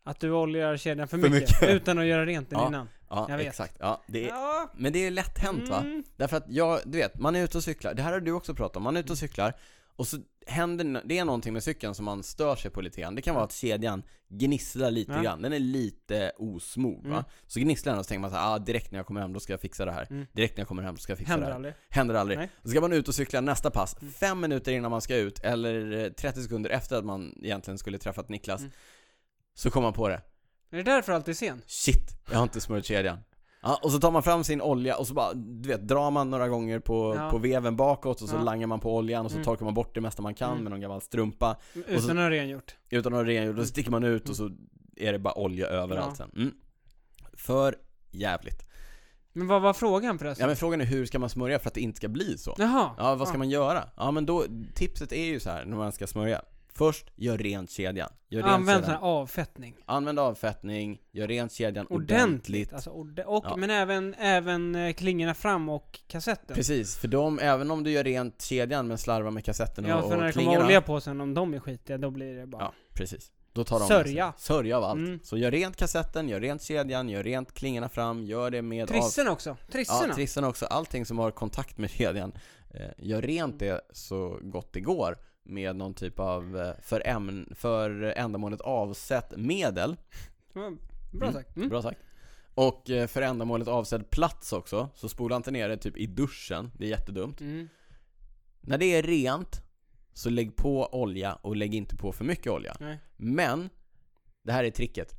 [SPEAKER 2] Att du oljar kedjan för,
[SPEAKER 1] För
[SPEAKER 2] mycket,
[SPEAKER 1] mycket.
[SPEAKER 2] utan att göra rent den
[SPEAKER 1] Ja.
[SPEAKER 2] innan.
[SPEAKER 1] Ja,
[SPEAKER 2] Jag vet.
[SPEAKER 1] exakt. Ja, det är,
[SPEAKER 2] Ja.
[SPEAKER 1] men det är lätt hänt va?
[SPEAKER 2] Mm.
[SPEAKER 1] Därför att jag, du vet, man är ute och cyklar, det här har du också pratat om, man är ute och
[SPEAKER 2] Mm.
[SPEAKER 1] cyklar och så händer, n- det är någonting med cykeln som man stör sig på lite grann. Det kan vara att kedjan gnisslar lite
[SPEAKER 2] Ja.
[SPEAKER 1] grann, den är lite osmog va?
[SPEAKER 2] Mm.
[SPEAKER 1] Så gnisslar den och så tänker man så här, ah, direkt när jag kommer hem då ska jag fixa det här.
[SPEAKER 2] Mm.
[SPEAKER 1] Direkt när jag kommer hem då ska jag fixa det
[SPEAKER 2] Händer
[SPEAKER 1] här.
[SPEAKER 2] aldrig.
[SPEAKER 1] Händer aldrig.
[SPEAKER 2] Nej. Mm.
[SPEAKER 1] Då ska man ut och cykla nästa pass, fem minuter innan man ska ut, eller eh, 30 sekunder efter att man egentligen skulle träffat Niklas.
[SPEAKER 2] Mm.
[SPEAKER 1] Så kommer man på det.
[SPEAKER 2] Är det därför allt är sen?
[SPEAKER 1] Shit, jag har inte smörjt kedjan. Ja, och så tar man fram sin olja och så bara, du vet, drar man några gånger på,
[SPEAKER 2] Ja.
[SPEAKER 1] på veven bakåt och så
[SPEAKER 2] Ja.
[SPEAKER 1] langar man på oljan och så
[SPEAKER 2] Mm.
[SPEAKER 1] torkar man bort det mesta man kan
[SPEAKER 2] Mm.
[SPEAKER 1] med någon gammal strumpa.
[SPEAKER 2] Utan
[SPEAKER 1] så-
[SPEAKER 2] att ha rengjort.
[SPEAKER 1] Utan att ha rengjort, och så sticker man ut och
[SPEAKER 2] Mm.
[SPEAKER 1] så är det bara olja överallt sen. Mm. För jävligt.
[SPEAKER 2] Men vad var frågan förresten?
[SPEAKER 1] Ja men frågan är hur ska man smörja för att det inte ska bli så?
[SPEAKER 2] Jaha.
[SPEAKER 1] Ja, vad ska man göra? Ja, men då, tipset är ju så här när man ska smörja. Först, gör rent kedjan. Gör rent
[SPEAKER 2] Använd sån
[SPEAKER 1] kedjan.
[SPEAKER 2] här avfettning.
[SPEAKER 1] Använd avfettning, gör rent kedjan ordentligt.
[SPEAKER 2] Ordentligt. Alltså, orde- och,
[SPEAKER 1] Ja.
[SPEAKER 2] men även, även eh, klingorna fram och kassetten.
[SPEAKER 1] Precis, för de, även om du gör rent kedjan men slarvar med kassetten
[SPEAKER 2] Ja,
[SPEAKER 1] och, och
[SPEAKER 2] för när det kommer
[SPEAKER 1] klingorna.
[SPEAKER 2] olja på sen, om de är skitiga, då blir det bara...
[SPEAKER 1] Ja, precis. Då tar de
[SPEAKER 2] Sörja.
[SPEAKER 1] Sörja av allt.
[SPEAKER 2] Mm.
[SPEAKER 1] Så gör rent kassetten, gör rent kedjan, gör rent klingorna fram, gör det med av...
[SPEAKER 2] Trissen också. Trisserna.
[SPEAKER 1] Ja, trissen också. Allting som har kontakt med kedjan. Eh, gör rent det så gott det går med någon typ av eh, för, ämn, för ändamålet avsett medel.
[SPEAKER 2] Det var Bra
[SPEAKER 1] Mm.
[SPEAKER 2] sagt. Mm.
[SPEAKER 1] Bra sagt. Och eh, för ändamålet avsedd plats också. Så spola inte ner det typ i duschen. Det är jättedumt.
[SPEAKER 2] Mm.
[SPEAKER 1] När det är rent så lägg på olja och lägg inte på för mycket olja.
[SPEAKER 2] Nej.
[SPEAKER 1] Men, det här är tricket.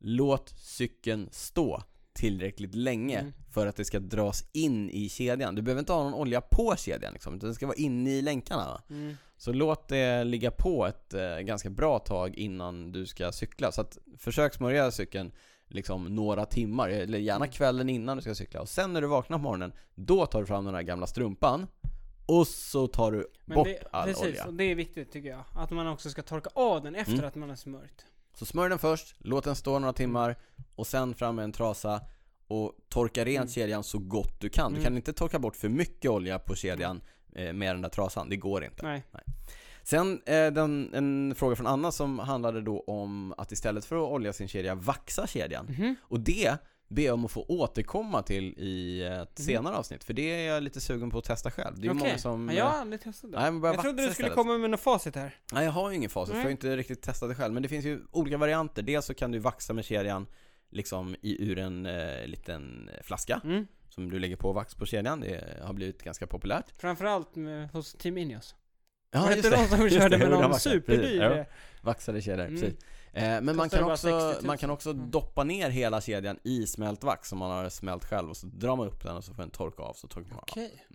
[SPEAKER 1] Låt cykeln stå tillräckligt länge
[SPEAKER 2] Mm.
[SPEAKER 1] för att det ska dras in i kedjan. Du behöver inte ha någon olja på kedjan liksom, utan den ska vara inne i länkarna. va?
[SPEAKER 2] Mm.
[SPEAKER 1] Så låt det ligga på ett eh, ganska bra tag innan du ska cykla. Så att försök smörja cykeln liksom några timmar, eller
[SPEAKER 2] Mm.
[SPEAKER 1] gärna kvällen innan du ska cykla. Och sen när du vaknar på morgonen, då tar du fram den här gamla strumpan och så tar du
[SPEAKER 2] Men
[SPEAKER 1] bort
[SPEAKER 2] det,
[SPEAKER 1] all
[SPEAKER 2] precis,
[SPEAKER 1] olja.
[SPEAKER 2] och det är viktigt tycker jag. Att man också ska torka av den efter
[SPEAKER 1] Mm.
[SPEAKER 2] att man har smörjt.
[SPEAKER 1] Så smörj den först, låt den stå några timmar och sen fram med en trasa och torka rent
[SPEAKER 2] Mm.
[SPEAKER 1] kedjan så gott du kan. Du
[SPEAKER 2] Mm.
[SPEAKER 1] kan inte torka bort för mycket olja på kedjan eh, med den där trasan, det går inte.
[SPEAKER 2] Nej.
[SPEAKER 1] Sen eh, den, en fråga från Anna som handlade då om att istället för att olja sin kedja, vaxa kedjan.
[SPEAKER 2] Mhm.
[SPEAKER 1] Och det ber jag om att få återkomma till i ett senare avsnitt, för det är jag lite sugen på att testa själv. Det är ju
[SPEAKER 2] Mm. Okej.
[SPEAKER 1] många som...
[SPEAKER 2] Men jag
[SPEAKER 1] eh,
[SPEAKER 2] har aldrig testat det.
[SPEAKER 1] Nej, men börja
[SPEAKER 2] Jag trodde
[SPEAKER 1] vaxa
[SPEAKER 2] du skulle
[SPEAKER 1] istället.
[SPEAKER 2] komma med något facit här.
[SPEAKER 1] Nej jag har ju ingen facit, för
[SPEAKER 2] Nej.
[SPEAKER 1] jag har inte riktigt testat det själv. Men det finns ju olika varianter. Dels så kan du vaxa med kedjan liksom i, ur en eh, liten flaska
[SPEAKER 2] Mm.
[SPEAKER 1] som du lägger på vax på kedjan. Det har blivit ganska populärt.
[SPEAKER 2] Framförallt med, hos Team Ineos.
[SPEAKER 1] Ja
[SPEAKER 2] Var det inte de som
[SPEAKER 1] Just
[SPEAKER 2] körde
[SPEAKER 1] det,
[SPEAKER 2] med
[SPEAKER 1] hur de
[SPEAKER 2] någon
[SPEAKER 1] vaxar. Precis,
[SPEAKER 2] superdyr...
[SPEAKER 1] ja.
[SPEAKER 2] eh,
[SPEAKER 1] Vaxade kedjor,
[SPEAKER 2] Mm.
[SPEAKER 1] precis. Eh, men man
[SPEAKER 2] Kostar
[SPEAKER 1] kan,
[SPEAKER 2] bara 60
[SPEAKER 1] också,
[SPEAKER 2] 000.
[SPEAKER 1] man kan också
[SPEAKER 2] Mm.
[SPEAKER 1] doppa ner hela kedjan i smält vax som man har smält själv och så drar man upp den och så får den torka av så torkar man av.
[SPEAKER 2] Okej.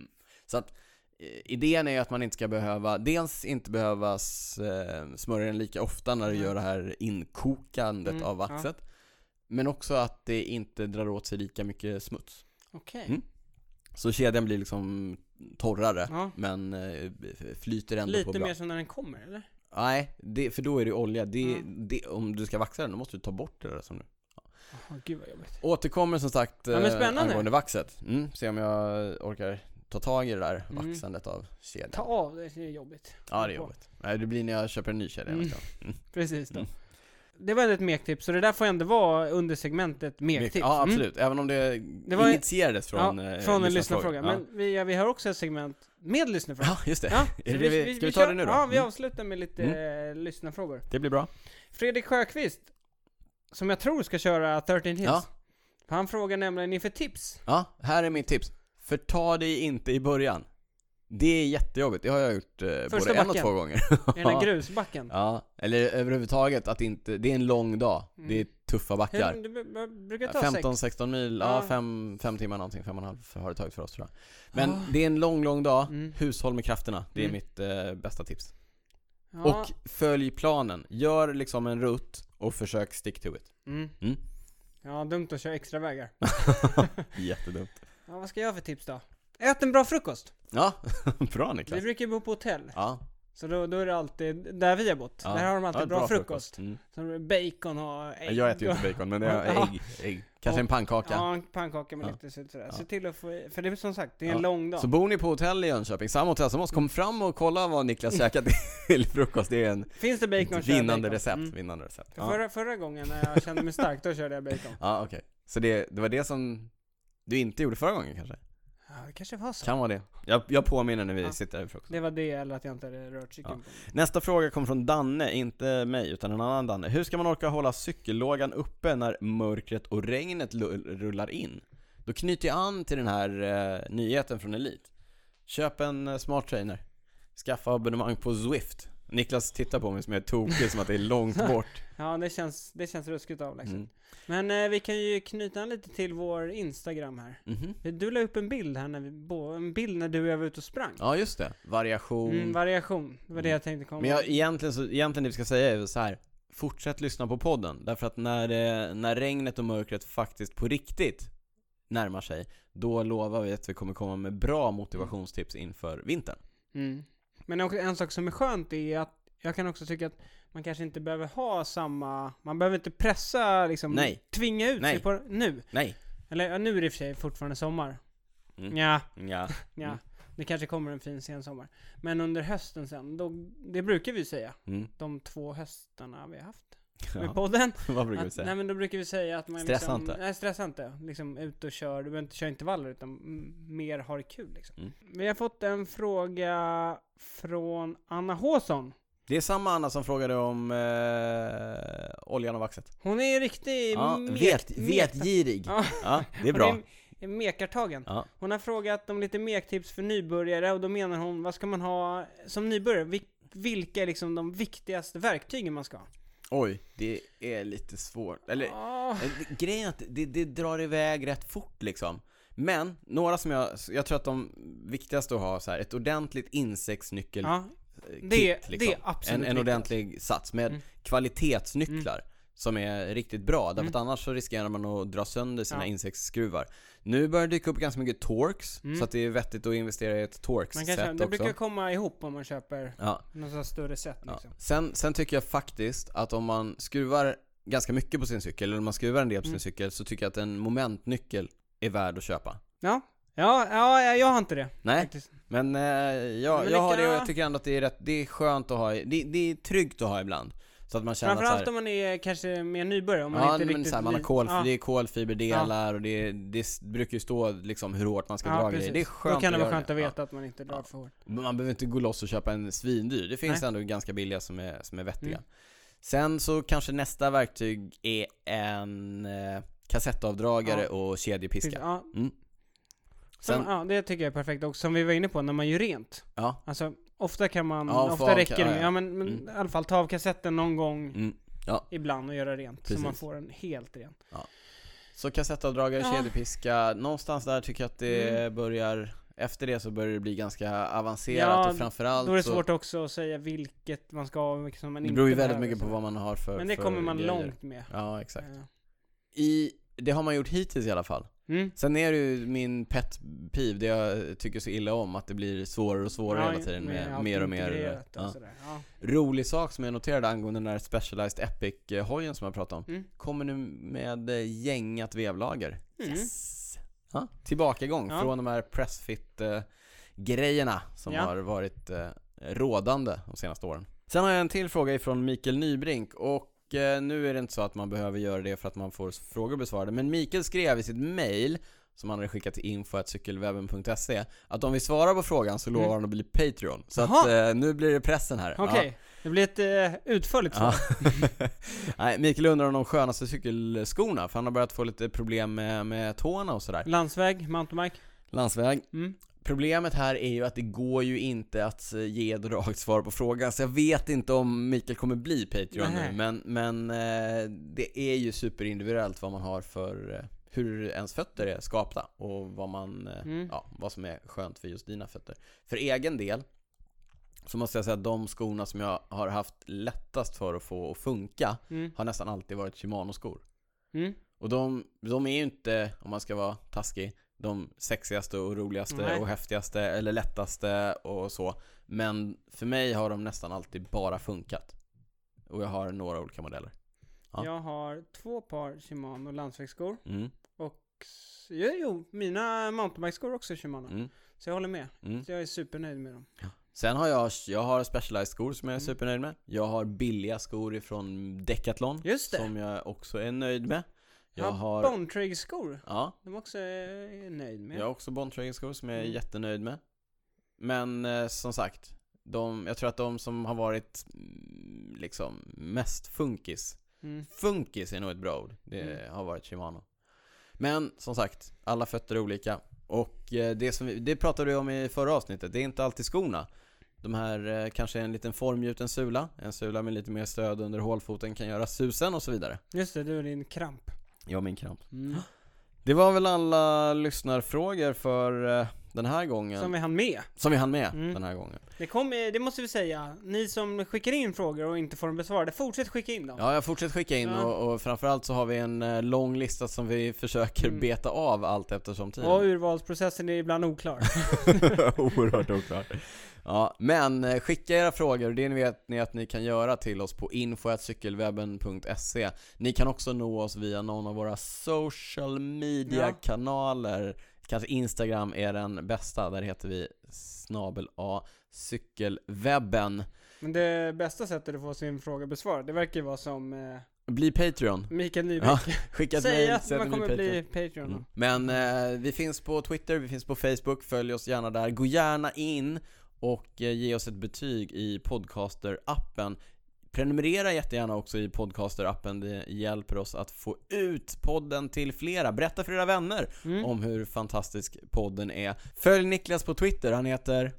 [SPEAKER 1] Så att eh, idén är ju att man inte ska behöva, dels inte behöva s- eh, smörja den lika ofta när du
[SPEAKER 2] Mm.
[SPEAKER 1] gör det här inkokandet
[SPEAKER 2] Mm,
[SPEAKER 1] av
[SPEAKER 2] ja.
[SPEAKER 1] vaxet. Men också att det inte drar åt sig lika mycket smuts.
[SPEAKER 2] Okej.
[SPEAKER 1] Mm. Så kedjan blir liksom torrare.
[SPEAKER 2] Ja.
[SPEAKER 1] Men eh, f- flyter ändå på
[SPEAKER 2] Lite
[SPEAKER 1] bra.
[SPEAKER 2] mer som när den kommer, eller?
[SPEAKER 1] Nej, det, för då är det olja. Det,
[SPEAKER 2] Mm.
[SPEAKER 1] det, om du ska vaxa den, då måste du ta bort det där som nu.
[SPEAKER 2] Åh, gud vad jobbigt.
[SPEAKER 1] Återkommer som sagt
[SPEAKER 2] Ja, men
[SPEAKER 1] eh,
[SPEAKER 2] spännande.
[SPEAKER 1] angående vaxet. Mm, se om jag orkar ta tag i det där
[SPEAKER 2] Mm.
[SPEAKER 1] vaxandet av kedjan.
[SPEAKER 2] Ta av det, det är jobbigt.
[SPEAKER 1] ja, det är jobbigt. Nej, det blir när jag köper en ny kedja.
[SPEAKER 2] Mm.
[SPEAKER 1] vet jag.
[SPEAKER 2] Precis då.
[SPEAKER 1] Mm.
[SPEAKER 2] Det var ändå ett mektips, så det där får ändå vara under segmentet mektips.
[SPEAKER 1] Ja,
[SPEAKER 2] Mm.
[SPEAKER 1] absolut. Även om det,
[SPEAKER 2] var ju-
[SPEAKER 1] initierades från,
[SPEAKER 2] ja,
[SPEAKER 1] eh,
[SPEAKER 2] från en
[SPEAKER 1] lyssnarfrågor.
[SPEAKER 2] lyssnarfråga. Men vi, ja, vi har också ett segment med lyssnarfrågor.
[SPEAKER 1] Ja, just det.
[SPEAKER 2] Ja,
[SPEAKER 1] Är det
[SPEAKER 2] så
[SPEAKER 1] det vi, ska vi ta
[SPEAKER 2] kör-
[SPEAKER 1] det nu då?
[SPEAKER 2] Ja, vi
[SPEAKER 1] Mm.
[SPEAKER 2] avslutar med lite eh, lyssnarfrågor.
[SPEAKER 1] Det blir bra.
[SPEAKER 2] Fredrik Sjöqvist, som jag tror ska köra 13 Hits.
[SPEAKER 1] Ja.
[SPEAKER 2] Han frågar nämligen inför tips.
[SPEAKER 1] Ja, här är mitt tips. Förta dig inte i början. Det är jättejobbigt. Det har jag gjort eh, både en och
[SPEAKER 2] backen.
[SPEAKER 1] två gånger.
[SPEAKER 2] Är den grusbacken?
[SPEAKER 1] Ja, eller överhuvudtaget att inte, det är en lång dag.
[SPEAKER 2] Mm.
[SPEAKER 1] Det är tuffa
[SPEAKER 2] Hur,
[SPEAKER 1] backar.
[SPEAKER 2] du b- b- brukar ta sex.
[SPEAKER 1] 15-16 mil, ja
[SPEAKER 2] Ja.
[SPEAKER 1] 5 fem timmar någonting, fem och en halv har det tagit för oss tror jag. Men
[SPEAKER 2] Ah.
[SPEAKER 1] det är en lång, lång dag.
[SPEAKER 2] Mm.
[SPEAKER 1] Hushåll med krafterna, det är
[SPEAKER 2] Mm.
[SPEAKER 1] mitt eh, bästa tips.
[SPEAKER 2] Ja.
[SPEAKER 1] Och följ planen. Gör liksom en rutt och försök stick to it.
[SPEAKER 2] Mm.
[SPEAKER 1] Mm.
[SPEAKER 2] Ja, dumt att köra extra vägar.
[SPEAKER 1] Jättedumt.
[SPEAKER 2] Ja, vad ska jag ha för tips då? Ät en bra frukost.
[SPEAKER 1] Ja, bra
[SPEAKER 2] Vi
[SPEAKER 1] Niklas.
[SPEAKER 2] brukar ju bo på hotell.
[SPEAKER 1] Ja,
[SPEAKER 2] Så då, då är det alltid, där vi har bott,
[SPEAKER 1] ja.
[SPEAKER 2] där har de alltid
[SPEAKER 1] Ja,
[SPEAKER 2] bra, frukost.
[SPEAKER 1] Mm.
[SPEAKER 2] Som bacon och ägg.
[SPEAKER 1] Jag äter ju
[SPEAKER 2] och-
[SPEAKER 1] inte bacon, men jag
[SPEAKER 2] Ja.
[SPEAKER 1] ägg, ägg. Kanske en pannkaka.
[SPEAKER 2] Ja, en pannkaka med
[SPEAKER 1] Ja.
[SPEAKER 2] lite sånt sådär.
[SPEAKER 1] Ja.
[SPEAKER 2] Se till att få, för det är som sagt, det är
[SPEAKER 1] Ja.
[SPEAKER 2] en lång dag.
[SPEAKER 1] Så bor ni på hotell i Jönköping, samma hotell som oss, kom fram och kolla vad Niklas käkat till frukost. Det är en
[SPEAKER 2] Finns det bacon kör jag
[SPEAKER 1] vinnande
[SPEAKER 2] bacon.
[SPEAKER 1] recept.
[SPEAKER 2] Mm.
[SPEAKER 1] Vinnande recept.
[SPEAKER 2] För
[SPEAKER 1] Ja,
[SPEAKER 2] Förra, förra gången när jag kände mig stark, då körde jag bacon.
[SPEAKER 1] ja okej. Så det, det var det som du inte gjorde förra gången kanske?
[SPEAKER 2] Ja, det kanske var så.
[SPEAKER 1] Kan vara det. Jag, jag påminner när vi
[SPEAKER 2] Ja.
[SPEAKER 1] sitter här i frukost.
[SPEAKER 2] Det var det eller att jag inte hade rört cykeln på mig.
[SPEAKER 1] Nästa fråga kom från Danne, inte mig utan en annan Danne. Hur ska man orka hålla cykellågan uppe när mörkret och regnet lu- rullar in? Då knyter jag an till den här eh, nyheten från Elit. Köp en eh, smart trainer. Skaffa abonnemang på Zwift. Niklas tittar på mig som jag är tokig, som att det är långt bort.
[SPEAKER 2] Ja, det känns, det känns ruskigt avlägset.
[SPEAKER 1] Mm.
[SPEAKER 2] Men eh, vi kan ju knyta an lite till vår Instagram här.
[SPEAKER 1] Mhm.
[SPEAKER 2] Du la upp en bild här när vi, bo- en bild när du och jag var ute och sprang.
[SPEAKER 1] Ja, just det. Variation.
[SPEAKER 2] Mm, variation, det var det
[SPEAKER 1] Mm.
[SPEAKER 2] jag tänkte komma
[SPEAKER 1] Men jag, egentligen, så, egentligen det vi ska säga är så här. Fortsätt lyssna på podden, därför att när, eh, när regnet och mörkret faktiskt på riktigt närmar sig, då lovar vi att vi kommer komma med bra motivationstips inför vintern.
[SPEAKER 2] Mm. Men också en sak som är skönt är att jag kan också tycka att man kanske inte behöver ha samma, man behöver inte pressa liksom,
[SPEAKER 1] Nej.
[SPEAKER 2] tvinga ut
[SPEAKER 1] Nej.
[SPEAKER 2] sig på nu.
[SPEAKER 1] Nej.
[SPEAKER 2] Eller ja, nu är det i och för sig fortfarande sommar.
[SPEAKER 1] Mm.
[SPEAKER 2] Ja,
[SPEAKER 1] Ja.
[SPEAKER 2] ja.
[SPEAKER 1] Mm.
[SPEAKER 2] Det kanske kommer en fin sen sommar. Men under hösten sen, då, det brukar vi säga,
[SPEAKER 1] Mm.
[SPEAKER 2] de två höstarna vi har haft med
[SPEAKER 1] ja.
[SPEAKER 2] podden.
[SPEAKER 1] Vad brukar vi
[SPEAKER 2] Att, nej
[SPEAKER 1] säga?
[SPEAKER 2] men då brukar vi säga att man
[SPEAKER 1] Stressa
[SPEAKER 2] liksom,
[SPEAKER 1] inte.
[SPEAKER 2] Nej stressa inte. Liksom ut och kör, du behöver inte köra intervaller utan mm, mer har kul liksom.
[SPEAKER 1] Mm.
[SPEAKER 2] Vi har fått en fråga från Anna Håsson.
[SPEAKER 1] Det är samma Anna som frågade om eh, oljan och vaxet.
[SPEAKER 2] Hon är ju riktig
[SPEAKER 1] Ja,
[SPEAKER 2] mek-
[SPEAKER 1] vet,
[SPEAKER 2] mek-
[SPEAKER 1] vetgirig.
[SPEAKER 2] Ja.
[SPEAKER 1] Ja, det är
[SPEAKER 2] Hon
[SPEAKER 1] bra.
[SPEAKER 2] är mekartagen.
[SPEAKER 1] Ja.
[SPEAKER 2] Hon har frågat om lite mektips för nybörjare och då menar hon, vad ska man ha som nybörjare? Vil- Vilka är liksom de viktigaste verktygen man ska ha?
[SPEAKER 1] Oj, det är lite svårt. Eller,
[SPEAKER 2] Ah,
[SPEAKER 1] Eh, det- Grejen är att det, det drar iväg rätt fort liksom. Men, några som jag, jag tror att de viktigaste att ha så här, ett ordentligt insektsnyckel
[SPEAKER 2] ja,
[SPEAKER 1] eh,
[SPEAKER 2] det,
[SPEAKER 1] kit, liksom.
[SPEAKER 2] det är absolut
[SPEAKER 1] en, en
[SPEAKER 2] viktigt.
[SPEAKER 1] ordentlig sats med
[SPEAKER 2] Mm.
[SPEAKER 1] kvalitetsnycklar som är riktigt bra. Därför
[SPEAKER 2] Mm.
[SPEAKER 1] att annars så riskerar man att dra sönder sina
[SPEAKER 2] Ja.
[SPEAKER 1] insektsskruvar. Nu börjar det dyka upp ganska mycket torx,
[SPEAKER 2] Mm.
[SPEAKER 1] så att det är vettigt att investera i ett
[SPEAKER 2] Man
[SPEAKER 1] torx-set
[SPEAKER 2] kan köpa,
[SPEAKER 1] också.
[SPEAKER 2] det brukar komma ihop om man köper
[SPEAKER 1] ja.
[SPEAKER 2] något sånt här större set
[SPEAKER 1] Ja.
[SPEAKER 2] liksom.
[SPEAKER 1] Sen, sen tycker jag faktiskt att om man skruvar ganska mycket på sin cykel, eller om man skruvar en del på sin
[SPEAKER 2] Mm.
[SPEAKER 1] cykel, så tycker jag att en momentnyckel är värd att köpa.
[SPEAKER 2] Ja. Ja, ja, jag- jag har inte det
[SPEAKER 1] Nej,
[SPEAKER 2] faktiskt.
[SPEAKER 1] men eh, jag,
[SPEAKER 2] Men
[SPEAKER 1] jag har det och jag
[SPEAKER 2] lycka.
[SPEAKER 1] tycker ändå att det är rätt, det är skönt att ha, i- det, det är tryggt att ha ibland. Så att man känner så
[SPEAKER 2] Framförallt
[SPEAKER 1] här,
[SPEAKER 2] om man är kanske mer nybörjare, om man
[SPEAKER 1] ja,
[SPEAKER 2] inte
[SPEAKER 1] men
[SPEAKER 2] riktigt...
[SPEAKER 1] så här, man har
[SPEAKER 2] li-
[SPEAKER 1] kolf-
[SPEAKER 2] Ja.
[SPEAKER 1] det är kolfiberdelar och det, är- det s- brukar ju stå liksom hur hårt man ska dra grejer. Det är skönt
[SPEAKER 2] Då kan det
[SPEAKER 1] att
[SPEAKER 2] vara
[SPEAKER 1] göra
[SPEAKER 2] skönt att
[SPEAKER 1] Ja.
[SPEAKER 2] veta att man inte drar
[SPEAKER 1] Ja.
[SPEAKER 2] för hårt.
[SPEAKER 1] Men Man behöver inte gå loss och köpa en svindyr. Det finns
[SPEAKER 2] Nej.
[SPEAKER 1] ändå ganska billiga som är, som är vettiga.
[SPEAKER 2] Mm.
[SPEAKER 1] Sen så kanske nästa verktyg är en eh, kassettavdragare
[SPEAKER 2] Ja.
[SPEAKER 1] och kedjepiska.
[SPEAKER 2] Ja.
[SPEAKER 1] Mm.
[SPEAKER 2] Sen,
[SPEAKER 1] Sen,
[SPEAKER 2] ja, det tycker jag är perfekt. Och som vi var inne på, när man gör rent.
[SPEAKER 1] ja.
[SPEAKER 2] Alltså, ofta kan man,
[SPEAKER 1] Ja, få
[SPEAKER 2] ofta
[SPEAKER 1] av-
[SPEAKER 2] räcker det
[SPEAKER 1] ja,
[SPEAKER 2] med,
[SPEAKER 1] ja.
[SPEAKER 2] ja men, men
[SPEAKER 1] Mm.
[SPEAKER 2] i alla fall ta av kassetten någon gång
[SPEAKER 1] Mm.
[SPEAKER 2] ibland och göra rent.
[SPEAKER 1] Precis.
[SPEAKER 2] Så man får den helt ren.
[SPEAKER 1] Så kassettavdragare,
[SPEAKER 2] Ja.
[SPEAKER 1] kedjepiska. Någonstans där tycker jag att det
[SPEAKER 2] Mm.
[SPEAKER 1] börjar, efter det så börjar det bli ganska avancerat
[SPEAKER 2] Ja,
[SPEAKER 1] och framförallt
[SPEAKER 2] Då är det
[SPEAKER 1] så,
[SPEAKER 2] svårt också att säga vilket man ska ha och vilket som man
[SPEAKER 1] det
[SPEAKER 2] inte
[SPEAKER 1] beror ju väldigt
[SPEAKER 2] behöver,
[SPEAKER 1] mycket på
[SPEAKER 2] så.
[SPEAKER 1] vad man har för
[SPEAKER 2] Men det
[SPEAKER 1] för
[SPEAKER 2] kommer man
[SPEAKER 1] grejer.
[SPEAKER 2] långt med.
[SPEAKER 1] Ja, exakt.
[SPEAKER 2] Ja.
[SPEAKER 1] I, det har man gjort hittills i alla fall.
[SPEAKER 2] Mm.
[SPEAKER 1] Sen är det ju min pet peeve, det jag tycker så illa om, att det blir svårare och svårare hela tiden med,
[SPEAKER 2] allt
[SPEAKER 1] mer och mer.
[SPEAKER 2] integrerat och
[SPEAKER 1] Ja.
[SPEAKER 2] sådär. Ja.
[SPEAKER 1] Rolig sak som jag noterade angående den här Specialized Epic-hojen som jag pratade om.
[SPEAKER 2] Mm.
[SPEAKER 1] Kommer nu med eh, gängat vevlager.
[SPEAKER 2] Mm.
[SPEAKER 1] Yes! Ja, tillbakagång
[SPEAKER 2] Ja.
[SPEAKER 1] från de här pressfit eh, grejerna som
[SPEAKER 2] Ja.
[SPEAKER 1] har varit eh, rådande de senaste åren. Sen har jag en till fråga ifrån Mikael Nybrink och eh, nu är det inte så att man behöver göra det för att man får frågor besvarade, men Mikael skrev i sitt mail som han hade skickat till info.cykelwebben.se Att om vi svarar på frågan så lovar
[SPEAKER 2] Mm.
[SPEAKER 1] han att bli Patreon Så att
[SPEAKER 2] Jaha.
[SPEAKER 1] eh, nu blir det pressen här Ja.
[SPEAKER 2] Okej, det blir ett eh, utförligt svar.
[SPEAKER 1] Ja. Nej, Mikael undrar om de skönaste cykelskorna, för han har börjat få lite problem med, med tårna och sådär.
[SPEAKER 2] Landsväg, mountainbike.
[SPEAKER 1] Landsväg.
[SPEAKER 2] Mm.
[SPEAKER 1] Problemet här är ju att det går ju inte att eh, ge ett rakt svar på frågan, så jag vet inte om Mikael kommer bli Patreon
[SPEAKER 2] Nej.
[SPEAKER 1] nu, men, men eh, det är ju superindividuellt vad man har för eh, hur ens fötter är skapta och vad, man, eh,
[SPEAKER 2] Mm.
[SPEAKER 1] ja, vad som är skönt för just dina fötter. För egen del så måste jag säga att de skorna som jag har haft lättast för att få att funka
[SPEAKER 2] Mm.
[SPEAKER 1] har nästan alltid varit Shimano-skor.
[SPEAKER 2] Mm.
[SPEAKER 1] Och de, de är ju inte, om man ska vara taskig, de sexigaste och roligaste
[SPEAKER 2] Nej.
[SPEAKER 1] och häftigaste eller lättaste och så. Men för mig har de nästan alltid bara funkat. Och jag har några olika modeller. Ja.
[SPEAKER 2] Jag har två par Shimano landsvägsskor.
[SPEAKER 1] Mm,
[SPEAKER 2] Och s- jo, jo mina mountainbikeskor också är Shimano.
[SPEAKER 1] mm,
[SPEAKER 2] Så jag håller med.
[SPEAKER 1] mm.
[SPEAKER 2] Så jag är supernöjd med dem.
[SPEAKER 1] Sen har jag, jag har specialized skor som jag är
[SPEAKER 2] Mm.
[SPEAKER 1] supernöjd med. Jag har billiga skor ifrån Decathlon.
[SPEAKER 2] Just det.
[SPEAKER 1] Som jag också är nöjd med. Jag har,
[SPEAKER 2] Bontreg-skor.
[SPEAKER 1] ja,
[SPEAKER 2] De också är nöjd med.
[SPEAKER 1] Jag har också Bontragen-skor som jag är
[SPEAKER 2] Mm.
[SPEAKER 1] jättenöjd med. Men eh, som sagt, de, jag tror att de som har varit mm, liksom mest funkis,
[SPEAKER 2] Mm.
[SPEAKER 1] funkis är nog ett bra ord, det
[SPEAKER 2] Mm.
[SPEAKER 1] har varit Shimano. Men som sagt, alla fötter är olika. Och eh, det, som vi, det pratade vi om i förra avsnittet, det är inte alltid skorna. De här eh, kanske är en liten formgjuten sula, en sula med lite mer stöd under hålfoten kan göra susen och så vidare.
[SPEAKER 2] Just det, du är din kramp.
[SPEAKER 1] Ja, min kramp.
[SPEAKER 2] Mm.
[SPEAKER 1] Det var väl alla lyssnarfrågor för eh, den här gången.
[SPEAKER 2] Som vi hann med.
[SPEAKER 1] Som vi hann med
[SPEAKER 2] Mm.
[SPEAKER 1] den här gången.
[SPEAKER 2] Det, kom, eh, det måste vi säga. Ni som skickar in frågor och inte får dem besvarade, fortsätt skicka in dem.
[SPEAKER 1] Ja, jag fortsätter skicka in
[SPEAKER 2] Ja.
[SPEAKER 1] och, och framförallt så har vi en eh, lång lista som vi försöker
[SPEAKER 2] Mm.
[SPEAKER 1] beta av allt eftersom tiden.
[SPEAKER 2] Och urvalsprocessen är ibland oklar.
[SPEAKER 1] Oerhört oklart. Ja, men eh, skicka era frågor, det vet ni att ni kan göra till oss på info.cykelwebben.se Ni kan också nå oss via någon av våra social media-kanaler Kanske Instagram är den bästa, där heter vi snabel A cykelwebben
[SPEAKER 2] Men det bästa sättet att få sin fråga besvarad, det verkar ju vara som eh,
[SPEAKER 1] Bli Patreon
[SPEAKER 2] Mikael Nyberg.
[SPEAKER 1] Ja, skicka ett
[SPEAKER 2] Säg
[SPEAKER 1] mejl,
[SPEAKER 2] att
[SPEAKER 1] säg
[SPEAKER 2] man
[SPEAKER 1] ni
[SPEAKER 2] kommer bli Patreon.
[SPEAKER 1] Mm. Men eh, vi finns på Twitter, vi finns på Facebook, följ oss gärna där. Gå gärna in och eh, ge oss ett betyg i Podcaster-appen. Prenumerera jättegärna också i Podcaster-appen, det hjälper oss att få ut podden till flera. Berätta för era vänner
[SPEAKER 2] Mm.
[SPEAKER 1] om hur fantastisk podden är. Följ Niklas på Twitter, han heter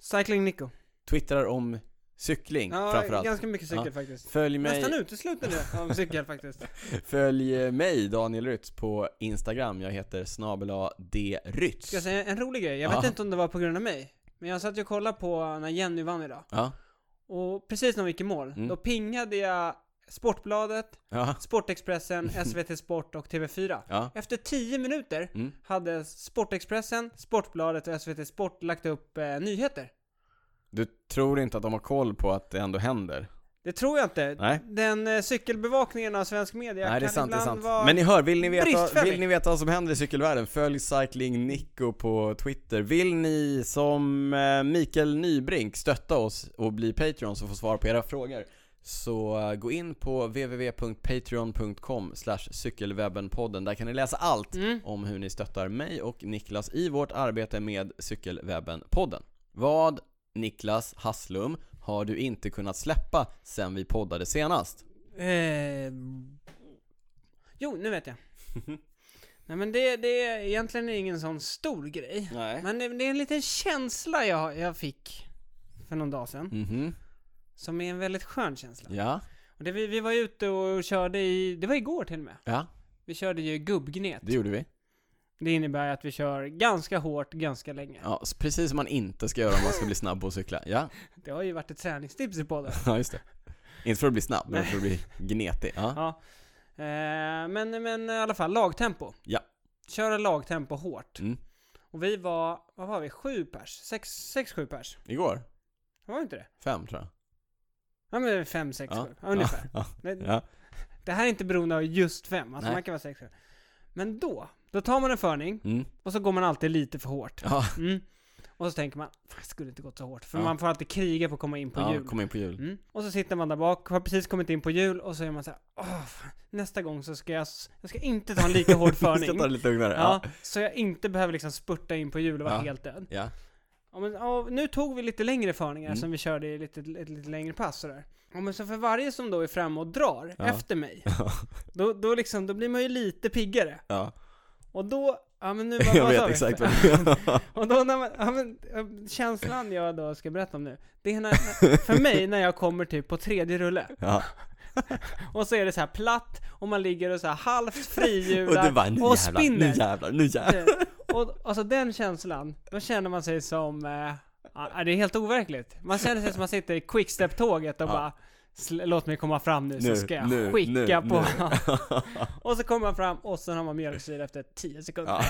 [SPEAKER 2] Cycling Nico.
[SPEAKER 1] Twittrar om cykling
[SPEAKER 2] Ja,
[SPEAKER 1] Mm, framförallt.
[SPEAKER 2] ganska mycket cykel
[SPEAKER 1] Ja.
[SPEAKER 2] faktiskt.
[SPEAKER 1] Följ mig,
[SPEAKER 2] Nästan uteslutande av cykel faktiskt.
[SPEAKER 1] följ eh, mig, Daniel Rytz, på Instagram. Jag heter snabel-a D. Rytz.
[SPEAKER 2] Ska jag säga en rolig grej? Jag vet
[SPEAKER 1] Ja.
[SPEAKER 2] inte om det var på grund av mig. Men jag satt ju och kollade på när Jenny vann idag.
[SPEAKER 1] Ja,
[SPEAKER 2] Och precis när hon gick i mål,
[SPEAKER 1] Mm.
[SPEAKER 2] då pingade jag Sportbladet,
[SPEAKER 1] ja,
[SPEAKER 2] Sportexpressen, SVT Sport och TV4.
[SPEAKER 1] ja.
[SPEAKER 2] Efter 10 minuter
[SPEAKER 1] Mm.
[SPEAKER 2] hade Sportexpressen, Sportbladet och SVT Sport lagt upp eh, nyheter.
[SPEAKER 1] Du tror inte att de har koll på att det ändå händer?
[SPEAKER 2] Det tror jag inte.
[SPEAKER 1] Nej.
[SPEAKER 2] Den eh, cykelbevakningen av svensk media
[SPEAKER 1] Nej det är
[SPEAKER 2] kan
[SPEAKER 1] sant, det är
[SPEAKER 2] ibland
[SPEAKER 1] sant.
[SPEAKER 2] vara...
[SPEAKER 1] Men ni hör, vill ni, veta,
[SPEAKER 2] bristfällig.
[SPEAKER 1] vill ni veta vad som händer i cykelvärlden? Följ Cycling Nico på Twitter. Vill ni som eh, Mikael Nybrink stötta oss och bli Patreon så får svar på era frågor? Så eh, gå in på www.patreon.com cykelwebbenpodden. Där kan ni läsa allt
[SPEAKER 2] Mm.
[SPEAKER 1] om hur ni stöttar mig och Niklas i vårt arbete med Cykelwebben-podden. Vad, Niklas Hasslum, har du inte kunnat släppa sen vi poddade senast?
[SPEAKER 2] Eh, jo, nu vet jag. Nej men det, det är egentligen ingen sån stor grej.
[SPEAKER 1] Nej.
[SPEAKER 2] Men det, det är en liten känsla jag, jag fick för någon dag sedan.
[SPEAKER 1] Mhm,
[SPEAKER 2] Som är en väldigt skön känsla.
[SPEAKER 1] ja.
[SPEAKER 2] Och det, vi, vi var ute och körde i, det var igår till och med.
[SPEAKER 1] Ja,
[SPEAKER 2] Vi körde ju gubbgnet.
[SPEAKER 1] det gjorde vi.
[SPEAKER 2] Det innebär att vi kör ganska hårt, ganska länge.
[SPEAKER 1] Ja, s- precis som man inte ska göra om man ska bli snabb på att cykla. Ja,
[SPEAKER 2] Det har ju varit ett träningstips i podden.
[SPEAKER 1] ja just det. Inte för att bli snabb, men
[SPEAKER 2] Nej.
[SPEAKER 1] för att bli gnetig. Ja.
[SPEAKER 2] Ja. Eh, men, men i alla fall, lagtempo.
[SPEAKER 1] Ja.
[SPEAKER 2] Köra lagtempo hårt.
[SPEAKER 1] Mm.
[SPEAKER 2] Och vi var, vad var vi? Sju pers? Sex, sex sju pers?
[SPEAKER 1] Igår?
[SPEAKER 2] Var det inte det?
[SPEAKER 1] Fem tror jag.
[SPEAKER 2] Ja men fem, sex,
[SPEAKER 1] Ja.
[SPEAKER 2] sju. Ja, ungefär.
[SPEAKER 1] Ja.
[SPEAKER 2] Det,
[SPEAKER 1] Ja.
[SPEAKER 2] det här är inte beroende av just fem, alltså
[SPEAKER 1] Nej.
[SPEAKER 2] man kan vara sex, sju. Men då, då tar man en förning
[SPEAKER 1] Mm.
[SPEAKER 2] och så går man alltid lite för hårt.
[SPEAKER 1] Ja.
[SPEAKER 2] Mm. Och så tänker man, fan skulle det inte gått så hårt. För
[SPEAKER 1] Ja.
[SPEAKER 2] man får alltid kriga på att komma in på
[SPEAKER 1] ja,
[SPEAKER 2] jul.
[SPEAKER 1] kom in på jul.
[SPEAKER 2] Mm. Och så sitter man där bak, har precis kommit in på jul och så är man så här, åh, fan, nästa gång så ska jag, s- jag ska inte ta en lika hård förning.
[SPEAKER 1] Ska ta det lite lugnare.
[SPEAKER 2] Ja,
[SPEAKER 1] Ja.
[SPEAKER 2] så jag inte behöver liksom spurta in på jul och vara
[SPEAKER 1] Ja.
[SPEAKER 2] helt död.
[SPEAKER 1] Ja.
[SPEAKER 2] Ja, men, ja, nu tog vi lite längre förningar
[SPEAKER 1] Mm.
[SPEAKER 2] som vi körde i lite, ett lite längre pass sådär. Ja, men så för varje som då är framme och drar
[SPEAKER 1] Ja.
[SPEAKER 2] efter mig,
[SPEAKER 1] Ja.
[SPEAKER 2] då, då, liksom, då blir man ju lite piggare.
[SPEAKER 1] ja.
[SPEAKER 2] Och då, ja men nu, vad,
[SPEAKER 1] Jag
[SPEAKER 2] vad sa
[SPEAKER 1] vet
[SPEAKER 2] vi?
[SPEAKER 1] exakt vad det
[SPEAKER 2] Och då när man, ja, men, eh, känslan jag då ska berätta om nu, det är när, för mig när jag kommer typ på tredje rulle,
[SPEAKER 1] Ja.
[SPEAKER 2] och så är det så här platt, och man ligger och så här halvt
[SPEAKER 1] Och
[SPEAKER 2] frihjular,
[SPEAKER 1] du bara, nu
[SPEAKER 2] och
[SPEAKER 1] jävlar, nu
[SPEAKER 2] spinner.
[SPEAKER 1] jävlar, nu jävlar.
[SPEAKER 2] Och alltså den känslan, då känner man sig som, eh, ja, det är helt overkligt. Man känner sig som man sitter i quickstep-tåget och
[SPEAKER 1] Ja.
[SPEAKER 2] bara "Sl- Låt mig komma fram nu så
[SPEAKER 1] Nu,
[SPEAKER 2] ska jag
[SPEAKER 1] nu,
[SPEAKER 2] skicka
[SPEAKER 1] nu,
[SPEAKER 2] på...
[SPEAKER 1] nu.
[SPEAKER 2] och så kommer man fram och sen har man mjölksyra efter 10 sekunder.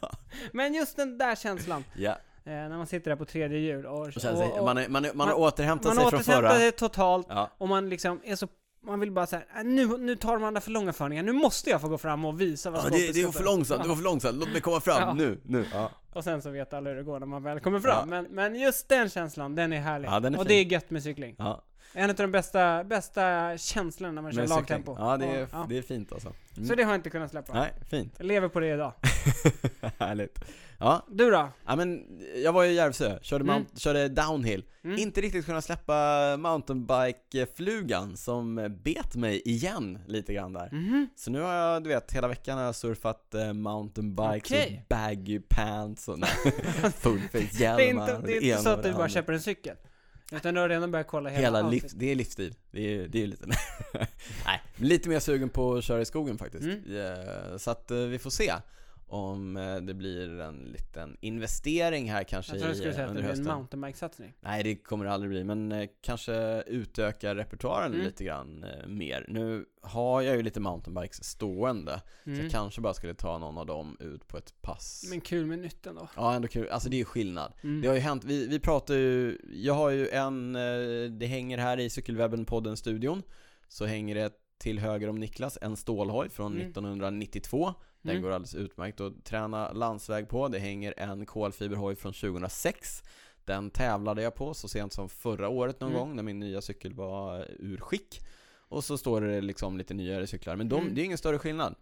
[SPEAKER 1] Ja.
[SPEAKER 2] Men just den där känslan,
[SPEAKER 1] ja.
[SPEAKER 2] eh, när man sitter där på tredje hjul och...
[SPEAKER 1] Och sen, så-
[SPEAKER 2] och- och-
[SPEAKER 1] man, är, man, är, man har
[SPEAKER 2] man-
[SPEAKER 1] återhämtat
[SPEAKER 2] man
[SPEAKER 1] sig från förra.
[SPEAKER 2] återhämtar sig totalt
[SPEAKER 1] Ja.
[SPEAKER 2] och man liksom är så... Man vill bara säga nu, nu tar de andra för långa förningar, nu måste jag få gå fram och visa vad
[SPEAKER 1] Ja,
[SPEAKER 2] som står
[SPEAKER 1] det,
[SPEAKER 2] på
[SPEAKER 1] det var för
[SPEAKER 2] skottet."
[SPEAKER 1] långsamt, det var för långsamt, låt mig komma fram,
[SPEAKER 2] Ja.
[SPEAKER 1] nu, nu. Ja.
[SPEAKER 2] Och sen så vet alla hur det går när man väl kommer fram.
[SPEAKER 1] Ja.
[SPEAKER 2] Men, men just den känslan, den är härlig.
[SPEAKER 1] Ja, den är
[SPEAKER 2] och
[SPEAKER 1] fin.
[SPEAKER 2] det är gött med cykling.
[SPEAKER 1] Ja.
[SPEAKER 2] En av de bästa, bästa känslorna när man kör
[SPEAKER 1] Men cykling.
[SPEAKER 2] lagtempo.
[SPEAKER 1] Ja, det är,
[SPEAKER 2] Och- ja.
[SPEAKER 1] det är fint alltså. Mm.
[SPEAKER 2] Så det har jag inte kunnat släppa.
[SPEAKER 1] Nej, fint.
[SPEAKER 2] Jag lever på det idag.
[SPEAKER 1] Härligt. Ja,
[SPEAKER 2] Du då?
[SPEAKER 1] Ja men jag var ju i Järvsö, körde,
[SPEAKER 2] Mm.
[SPEAKER 1] mount, körde downhill.
[SPEAKER 2] Mm.
[SPEAKER 1] Inte riktigt kunnat släppa mountainbike-flugan som bet mig igen lite grann där.
[SPEAKER 2] Mhm.
[SPEAKER 1] Så nu har jag, du vet, hela veckan har jag surfat eh, mountainbikes och
[SPEAKER 2] Okej.
[SPEAKER 1] baggy pants och fullface-hjälmar.
[SPEAKER 2] Det är inte, det är
[SPEAKER 1] ena
[SPEAKER 2] inte så
[SPEAKER 1] och
[SPEAKER 2] att
[SPEAKER 1] det
[SPEAKER 2] du bara
[SPEAKER 1] andra.
[SPEAKER 2] köper en cykel. Utan du har redan börjat kolla hela,
[SPEAKER 1] Hela
[SPEAKER 2] outfit.
[SPEAKER 1] liv, det är livsstil. Det är, det är lite... Nej, men lite mer sugen på att köra i skogen faktiskt.
[SPEAKER 2] Mm.
[SPEAKER 1] Eh, Så att eh, vi får se om eh, det blir en liten investering här kanske
[SPEAKER 2] Jag tror du
[SPEAKER 1] i,
[SPEAKER 2] skulle
[SPEAKER 1] eh,
[SPEAKER 2] säga att det
[SPEAKER 1] under
[SPEAKER 2] blir en
[SPEAKER 1] hösten.
[SPEAKER 2] mountainbike-satsning.
[SPEAKER 1] Nej, det kommer det aldrig bli, men eh, kanske utöka repertoaren
[SPEAKER 2] Mm.
[SPEAKER 1] lite grann eh, mer. Nu har jag ju lite mountainbikes stående, så
[SPEAKER 2] Mm.
[SPEAKER 1] jag kanske bara skulle ta någon av dem ut på ett pass.
[SPEAKER 2] Men kul med nyttan då.
[SPEAKER 1] Ja, ändå kul. Alltså det är ju skillnad.
[SPEAKER 2] Mm.
[SPEAKER 1] Det har ju hänt, vi, vi pratar ju, jag har ju en, eh, det hänger här i Cykelwebben-podden-studion, så hänger det till höger om Niklas, en stålhoj från
[SPEAKER 2] Mm.
[SPEAKER 1] 1992. Den
[SPEAKER 2] Mm.
[SPEAKER 1] går alldeles utmärkt att träna landsväg på. Det hänger en kolfiberhoj från 2006. Den tävlade jag på så sent som förra året någon
[SPEAKER 2] Mm.
[SPEAKER 1] gång när min nya cykel var eh, ur skick. Och så står det liksom lite nyare cyklar, men de,
[SPEAKER 2] Mm.
[SPEAKER 1] det är ingen större skillnad.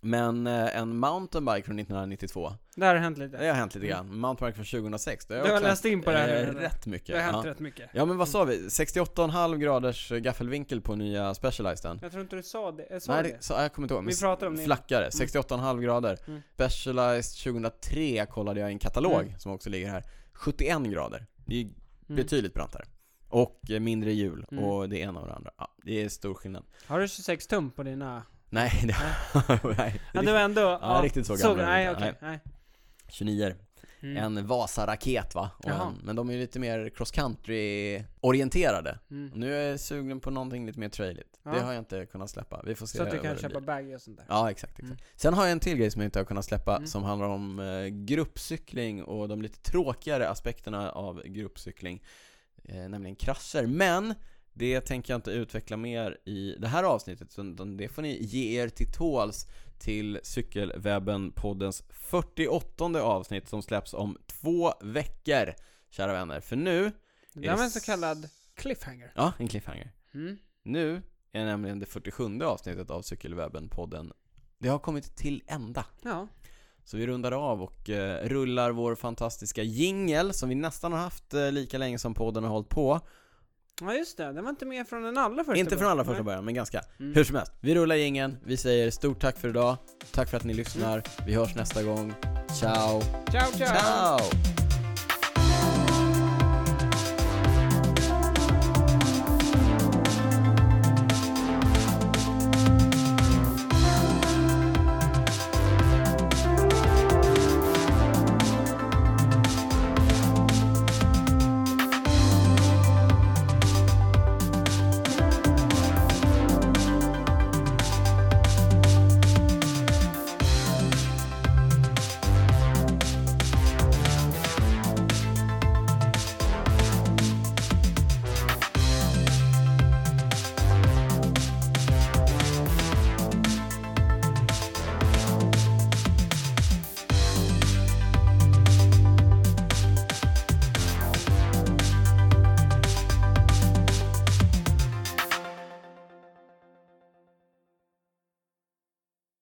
[SPEAKER 1] Men eh, en mountainbike från 1992,
[SPEAKER 2] Där har det hänt lite.
[SPEAKER 1] det har hänt lite grann. Mountainbike från 2006, det har
[SPEAKER 2] Mm. Du har
[SPEAKER 1] också
[SPEAKER 2] läst in på det här
[SPEAKER 1] Eh,
[SPEAKER 2] nu.
[SPEAKER 1] rätt
[SPEAKER 2] det
[SPEAKER 1] mycket.
[SPEAKER 2] har hänt Mm.
[SPEAKER 1] Ja.
[SPEAKER 2] rätt mycket.
[SPEAKER 1] ja men vad sa vi? 68,5 graders eh, gaffelvinkel på nya Specializeden.
[SPEAKER 2] Jag tror inte du sa det. Jag sa
[SPEAKER 1] Nej,
[SPEAKER 2] det.
[SPEAKER 1] det, så, jag kommer inte ihåg. men
[SPEAKER 2] Vi pratade om det.
[SPEAKER 1] Flackare, 68,5 grader.
[SPEAKER 2] Mm.
[SPEAKER 1] Specialized 2003 kollade jag i en katalog
[SPEAKER 2] Mm.
[SPEAKER 1] som också ligger här. 71 grader. Det är ju
[SPEAKER 2] Mm.
[SPEAKER 1] betydligt brantare. Och eh, mindre hjul
[SPEAKER 2] Mm.
[SPEAKER 1] och det ena och det andra. Ja, det är stor skillnad.
[SPEAKER 2] Har du 26 tum på dina...
[SPEAKER 1] Nej, det nej.
[SPEAKER 2] Ja, du var ändå...
[SPEAKER 1] Ja, riktigt så gammal är vi
[SPEAKER 2] Nej,
[SPEAKER 1] inte.
[SPEAKER 2] okej. Nej.
[SPEAKER 1] 29
[SPEAKER 2] Mm.
[SPEAKER 1] En Vasaraket va? Och
[SPEAKER 2] Jaha.
[SPEAKER 1] en, men de är ju lite mer cross country orienterade.
[SPEAKER 2] Mm.
[SPEAKER 1] Nu är jag sugen på någonting lite mer trailigt.
[SPEAKER 2] Ja.
[SPEAKER 1] Det har jag inte kunnat släppa. Vi får se
[SPEAKER 2] Så att du
[SPEAKER 1] vad
[SPEAKER 2] kan
[SPEAKER 1] det
[SPEAKER 2] köpa
[SPEAKER 1] blir.
[SPEAKER 2] baggy och sånt där.
[SPEAKER 1] Ja, exakt. exakt.
[SPEAKER 2] Mm.
[SPEAKER 1] Sen har jag en till grej som jag inte har kunnat släppa
[SPEAKER 2] Mm.
[SPEAKER 1] som handlar om eh, gruppcykling och de lite tråkigare aspekterna av gruppcykling. Eh, nämligen krascher. Men det tänker jag inte utveckla mer i det här avsnittet utan det får ni ge er till tåls till Cykelwebben-poddens 48 avsnitt som släpps om två veckor, kära vänner. För nu...
[SPEAKER 2] Det där var en
[SPEAKER 1] är-
[SPEAKER 2] så kallad cliffhanger.
[SPEAKER 1] Ja, en cliffhanger.
[SPEAKER 2] Mm.
[SPEAKER 1] Nu är nämligen det 47 avsnittet av Cykelwebben-podden. Det har kommit till ända.
[SPEAKER 2] Ja.
[SPEAKER 1] Så vi rundar av och eh, rullar vår fantastiska jingel som vi nästan har haft eh, lika länge som podden har hållit på.
[SPEAKER 2] ja, just det. Den var inte med från den allra första
[SPEAKER 1] Inte från
[SPEAKER 2] början.
[SPEAKER 1] allra första början, men ganska.
[SPEAKER 2] Mm.
[SPEAKER 1] Hur som helst, vi rullar jingeln. Vi säger stort tack för idag. Tack för att ni lyssnar. Vi hörs nästa gång. Ciao.
[SPEAKER 2] Ciao, ciao!
[SPEAKER 1] Ciao.